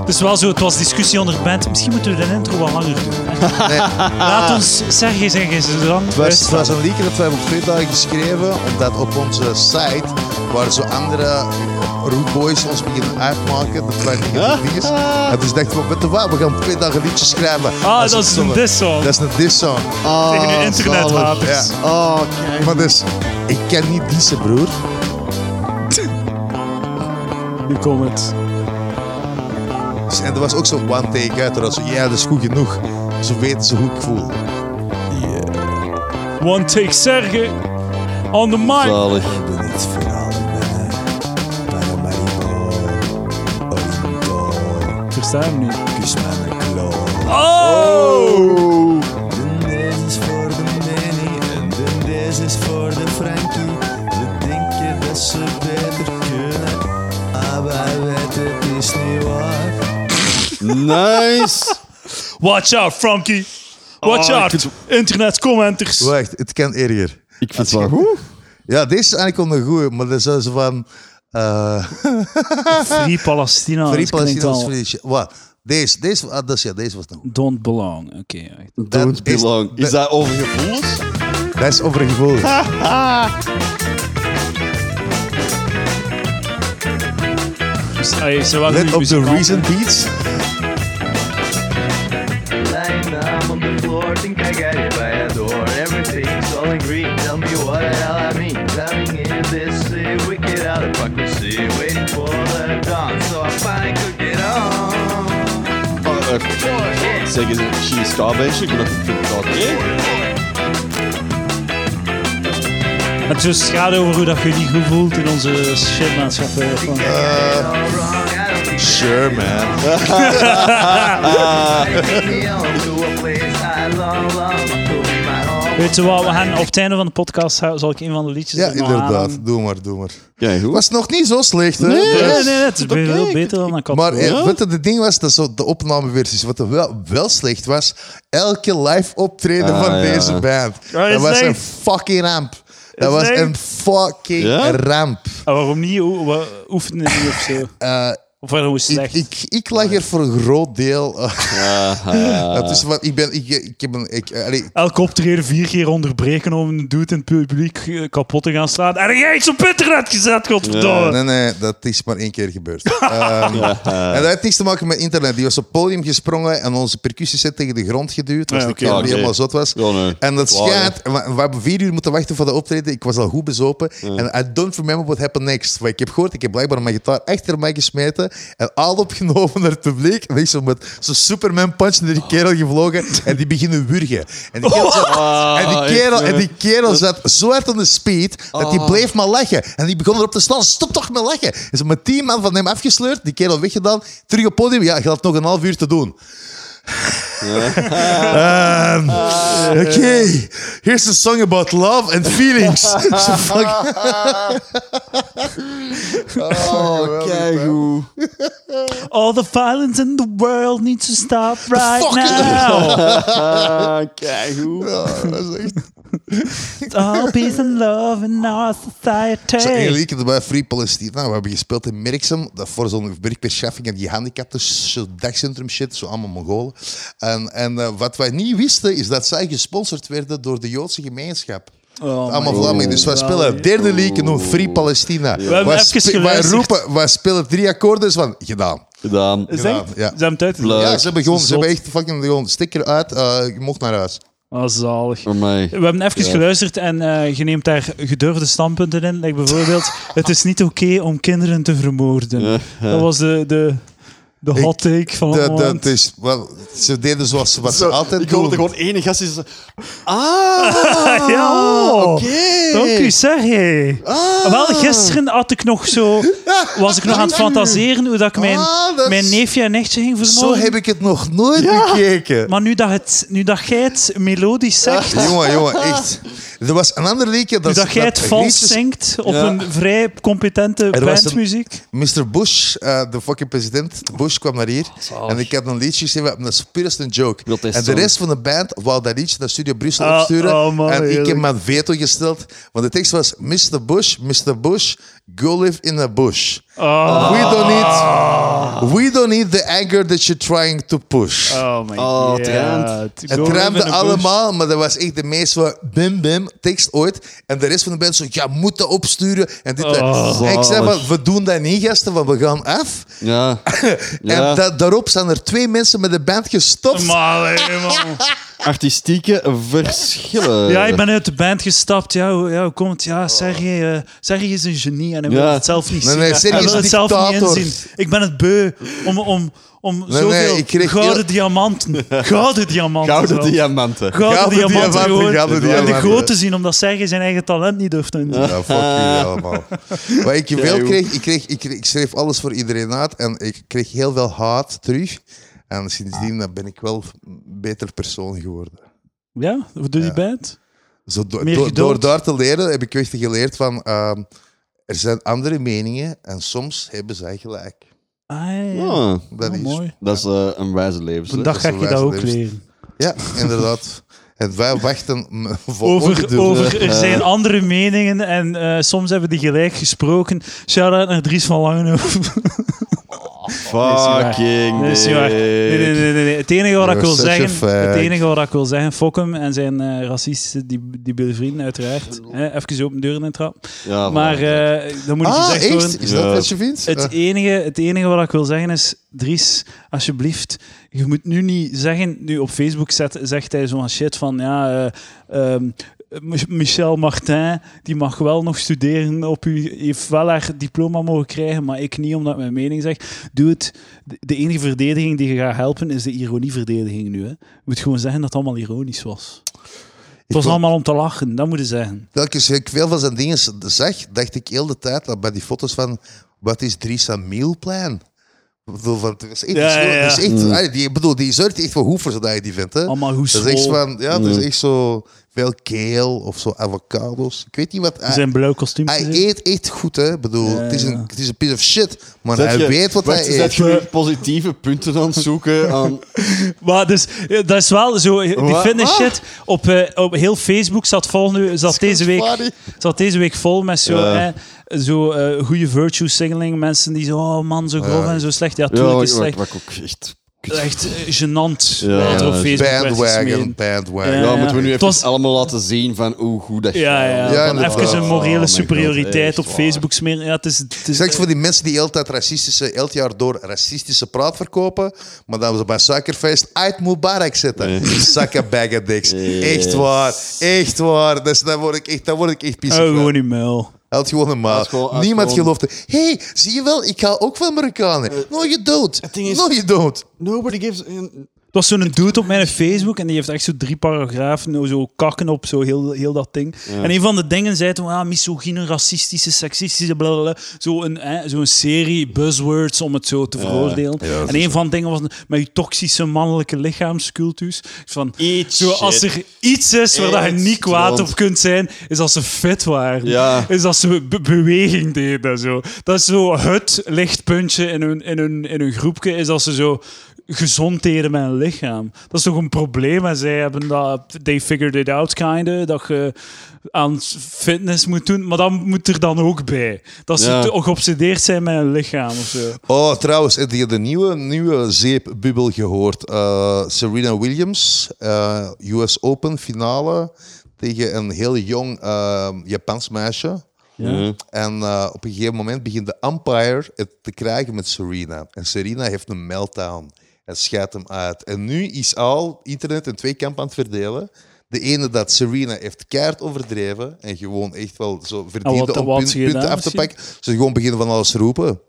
[SPEAKER 1] Het is wel zo, het was discussie onder de band. Misschien moeten we de intro wat langer doen.
[SPEAKER 3] Nee,
[SPEAKER 1] Laat ons zeggen, zeggen ze dan.
[SPEAKER 3] het, was, het was een liedje dat wij op twee dagen geschreven, omdat op onze site, waar zo andere Root Boys ons beginnen uitmaken, dat wij niet
[SPEAKER 1] *laughs*
[SPEAKER 3] huh? dingen. En dus dachten we, weet je wat, we gaan twee dagen liedjes schrijven.
[SPEAKER 1] Ah, dat is een
[SPEAKER 3] een
[SPEAKER 1] diss song. Ah.
[SPEAKER 3] Dat is een diss song.
[SPEAKER 2] Oh,
[SPEAKER 1] Tegen uw internetwapens.
[SPEAKER 3] zalig,
[SPEAKER 2] Oh, kijk.
[SPEAKER 3] Maar dus, ik kan niet dissen, broer.
[SPEAKER 1] Nu komt het.
[SPEAKER 3] Dus- en er was ook zo'n one take uit, dat zo, ja, dat is goed genoeg. Ze weten ze hoe ik voel.
[SPEAKER 1] One take Serge. On the mic.
[SPEAKER 2] Zalig.
[SPEAKER 3] niet verhaal binnen. Paramaribo,
[SPEAKER 4] Oh,
[SPEAKER 3] Olimpo,
[SPEAKER 1] Verstaan hem niet.
[SPEAKER 3] kus mijn klo.
[SPEAKER 1] Oh!
[SPEAKER 2] Oh.
[SPEAKER 4] Deze is voor de Manny en de deze is voor de Frankie. Ze denken dat ze beter kunnen, maar wij weten het is niet waar.
[SPEAKER 2] Nice.
[SPEAKER 1] Watch out, Frankie. Watch
[SPEAKER 2] Oh, ik
[SPEAKER 1] out.
[SPEAKER 2] vind-
[SPEAKER 1] Internet commenters.
[SPEAKER 3] Wacht, het kan erger.
[SPEAKER 2] Ik vind het wel goed.
[SPEAKER 3] Ja, deze is eigenlijk wel een goeie, maar dat is zo van...
[SPEAKER 2] *laughs*
[SPEAKER 3] eh
[SPEAKER 1] Free Palestina.
[SPEAKER 2] Oh,
[SPEAKER 1] dat
[SPEAKER 3] Free
[SPEAKER 1] klinkt
[SPEAKER 3] Palestinaans
[SPEAKER 1] al-
[SPEAKER 3] Free... Wat? Deze, deze, ah, dat is- ja, deze was nog goed.
[SPEAKER 1] Don't belong. Oké. wacht.
[SPEAKER 2] Don't
[SPEAKER 3] is-
[SPEAKER 2] belong. Is
[SPEAKER 3] dat-
[SPEAKER 2] dat over gevoelens?
[SPEAKER 3] Dat is over een gevoel.
[SPEAKER 1] Dus, ah, je- ze waren
[SPEAKER 3] Let
[SPEAKER 1] goede
[SPEAKER 3] op de
[SPEAKER 1] muzikanten.
[SPEAKER 3] recent beats.
[SPEAKER 4] Lying down on the floor, think I got it by the door. Everything's all in green, tell me what the hell I mean. Drowning in this sea, wicked out of hypocrisy. Waiting for the dawn, so I finally could get on.
[SPEAKER 2] Oh, eh, Zeggen ze, she's garbage. Ik ben dat oké.
[SPEAKER 1] Het dus gaat over hoe dat je je niet goed voelt in onze shitmaatschappij. of wat.
[SPEAKER 4] All wrong, I don't think
[SPEAKER 3] Sure, man.
[SPEAKER 4] Take me on to a place I long, long could be my home.
[SPEAKER 1] Weet je wat, we gaan op het einde van de podcast gaan- zal ik een van de liedjes
[SPEAKER 3] Ja,
[SPEAKER 1] er nog
[SPEAKER 3] inderdaad.
[SPEAKER 1] aanhangen.
[SPEAKER 3] Doe maar, doe maar.
[SPEAKER 2] Ja, goed.
[SPEAKER 3] Was nog niet zo slecht, hè?
[SPEAKER 1] Nee,
[SPEAKER 3] Dus-
[SPEAKER 1] nee, nee, het is
[SPEAKER 2] Oké,
[SPEAKER 1] veel
[SPEAKER 2] ik-
[SPEAKER 1] beter dan ik had
[SPEAKER 3] Maar
[SPEAKER 1] verwacht.
[SPEAKER 3] eh, wat het ding was, dat zo de opnameversies, wat er wel, wel slecht was, elke live optreden
[SPEAKER 2] Ah,
[SPEAKER 3] van
[SPEAKER 2] ja.
[SPEAKER 3] deze band.
[SPEAKER 1] Ja, is
[SPEAKER 3] dat was
[SPEAKER 1] leeg.
[SPEAKER 3] een fucking ramp. Dat was
[SPEAKER 1] leeg.
[SPEAKER 3] een fucking
[SPEAKER 2] Ja?
[SPEAKER 3] ramp.
[SPEAKER 1] Ah, waarom niet? Hoe- wa- Oefenen niet of zo.
[SPEAKER 3] Eh,
[SPEAKER 1] Of waarom is het
[SPEAKER 3] Ik,
[SPEAKER 1] slecht?
[SPEAKER 3] ik, ik lag er voor een groot deel. eh, *laughs*
[SPEAKER 2] Aha.
[SPEAKER 3] dat is wat- ik ben. Ik, ik heb een. Ik, eh, allee,
[SPEAKER 1] Elke optreden vier keer onderbreken om een dude in het publiek eh, kapot te gaan slaan. En jij iets op internet gezet, godverdomme!
[SPEAKER 3] Nee, nee, dat is maar één keer gebeurd. *laughs* Ehm,
[SPEAKER 2] Eh,
[SPEAKER 3] en dat heeft niks te maken met internet. Die was op het podium gesprongen en onze set tegen de grond geduwd. Dat was
[SPEAKER 1] Ja,
[SPEAKER 3] de
[SPEAKER 1] oké.
[SPEAKER 3] keer
[SPEAKER 2] Ah, Oké.
[SPEAKER 3] die helemaal zot was.
[SPEAKER 2] Ja, nee.
[SPEAKER 3] En dat
[SPEAKER 2] Waar, hè?
[SPEAKER 3] schijnt... We we hebben vier uur moeten wachten voor de optreden. Ik was al goed bezopen. En I don't remember what happened next. Maar ik heb gehoord, ik heb blijkbaar mijn gitaar achter mij gesmeten en al opgenomen naar het publiek. En ik zo met zo'n Superman punch naar die kerel gevlogen en die beginnen wurgen.
[SPEAKER 2] *laughs*
[SPEAKER 3] En die kerel zat,
[SPEAKER 2] *laughs* Ah,
[SPEAKER 3] en die kerel,
[SPEAKER 2] ik,
[SPEAKER 3] en
[SPEAKER 2] eh, Ah.
[SPEAKER 3] die kerel zat zo hard aan de speed dat die bleef maar lachen. En die begon erop te slaan. Stop toch met lachen. Is mijn tien man van hem afgesleurd, die kerel weggedaan. Terug op het podium. Ja, je had nog een half uur te doen. *laughs* Ehm, Oké, here's a song about love and feelings. *laughs* Zo
[SPEAKER 2] *laughs*
[SPEAKER 3] fuck.
[SPEAKER 2] Oh, keigoed.
[SPEAKER 1] All the violence in the world needs to stop right
[SPEAKER 3] Fuck.
[SPEAKER 1] now.
[SPEAKER 2] Ah, keigoed.
[SPEAKER 3] Ja, dat is echt...
[SPEAKER 1] All peace and love in our
[SPEAKER 3] Zo,
[SPEAKER 1] society.
[SPEAKER 3] eigenlijk, bij Free Palestina, we hebben gespeeld in Merksem, dat voor zo'n werkverschaffing en gehandicapten, zo dagcentrum shit, zo allemaal Mongolen. En, en eh, wat wij niet wisten, is dat zij gesponsord werden door de Joodse gemeenschap.
[SPEAKER 1] Oh,
[SPEAKER 3] allemaal Vlamingen. Dus wij spelen derde league noemt Free Palestina. We
[SPEAKER 1] hebben
[SPEAKER 3] wij,
[SPEAKER 1] even
[SPEAKER 3] wij
[SPEAKER 1] geluisterd.
[SPEAKER 3] roepen, wij spelen drie akkoorden van, gedaan.
[SPEAKER 2] Gedaan.
[SPEAKER 1] Is dat?
[SPEAKER 3] Ja,
[SPEAKER 1] Ze
[SPEAKER 3] ja.
[SPEAKER 1] hebben het
[SPEAKER 2] Leuk.
[SPEAKER 1] uitgelegd.
[SPEAKER 3] Ja, ze hebben gewoon, ze
[SPEAKER 1] Eh, Zot.
[SPEAKER 3] hebben echt fucking gewoon sticker uit, eh, je mocht naar huis.
[SPEAKER 1] Oh, zalig.
[SPEAKER 2] Voor mij.
[SPEAKER 1] We hebben even
[SPEAKER 2] Ja.
[SPEAKER 1] geluisterd en eh je neemt daar gedurfde standpunten in. Like bijvoorbeeld, het is niet oké om kinderen te vermoorden. Dat was de, de, de hot take van het
[SPEAKER 3] Dat,
[SPEAKER 1] moment.
[SPEAKER 3] dat is, wel, ze deden zoals ze- wat ze altijd
[SPEAKER 2] ik
[SPEAKER 3] doen.
[SPEAKER 2] hoop dat er gewoon één gast is. Ah,
[SPEAKER 1] Ja, oh.
[SPEAKER 2] oké.
[SPEAKER 1] Dank u, Sergej.
[SPEAKER 2] Ah.
[SPEAKER 1] Wel, gisteren had ik nog zo... Was ik nog
[SPEAKER 3] *laughs*
[SPEAKER 1] aan het fantaseren hoe dat ik mijn,
[SPEAKER 3] Ah, dat is-
[SPEAKER 1] mijn neefje en nichtje ging
[SPEAKER 3] Zo
[SPEAKER 1] vermoorden.
[SPEAKER 3] heb ik het nog nooit bekeken.
[SPEAKER 1] Maar nu dat, het, nu dat jij het melodisch
[SPEAKER 3] Ah,
[SPEAKER 1] zegt,
[SPEAKER 3] Jongen, jongen, echt. Er was een ander liedje.
[SPEAKER 1] nu
[SPEAKER 3] Dat,
[SPEAKER 1] dat jij het
[SPEAKER 3] dat
[SPEAKER 1] vals
[SPEAKER 3] liedjes-
[SPEAKER 1] zingt op
[SPEAKER 2] Ja.
[SPEAKER 1] een vrij competente
[SPEAKER 3] Er was een-
[SPEAKER 1] bandmuziek...
[SPEAKER 3] Mr. Bush, eh, de fucking president Bush, kwam naar hier.
[SPEAKER 2] Zalig.
[SPEAKER 3] En ik had een liedje geschreven, dat is puurst een joke.
[SPEAKER 2] Dat is
[SPEAKER 3] en de
[SPEAKER 2] zo.
[SPEAKER 3] rest van de band wou dat liedje naar Studio Brussel
[SPEAKER 1] Ah,
[SPEAKER 3] opsturen.
[SPEAKER 1] oh man,
[SPEAKER 3] en ik heb
[SPEAKER 1] heerlijk.
[SPEAKER 3] mijn veto gesteld. Want de tekst was, Mr. Bush, Mr. Bush, go live in a bush.
[SPEAKER 1] Ah.
[SPEAKER 3] We don't need, we don't need the anger that you're trying to push.
[SPEAKER 1] Oh my
[SPEAKER 2] Oh,
[SPEAKER 1] god.
[SPEAKER 2] het ruimt.
[SPEAKER 1] Go
[SPEAKER 3] Het
[SPEAKER 1] live in
[SPEAKER 3] raamde
[SPEAKER 1] a bush.
[SPEAKER 3] allemaal, maar dat was echt de meest van bim bim tekst ooit. En de rest van de band zo, ja, moet dat opsturen. En dit, en-
[SPEAKER 1] Oh.
[SPEAKER 3] en ik zei
[SPEAKER 2] Zalig.
[SPEAKER 3] van, we doen dat niet, gasten, want we gaan af.
[SPEAKER 2] Ja.
[SPEAKER 3] En
[SPEAKER 2] ja.
[SPEAKER 3] da- daarop zijn er twee mensen met de band gestopt.
[SPEAKER 1] Maar allee, man.
[SPEAKER 2] Artistieke verschillen.
[SPEAKER 1] Ja, ik ben uit de band gestapt. Ja, hoe, ja, hoe komt het? Ja, Sergej, eh, Sergej is een genie en hij wil
[SPEAKER 2] Ja.
[SPEAKER 1] het zelf niet
[SPEAKER 3] Nee,
[SPEAKER 1] zien.
[SPEAKER 3] nee,
[SPEAKER 1] Hij
[SPEAKER 3] Sergej is
[SPEAKER 1] wil
[SPEAKER 3] een
[SPEAKER 1] het zelf niet
[SPEAKER 3] dictator.
[SPEAKER 1] inzien. Ik ben het beu om, om, om zoveel
[SPEAKER 3] ik kreeg
[SPEAKER 1] gouden
[SPEAKER 3] heel- *laughs*
[SPEAKER 1] diamanten. Gouden diamanten.
[SPEAKER 2] Gouden
[SPEAKER 1] zelfs.
[SPEAKER 2] diamanten.
[SPEAKER 1] Gouden,
[SPEAKER 3] Gouden
[SPEAKER 1] diamanten,
[SPEAKER 3] diamanten,
[SPEAKER 1] gewoon.
[SPEAKER 3] gouden
[SPEAKER 1] En de
[SPEAKER 3] diamanten.
[SPEAKER 1] groot te zien, omdat Sergej zijn eigen talent niet durft te inzien.
[SPEAKER 3] Ja, fuck jullie allemaal. Wat ik
[SPEAKER 2] Ja,
[SPEAKER 3] veel
[SPEAKER 2] joh.
[SPEAKER 3] kreeg ik, kreeg, ik kreeg, ik schreef alles voor iedereen uit en ik kreeg heel veel haat terug. En sindsdien eh, ben ik wel een beter persoon geworden.
[SPEAKER 1] Ja, hoe doe die band?
[SPEAKER 3] Zo do-
[SPEAKER 1] Meer
[SPEAKER 3] do-
[SPEAKER 1] geduld.
[SPEAKER 3] door daar te leren heb ik echt geleerd van ehm, er zijn andere meningen en soms hebben zij gelijk.
[SPEAKER 1] Ah, ja, ja.
[SPEAKER 2] Ah,
[SPEAKER 3] Dat
[SPEAKER 1] Oh,
[SPEAKER 3] is
[SPEAKER 1] mooi.
[SPEAKER 2] dat is eh, een wijze
[SPEAKER 1] Op een
[SPEAKER 2] levens.
[SPEAKER 1] dag ga
[SPEAKER 3] is
[SPEAKER 1] ik
[SPEAKER 3] een
[SPEAKER 1] je dat
[SPEAKER 3] wijze
[SPEAKER 1] ook
[SPEAKER 3] levens-
[SPEAKER 1] leren.
[SPEAKER 3] Ja,
[SPEAKER 1] *laughs*
[SPEAKER 3] inderdaad. En wij wachten mm, vol
[SPEAKER 1] Over,
[SPEAKER 3] ongeduld.
[SPEAKER 1] over, er zijn andere meningen en eh, soms hebben die gelijk gesproken. Shout-out naar Dries van Langenhoven. *laughs*
[SPEAKER 2] Fucking
[SPEAKER 1] Nee, is niet waar. Nee, nee, nee, nee, nee. Het enige wat ik
[SPEAKER 3] You're
[SPEAKER 1] wil
[SPEAKER 3] such a
[SPEAKER 1] zeggen,
[SPEAKER 3] fag.
[SPEAKER 1] het enige wat ik wil zeggen, fok hem en zijn eh racisten, die, die vrienden uiteraard. Eh, even open deuren in trap.
[SPEAKER 2] Ja, voilà.
[SPEAKER 1] Maar eh dat moet ik
[SPEAKER 3] Ah,
[SPEAKER 1] gezegd
[SPEAKER 3] echt?
[SPEAKER 1] worden.
[SPEAKER 3] Is dat
[SPEAKER 2] Ja.
[SPEAKER 3] wat je vindt? Eh,
[SPEAKER 1] Het enige, het enige wat ik wil zeggen is, Dries, alsjeblieft, je moet nu niet zeggen, nu op Facebook zet, zegt hij zo'n shit van, ja, eh, ehm, Mich- Michel Martin, die mag wel nog studeren op u, heeft wel haar diploma mogen krijgen, maar ik niet, omdat ik mijn mening zeg. Doe het. De- De enige verdediging die je gaat helpen, is de ironieverdediging nu. Hè. Je moet gewoon zeggen dat het allemaal ironisch was. Het was
[SPEAKER 3] wil-
[SPEAKER 1] allemaal om te lachen, dat moet je zeggen.
[SPEAKER 3] Telkens dat ik dus veel van zijn dingen zag, dacht ik heel de tijd dat bij die foto's van wat is Dries aan mealplan? Ik bedoel, van, het is echt,
[SPEAKER 1] Ja,
[SPEAKER 3] zo-
[SPEAKER 1] ja, ja.
[SPEAKER 3] het is echt- ah, die, ik bedoel, die zorgt echt voor hoe voor zo'n dag die vindt. Hè?
[SPEAKER 1] Allemaal hoe
[SPEAKER 3] Dat is echt
[SPEAKER 1] school.
[SPEAKER 3] van, ja, dat is echt zo. veel keel of zo avocados. Ik weet niet wat... Hij,
[SPEAKER 1] Zijn blauw kostuum.
[SPEAKER 3] hij eet echt goed, hè. Ik bedoel, het, is een, het is een piece of shit, maar hij
[SPEAKER 2] je-
[SPEAKER 3] weet wat
[SPEAKER 2] wacht,
[SPEAKER 3] hij
[SPEAKER 2] zet
[SPEAKER 3] eet.
[SPEAKER 2] je nu positieve punten aan het
[SPEAKER 1] *laughs*
[SPEAKER 2] zoeken aan...
[SPEAKER 1] Maar dus, eh, dat is wel zo. eh, Die
[SPEAKER 2] Wa-
[SPEAKER 1] fitness
[SPEAKER 2] ah.
[SPEAKER 1] shit op, eh, op heel Facebook zat, vol nu, zat, deze
[SPEAKER 2] funny.
[SPEAKER 1] week, zat deze week vol met zo,
[SPEAKER 2] Ja.
[SPEAKER 1] eh, zo eh, goede virtue signaling. Mensen die zo, oh man, zo grof en zo slecht. Ja,
[SPEAKER 2] Ja,
[SPEAKER 1] tuurlijk
[SPEAKER 2] wat,
[SPEAKER 1] is
[SPEAKER 2] wat,
[SPEAKER 1] slecht.
[SPEAKER 2] wat ik ook echt...
[SPEAKER 1] Echt eh, gênant
[SPEAKER 2] Ja,
[SPEAKER 1] wat er op
[SPEAKER 2] ja,
[SPEAKER 1] Facebook werd
[SPEAKER 3] Bandwagon,
[SPEAKER 1] gesmeten.
[SPEAKER 3] bandwagon.
[SPEAKER 1] Ja,
[SPEAKER 2] Ja, moeten we nu
[SPEAKER 1] Het
[SPEAKER 2] even
[SPEAKER 1] was-
[SPEAKER 2] allemaal laten zien van hoe goed dat
[SPEAKER 1] Ja, ja.
[SPEAKER 2] gaat.
[SPEAKER 3] Ja,
[SPEAKER 1] van
[SPEAKER 3] inderdaad.
[SPEAKER 1] even een
[SPEAKER 2] Oh
[SPEAKER 1] morele
[SPEAKER 2] my
[SPEAKER 1] superioriteit
[SPEAKER 2] God,
[SPEAKER 1] op
[SPEAKER 2] echt
[SPEAKER 1] Facebook smeren. Ja, het is, het is,
[SPEAKER 3] Slechts voor die mensen die heel tijd racistische, elk jaar door racistische praat verkopen, maar dan ze bij Suikerfeest uit Mubarak zetten. *laughs* Zakken bagger dicks. Echt waar, echt waar. Dus daar word ik echt, daar word ik echt pissig
[SPEAKER 1] Hou
[SPEAKER 3] van.
[SPEAKER 1] Oh, gewoon niet muil.
[SPEAKER 3] Had gewoon een maat.
[SPEAKER 2] Had gewoon- had
[SPEAKER 3] Niemand
[SPEAKER 2] gewoon- Eh,
[SPEAKER 3] geloofde. Hé, hey, zie je wel, ik ga ook van Marokkanen. no, you don't.
[SPEAKER 2] ding is-
[SPEAKER 3] No, you don't.
[SPEAKER 2] Nobody gives... Een...
[SPEAKER 1] Het was zo'n dude op mijn Facebook en die heeft echt zo drie paragrafen, nou, zo kakken op, zo heel, heel dat ding. En een van de dingen zei toen, ah, misogyne, racistische, seksistische, blablabla. Zo'n eh, zo'n serie buzzwords om het zo te veroordelen. en een van de dingen was met je toxische mannelijke lichaamscultus. Van,
[SPEAKER 2] Eat
[SPEAKER 1] zo, als
[SPEAKER 2] shit.
[SPEAKER 1] er iets is waar dat je
[SPEAKER 2] Eet
[SPEAKER 1] niet kwaad
[SPEAKER 2] stront.
[SPEAKER 1] op kunt zijn, is als ze fit waren.
[SPEAKER 2] Ja.
[SPEAKER 1] Is als ze be- beweging deden. Zo. Dat is zo het lichtpuntje in hun, in hun, in hun groepje, is als ze zo gezond deden met hun lichaam. Dat is toch een probleem en zij hebben dat, they figured it out kinda, dat je aan fitness moet doen, maar dat moet er dan ook bij. Dat ze
[SPEAKER 2] Ja.
[SPEAKER 1] te- geobsedeerd zijn met hun lichaam of zo.
[SPEAKER 3] Oh, trouwens, heb je de nieuwe, nieuwe zeepbubbel gehoord? Eh, Serena Williams, eh, US Open finale tegen een heel jong eh, Japans meisje.
[SPEAKER 2] Ja.
[SPEAKER 3] En eh, op een gegeven moment begint de umpire het te krijgen met Serena. En Serena heeft een meltdown. En scheidt hem uit. En nu is al internet in twee kampen aan het verdelen. De ene dat Serena heeft keihard overdreven. En gewoon echt wel zo verdiende
[SPEAKER 1] Ah, wat-
[SPEAKER 3] om
[SPEAKER 1] wat
[SPEAKER 3] punt-
[SPEAKER 1] zie je
[SPEAKER 3] punten
[SPEAKER 1] daar
[SPEAKER 3] af te
[SPEAKER 1] misschien?
[SPEAKER 3] pakken. Ze gewoon beginnen van alles roepen.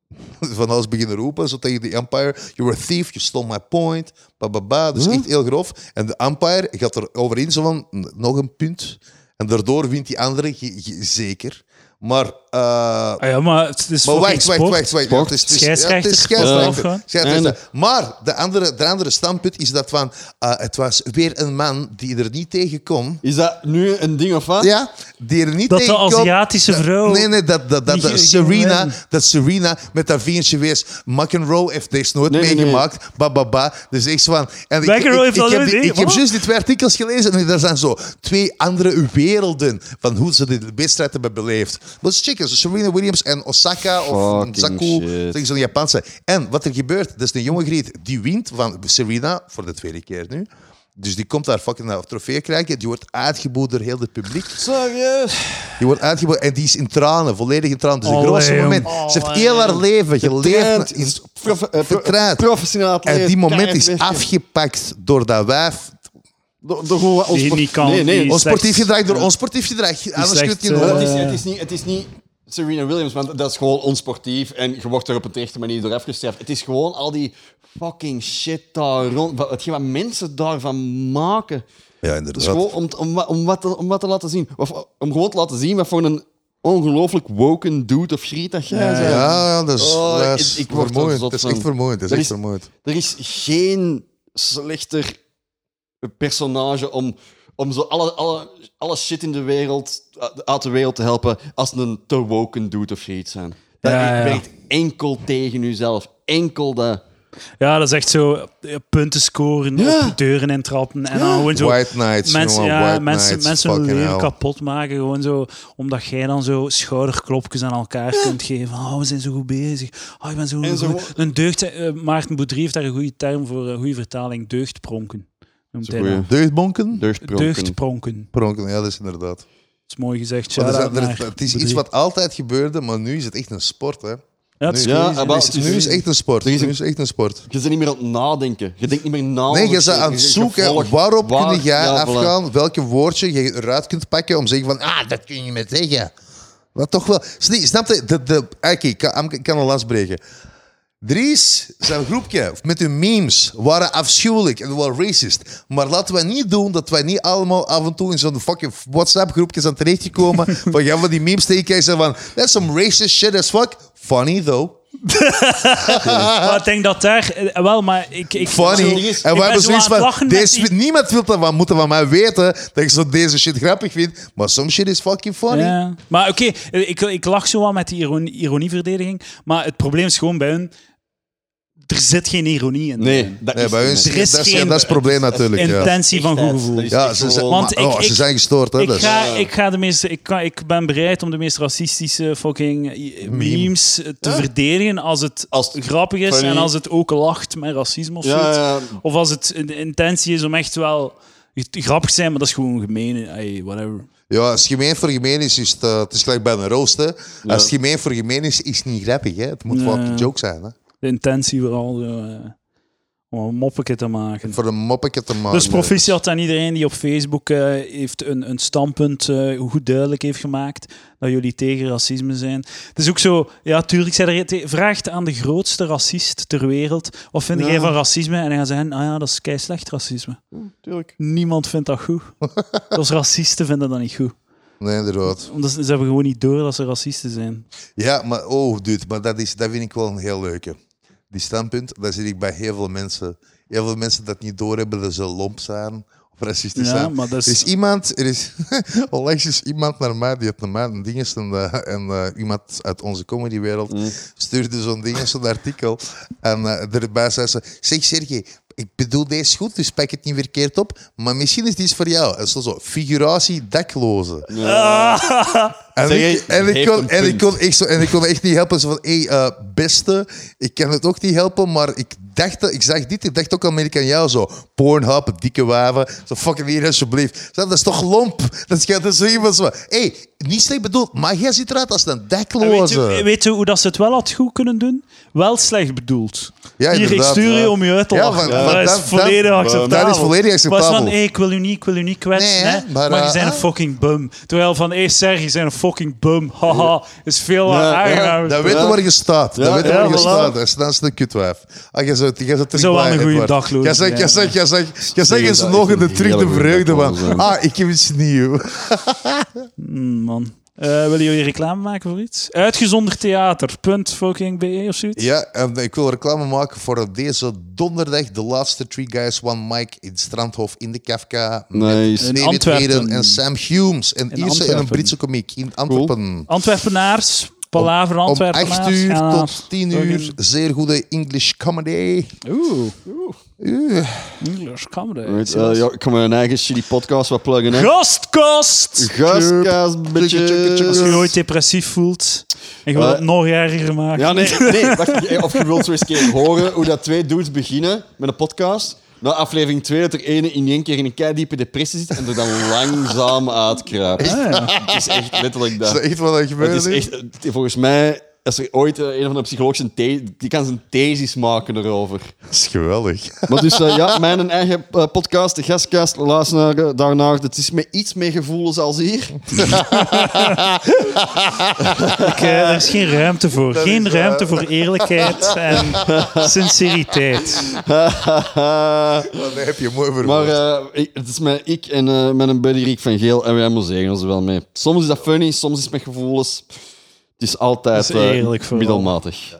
[SPEAKER 3] *laughs* Van alles beginnen roepen. Zo tegen de umpire. You were a thief, you stole my point. Ba, ba, ba. Dus echt heel grof. En de umpire gaat er overheen zo van, "N- nog een punt. En daardoor wint die andere ge- ge- zeker. Maar, eh,
[SPEAKER 1] Ah ja, maar het is
[SPEAKER 3] maar
[SPEAKER 1] fucking
[SPEAKER 3] wacht, wacht,
[SPEAKER 1] sport.
[SPEAKER 3] wacht, wacht. Ja, het is- het is- ja, het is
[SPEAKER 1] Scheidsrechter.
[SPEAKER 3] scheidsrechter.
[SPEAKER 1] Ja.
[SPEAKER 3] Scheidsrechter. Maar de andere, de andere standpunt is dat van, eh, het was weer een man die er niet tegen kon.
[SPEAKER 2] Is dat nu een ding of wat?
[SPEAKER 3] Ja, die er niet
[SPEAKER 1] Dat de
[SPEAKER 3] tegen kon.
[SPEAKER 1] Aziatische
[SPEAKER 3] Dat-
[SPEAKER 1] vrouw
[SPEAKER 3] Nee, nee, dat, dat, dat,
[SPEAKER 1] niet
[SPEAKER 3] dat
[SPEAKER 1] ging
[SPEAKER 3] Serena,
[SPEAKER 1] winnen.
[SPEAKER 3] dat Serena met haar vinkje wees. McEnroe heeft deze nooit
[SPEAKER 2] Nee, nee, nee.
[SPEAKER 3] meegemaakt. Ba, ba, ba. Dus echt zo van... En ik,
[SPEAKER 1] McEnroe
[SPEAKER 3] ik-
[SPEAKER 1] heeft
[SPEAKER 3] ik
[SPEAKER 1] dat
[SPEAKER 3] heb
[SPEAKER 1] nooit
[SPEAKER 3] die- Ik heb
[SPEAKER 1] meegemaakt?
[SPEAKER 3] juist die twee artikels gelezen en daar zijn zo twee andere werelden van hoe ze de wedstrijd hebben beleefd. Dat is checken. Serena Williams en Osaka of
[SPEAKER 2] Fucking
[SPEAKER 3] Saku.
[SPEAKER 2] shit.
[SPEAKER 3] Dat is een Japanse. En wat er gebeurt, dat is een jonge griet die wint van Serena voor de tweede keer nu. Dus die komt daar fucking naar trofee krijgen. Die wordt uitgeboet door heel het publiek.
[SPEAKER 2] Serieus?
[SPEAKER 3] Die wordt uitgeboeid en die is in tranen, volledig in tranen. Dus het
[SPEAKER 1] Allee,
[SPEAKER 3] grootste
[SPEAKER 1] jong.
[SPEAKER 3] moment. Ze heeft heel haar leven geleefd.
[SPEAKER 2] Getraind,
[SPEAKER 3] In,
[SPEAKER 2] is prof- eh, pro-
[SPEAKER 3] vertraind.
[SPEAKER 2] professioneel atleet,
[SPEAKER 3] En die moment
[SPEAKER 2] keihard
[SPEAKER 3] is
[SPEAKER 2] werken.
[SPEAKER 3] afgepakt door dat wijf.
[SPEAKER 2] Door, door gewoon ons
[SPEAKER 1] Die
[SPEAKER 2] sport-
[SPEAKER 1] niet kan,
[SPEAKER 2] Nee, nee.
[SPEAKER 1] die
[SPEAKER 3] Ons
[SPEAKER 2] ons-
[SPEAKER 1] is- Slecht.
[SPEAKER 3] sportief gedrag door ons sportief gedrag. Anders kun je het niet
[SPEAKER 1] slecht,
[SPEAKER 2] Maar
[SPEAKER 3] doen.
[SPEAKER 2] het, is,
[SPEAKER 1] eh,
[SPEAKER 2] het, is niet, het is niet Serena Williams, want dat is gewoon onsportief en je wordt er op een terechte manier door afgestraft. Het is gewoon al die fucking shit daar rond. wat- Hetgeen wat mensen daarvan maken.
[SPEAKER 3] Ja,
[SPEAKER 2] Dat is
[SPEAKER 3] inderdaad.
[SPEAKER 2] gewoon om, t- om, wa- om, wat te, om wat te laten zien. Of, om gewoon te laten zien wat voor een ongelooflijk woken dude of griet dat jij bent.
[SPEAKER 3] Ja, dat is,
[SPEAKER 2] Oh,
[SPEAKER 3] dat is
[SPEAKER 2] ik- ik word er
[SPEAKER 3] vermoeiend.
[SPEAKER 2] zot
[SPEAKER 3] Dat is
[SPEAKER 2] van.
[SPEAKER 3] echt vermoeiend. Dat is
[SPEAKER 2] Er
[SPEAKER 3] echt
[SPEAKER 2] is-
[SPEAKER 3] vermoeiend.
[SPEAKER 2] Er is geen slechter personage om, om zo alle, alle, alle shit in de wereld, uit de wereld te helpen als een te woken dude of zoiets zijn. Dat
[SPEAKER 1] Ja, ja.
[SPEAKER 2] werkt enkel tegen jezelf. Enkel dat.
[SPEAKER 1] Ja, dat is echt zo eh, punten scoren,
[SPEAKER 2] Ja.
[SPEAKER 1] op deuren en trappen. En dan gewoon zo
[SPEAKER 3] White Nights,
[SPEAKER 1] mensen,
[SPEAKER 3] jongen,
[SPEAKER 1] ja,
[SPEAKER 3] White
[SPEAKER 1] mensen,
[SPEAKER 3] Nights,
[SPEAKER 1] mensen hun
[SPEAKER 3] fucking
[SPEAKER 1] leven
[SPEAKER 3] hell.
[SPEAKER 1] kapot maken. Gewoon zo, omdat jij dan zo schouderklopjes aan elkaar kunt geven. Oh, we zijn zo goed bezig. Oh, ik ben zo
[SPEAKER 2] En zo-
[SPEAKER 1] goed. Een deugd... eh, Maarten Boudry heeft daar een goede term voor, een goede vertaling. Deugdpronken. Noemt hij dat.
[SPEAKER 3] Deugdbonken?
[SPEAKER 1] Deugdpronken.
[SPEAKER 3] Deugdpronken, ja, dat is inderdaad.
[SPEAKER 1] Dat is mooi gezegd.
[SPEAKER 3] Want er
[SPEAKER 1] Shout-out
[SPEAKER 3] zijn- er-
[SPEAKER 1] naar
[SPEAKER 3] het is iets
[SPEAKER 1] Boudry.
[SPEAKER 3] wat altijd gebeurde, maar nu is het echt een sport. Hè.
[SPEAKER 1] Ja, het is
[SPEAKER 3] nu-
[SPEAKER 1] crazy.
[SPEAKER 2] Ja, maar
[SPEAKER 1] Het is-
[SPEAKER 2] het
[SPEAKER 3] Nu is het *laughs* echt een sport.
[SPEAKER 2] Er is
[SPEAKER 3] Nu
[SPEAKER 2] een-
[SPEAKER 3] is het echt een sport.
[SPEAKER 2] Je bent niet meer aan het nadenken. Je denkt niet meer na.
[SPEAKER 3] Nee,
[SPEAKER 2] over
[SPEAKER 3] je bent
[SPEAKER 2] shit.
[SPEAKER 3] aan het
[SPEAKER 2] Dus Je
[SPEAKER 3] zoeken
[SPEAKER 2] volgt
[SPEAKER 3] waarop
[SPEAKER 2] waar-
[SPEAKER 3] kun jij
[SPEAKER 2] ja, voilà.
[SPEAKER 3] afgaan, welke woordje je eruit kunt pakken om te zeggen van, ah, dat kun je me zeggen. Wat toch wel. Snap snap je? De, de, Oké, ik kan, ik kan een last breken. Er is zijn groepje met hun memes waren afschuwelijk en wel racist. Maar laten we niet doen dat wij niet allemaal af en toe in zo'n fucking WhatsApp-groepje zijn
[SPEAKER 2] *laughs*
[SPEAKER 3] terechtgekomen. van ja, van die memes tegen en van that's some racist shit as fuck. Funny though.
[SPEAKER 1] Maar ik denk dat daar... eh, Wel, maar ik... ik
[SPEAKER 3] Funny.
[SPEAKER 1] zo- ik
[SPEAKER 3] en we
[SPEAKER 1] ben
[SPEAKER 3] hebben
[SPEAKER 1] zo
[SPEAKER 3] zoiets
[SPEAKER 1] aan het
[SPEAKER 3] van...
[SPEAKER 1] lachen met
[SPEAKER 3] Deze,
[SPEAKER 1] die-
[SPEAKER 3] Niemand wil dat van, moet dat van mij weten dat ik zo deze shit grappig vind. Maar soms shit is fucking funny.
[SPEAKER 1] Ja. Maar oké, eh, ik, ik lach zo wel met die ironie, ironieverdediging. Maar het probleem is gewoon bij hun... Er zit geen ironie in.
[SPEAKER 2] Nee, dat
[SPEAKER 3] Nee,
[SPEAKER 2] is
[SPEAKER 3] bij
[SPEAKER 2] het
[SPEAKER 3] ons,
[SPEAKER 2] niet.
[SPEAKER 1] Er is
[SPEAKER 3] dat, is,
[SPEAKER 1] geen-
[SPEAKER 3] dat is het probleem natuurlijk. Ja,
[SPEAKER 1] Intentie van goed gevoel.
[SPEAKER 2] Dat is
[SPEAKER 3] ja
[SPEAKER 2] echt
[SPEAKER 3] ze, ze,
[SPEAKER 2] gewoon-
[SPEAKER 1] Want
[SPEAKER 3] maar-
[SPEAKER 1] ik-
[SPEAKER 3] oh, ze
[SPEAKER 1] ik-
[SPEAKER 3] zijn gestoord. Hè,
[SPEAKER 1] Ik
[SPEAKER 3] dus.
[SPEAKER 1] ga, ik, ga de meeste, ik, kan, ik ben bereid om de meest racistische fucking i- memes eh, te verdedigen als het
[SPEAKER 2] Als het
[SPEAKER 1] grappig is
[SPEAKER 2] funny-
[SPEAKER 1] en als het ook lacht met racisme of
[SPEAKER 2] Ja,
[SPEAKER 1] zoiets.
[SPEAKER 2] ja.
[SPEAKER 1] Of als het de intentie is om echt wel grappig te zijn, maar dat is gewoon gemeen. Ay, whatever.
[SPEAKER 3] Ja, als het gemeen voor gemeen is, is het, eh, het is gelijk bij een rooster. Als het gemeen voor gemeen is, is het niet grappig. Hè. Het moet
[SPEAKER 1] Nee.
[SPEAKER 3] fucking joke zijn. Hè.
[SPEAKER 1] De intentie vooral zo, eh, om een moppetje te maken.
[SPEAKER 3] Voor een moppetje te maken.
[SPEAKER 1] Dus proficiat aan iedereen die op Facebook eh, heeft een, een standpunt eh, goed duidelijk heeft gemaakt dat jullie tegen racisme zijn. Het is ook zo, ja tuurlijk, zij er, te- vraagt aan de grootste racist ter wereld, wat vind jij van racisme? En hij gaat zeggen, ah ja, dat is kei slecht racisme.
[SPEAKER 2] Tuurlijk.
[SPEAKER 1] Niemand vindt dat goed. Als racisten vinden dat niet goed.
[SPEAKER 3] Nee, inderdaad.
[SPEAKER 1] Omdat ze, ze hebben gewoon niet door dat ze racisten zijn.
[SPEAKER 3] Ja, maar oh, dude, maar dat, is, dat vind ik wel een heel leuke. Die standpunt, daar zit ik bij heel veel mensen. Heel veel mensen dat niet doorhebben dat ze lomp zijn of racistisch
[SPEAKER 1] Ja,
[SPEAKER 3] zijn.
[SPEAKER 1] maar dat is-
[SPEAKER 3] Er is iemand, er is, *laughs* onlangs is iemand naar mij, die had naar mij een dinges en, eh, en eh, iemand uit onze comedywereld
[SPEAKER 2] Mm.
[SPEAKER 3] stuurde zo'n dinges, zo'n artikel. En eh, erbij zei ze, zeg Sergej, ik bedoel deze goed, dus pak het niet verkeerd op, maar misschien is dit voor jou. En zo, zo figuratie daklozen. En,
[SPEAKER 2] Zeg,
[SPEAKER 3] ik, en,
[SPEAKER 2] heeft
[SPEAKER 3] ik kon,
[SPEAKER 2] een
[SPEAKER 3] en, ik
[SPEAKER 2] punt.
[SPEAKER 3] kon echt zo, en ik kon echt niet helpen. Zo van, hé, eh, beste, ik kan het ook niet helpen, maar ik dacht, dat- ik zag dit, ik dacht ook al meer aan jou. Zo, pornhub, dikke waven, zo fucking hier, alsjeblieft. Zo, dat is toch lomp? Dat is, dat is zo iemand zo van, hé, niet slecht bedoeld, maar jij ziet eruit als een
[SPEAKER 1] En Weet je,
[SPEAKER 3] dekloze.
[SPEAKER 1] weet je hoe dat ze het wel had goed kunnen doen? Wel slecht bedoeld.
[SPEAKER 3] Ja,
[SPEAKER 1] Hier, ik
[SPEAKER 3] inderdaad,
[SPEAKER 1] stuur je
[SPEAKER 3] ja.
[SPEAKER 1] om je uit te
[SPEAKER 3] Ja,
[SPEAKER 1] lachen.
[SPEAKER 3] want- want
[SPEAKER 1] dat,
[SPEAKER 3] dat-
[SPEAKER 1] is volledig
[SPEAKER 3] dat-
[SPEAKER 1] acceptabel.
[SPEAKER 3] dat is volledig acceptabel.
[SPEAKER 1] Maar van, hey, ik wil u niet, ik wil u niet kwetsen,
[SPEAKER 3] Nee, hè,
[SPEAKER 1] hè,
[SPEAKER 3] maar,
[SPEAKER 1] maar,
[SPEAKER 3] eh,
[SPEAKER 1] je bent een
[SPEAKER 3] ah.
[SPEAKER 1] fucking bum. Terwijl van, hé, hey, Serge, je bent een fucking bum. *laughs* Haha, is veel
[SPEAKER 2] Ja,
[SPEAKER 1] aangenamer.
[SPEAKER 3] Dat weet je
[SPEAKER 2] Ja.
[SPEAKER 3] waar je staat. Dat
[SPEAKER 2] Ja,
[SPEAKER 3] weet je
[SPEAKER 1] ja,
[SPEAKER 3] waar je
[SPEAKER 1] voilà.
[SPEAKER 3] staat. Dat is- Dat is een kutwijf. Ah, jij zou jij zou terug
[SPEAKER 1] Zo wel
[SPEAKER 3] blij,
[SPEAKER 1] een goeie
[SPEAKER 3] Edward.
[SPEAKER 1] dag, Louis.
[SPEAKER 3] Jij zegt, jij
[SPEAKER 1] Ja.
[SPEAKER 3] zegt, jij zegt, jij zegt in zijn
[SPEAKER 2] dat is
[SPEAKER 3] ogen de
[SPEAKER 2] een
[SPEAKER 3] terug de
[SPEAKER 2] hele goeie
[SPEAKER 3] vreugde
[SPEAKER 2] dag,
[SPEAKER 3] van,
[SPEAKER 2] Louis.
[SPEAKER 3] ah, ik heb iets nieuws.
[SPEAKER 1] Hmm, man. Eh, willen jullie reclame maken voor iets? Uitgezonderd theater. Punt fucking BE of zoiets?
[SPEAKER 3] Ja, en ik wil reclame maken voor deze donderdag de laatste Three Guys One Mic in Strandhof in de Kafka.
[SPEAKER 2] Nice.
[SPEAKER 1] In
[SPEAKER 3] David
[SPEAKER 1] Antwerpen.
[SPEAKER 3] Heden en Sam Humes. Een Ierse en een
[SPEAKER 1] Antwerpen.
[SPEAKER 3] Britse komiek in Antwerpen.
[SPEAKER 1] Antwerpenaars. Palaver
[SPEAKER 3] Om
[SPEAKER 1] Antwerpenaars.
[SPEAKER 3] 8 uur
[SPEAKER 1] gaan naar
[SPEAKER 3] tot 10 uur.
[SPEAKER 1] fucking-
[SPEAKER 3] Zeer goede English comedy.
[SPEAKER 1] Oeh. English comedy.
[SPEAKER 2] Right, eh, ja, ik ga mijn eigen shitty podcast wat pluggen, hè.
[SPEAKER 1] Gastkost!
[SPEAKER 2] Gastkaas,
[SPEAKER 1] Als je je
[SPEAKER 2] bitches.
[SPEAKER 1] ooit depressief voelt en je wil
[SPEAKER 2] Eh,
[SPEAKER 1] het nog erger maken.
[SPEAKER 2] Ja, nee, *laughs* nee. Wacht, of je wilt zo eens een keer horen hoe dat twee dudes beginnen met een podcast. Na aflevering 2 dat er ene in één keer in een keidiepe depressie zit en er dan langzaam uitkruipt.
[SPEAKER 1] Ah, ja.
[SPEAKER 2] Het is echt letterlijk
[SPEAKER 3] Is
[SPEAKER 2] dat.
[SPEAKER 3] dat echt wat er gebeurd
[SPEAKER 2] Het is echt, het- volgens mij, als er ooit eh, een van de psychologen die kan zijn thesis maken erover.
[SPEAKER 3] Dat is
[SPEAKER 1] *laughs*
[SPEAKER 3] geweldig.
[SPEAKER 2] Maar dus eh, ja, mijn eigen eh, podcast, de gastkast, luister naar, eh, daarnaar. Het is met iets meer gevoelens als hier. *laughs*
[SPEAKER 1] Ik, *laughs* eh, er is geen ruimte
[SPEAKER 2] *laughs*
[SPEAKER 1] voor. Geen
[SPEAKER 3] is, eh,
[SPEAKER 1] ruimte voor eerlijkheid en sinceriteit.
[SPEAKER 3] Dat heb je mooi verwoord.
[SPEAKER 2] maar eh, ik- het is met ik en eh met een buddy Rick van Geel en wij moezeren ons er wel mee. Soms is dat funny, soms is het met gevoelens. Het is altijd
[SPEAKER 1] Dat is
[SPEAKER 2] eh,
[SPEAKER 1] eerlijk vooral.
[SPEAKER 2] middelmatig.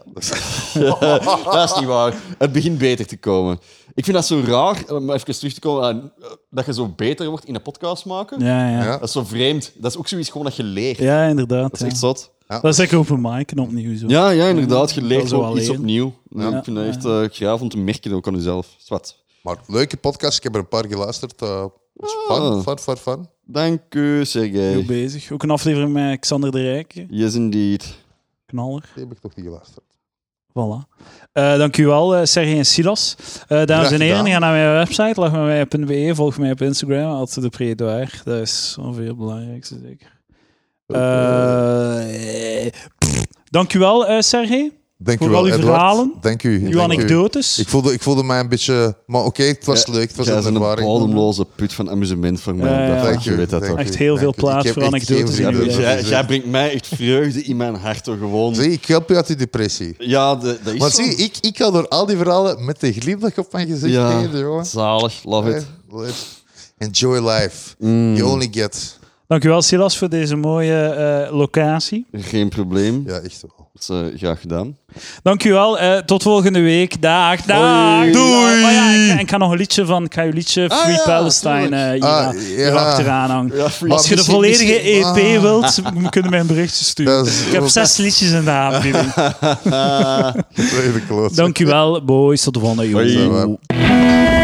[SPEAKER 2] *laughs* dat is niet waar. Het begint beter te komen. Ik vind dat zo raar, eh, om even terug te komen, aan, eh, dat je zo beter wordt in een podcast maken.
[SPEAKER 1] Ja, eh, ja.
[SPEAKER 3] Ja.
[SPEAKER 1] ja.
[SPEAKER 2] Dat is zo vreemd. Dat is ook zoiets gewoon dat je leert.
[SPEAKER 1] inderdaad.
[SPEAKER 2] Dat is
[SPEAKER 1] ja.
[SPEAKER 2] echt zot.
[SPEAKER 1] Dat is echt open mic en opnieuw zo.
[SPEAKER 2] Ja, ja inderdaad. Je
[SPEAKER 1] Dat
[SPEAKER 2] leert
[SPEAKER 1] is wel
[SPEAKER 2] gewoon iets
[SPEAKER 1] alleen.
[SPEAKER 2] opnieuw. Ja,
[SPEAKER 1] Ja.
[SPEAKER 2] Ik vind dat echt eh graaf om te merken ook aan jezelf. Zwat.
[SPEAKER 3] Maar leuke podcast. Ik heb er een paar geluisterd. eh, het is fun,
[SPEAKER 2] Ah.
[SPEAKER 3] fun, fun, fun.
[SPEAKER 2] Dank u,
[SPEAKER 1] Heel
[SPEAKER 2] Sergej.
[SPEAKER 1] bezig. Ook een aflevering met Xander de Rijk.
[SPEAKER 2] Yes, indeed.
[SPEAKER 1] Knaller.
[SPEAKER 3] Die heb ik nog niet geluisterd.
[SPEAKER 1] Voilà. Eh dank u wel, eh, Sergej en Silas. Eh, dames en heren,
[SPEAKER 3] gedaan.
[SPEAKER 1] ga naar mijn website, lachmijnwij.be, volg mij op Instagram, altijd de Predoir. Dat is ongeveer het belangrijkste, zeker. Eh, eh, pff. dank u wel, eh, Sergej.
[SPEAKER 3] Dank
[SPEAKER 1] Voor
[SPEAKER 3] u wel,
[SPEAKER 1] al uw
[SPEAKER 3] Edward.
[SPEAKER 1] verhalen,
[SPEAKER 3] Dank u.
[SPEAKER 1] Uw
[SPEAKER 3] dank u.
[SPEAKER 1] anekdotes.
[SPEAKER 3] Ik voelde, ik voelde mij een beetje... Maar oké, het was leuk. Het was
[SPEAKER 2] Jij
[SPEAKER 3] een
[SPEAKER 2] bent een
[SPEAKER 3] ervaring.
[SPEAKER 2] bodemloze put van amusement voor mij.
[SPEAKER 1] Ja, ja.
[SPEAKER 2] Dat
[SPEAKER 1] Dank
[SPEAKER 2] fuck, je weet dat
[SPEAKER 3] dank
[SPEAKER 2] toch.
[SPEAKER 1] Echt heel
[SPEAKER 3] dank
[SPEAKER 1] veel
[SPEAKER 3] u.
[SPEAKER 1] plaats
[SPEAKER 3] Ik heb
[SPEAKER 1] voor
[SPEAKER 3] echt
[SPEAKER 1] anekdotes
[SPEAKER 3] geen
[SPEAKER 1] in uw
[SPEAKER 3] vrienden.
[SPEAKER 1] leven.
[SPEAKER 2] Jij, jij brengt mij echt vreugde in mijn hart door gewoon.
[SPEAKER 3] Zie, ik help je uit die depressie.
[SPEAKER 2] Ja, de, dat is
[SPEAKER 3] Want
[SPEAKER 2] zo.
[SPEAKER 3] zie, ik, ik ga door al die verhalen met de glimlach op mijn gezicht
[SPEAKER 2] ja,
[SPEAKER 3] heen, jongen.
[SPEAKER 2] zalig, love it. Mm.
[SPEAKER 3] Hey, Enjoy life. You only get.
[SPEAKER 1] Dankjewel Silas voor deze mooie eh, locatie.
[SPEAKER 2] Geen probleem.
[SPEAKER 3] Ja, echt wel.
[SPEAKER 2] Dat is eh, graag gedaan.
[SPEAKER 1] Dankjewel. eh tot volgende week. Dag. Dag.
[SPEAKER 2] Hoi. Doei.
[SPEAKER 1] Oh ja, ik, ik ga nog een liedje van ik ga je liedje
[SPEAKER 2] Ah,
[SPEAKER 1] Free
[SPEAKER 2] ja,
[SPEAKER 1] Palestine eh
[SPEAKER 2] tuurlijk.
[SPEAKER 1] hier,
[SPEAKER 3] Ah,
[SPEAKER 1] hier
[SPEAKER 3] ja.
[SPEAKER 1] achteraan hangen.
[SPEAKER 2] Ja, free-
[SPEAKER 1] Als je de
[SPEAKER 3] misschien-
[SPEAKER 1] volledige
[SPEAKER 3] misschien-
[SPEAKER 1] EP
[SPEAKER 3] ah.
[SPEAKER 1] wilt,
[SPEAKER 3] *laughs*
[SPEAKER 1] m- kunnen mij een berichtje sturen.
[SPEAKER 3] Dat is-
[SPEAKER 1] Ik heb zes liedjes in de
[SPEAKER 3] *laughs*
[SPEAKER 1] aanbieding.
[SPEAKER 3] Even kloot.
[SPEAKER 1] Dankjewel, boys. Tot de volgende, jongens.
[SPEAKER 2] Hoi.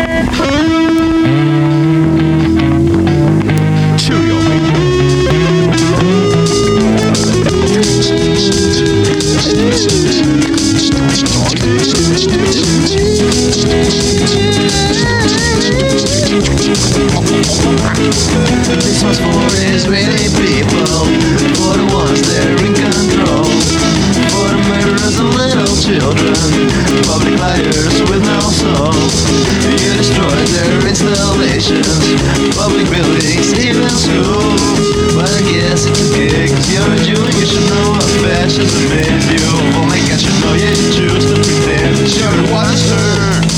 [SPEAKER 4] This one's for Israeli people, for the ones that are in control, for the murderers of little children, public liars with no soul. You destroyed their installations, public buildings, even schools. But I guess it's okay, cause you're a Jew and you should know what fascism is. You only got your know you choose to pretend that you're the watcher.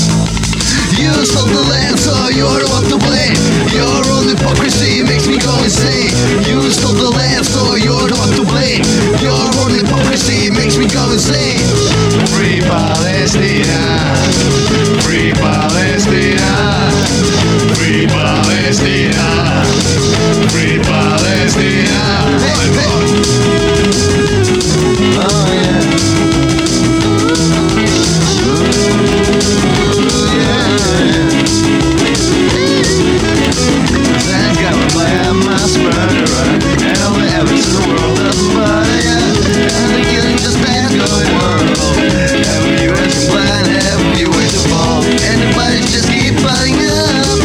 [SPEAKER 4] You sold the land, so you're the one to blame. Your own hypocrisy makes me go insane. You sold the land, so you're the one to blame. Your own hypocrisy makes me go insane. Free Palestina, free Palestina, free Palestina, free Palestina. Hey, hey. Oh yeah. That's governed by a mass murderer And all the evidence in the world is fire And the killing just bad going world Every US plan, every way to fall And the bodies just keep piling up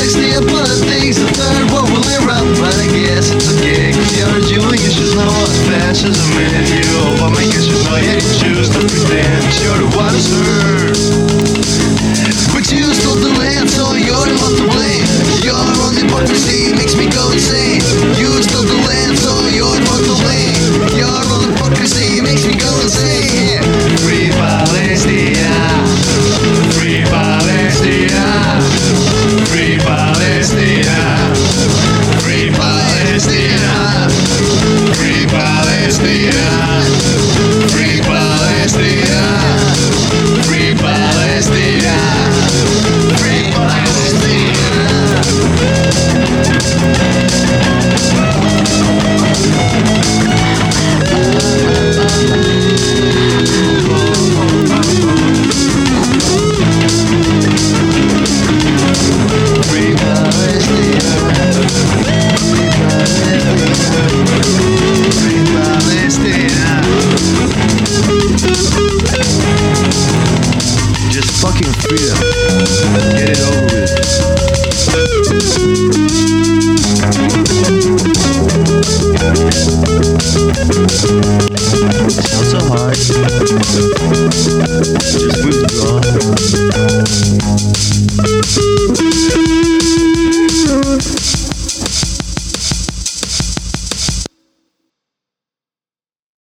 [SPEAKER 4] Next day a lot of things, the third world will erupt But I guess it's okay, cause you're a Jew and you should know what fascism is You lawmakers should know you choose to pretend You're the one serve but you stole the land, so you're the one to blame. Your own hypocrisy makes me go insane. You stole the land, so you're the one to blame. Your own hypocrisy makes me go insane. Free Palestine, free Palestine, free Palestine, free Palestine, free Palestine, free Palestine. Free Palestina! Free Palestina! Free Palestina! Free Palestina! Just fucking freedom. Get it over with. Not so hard. Just withdraw.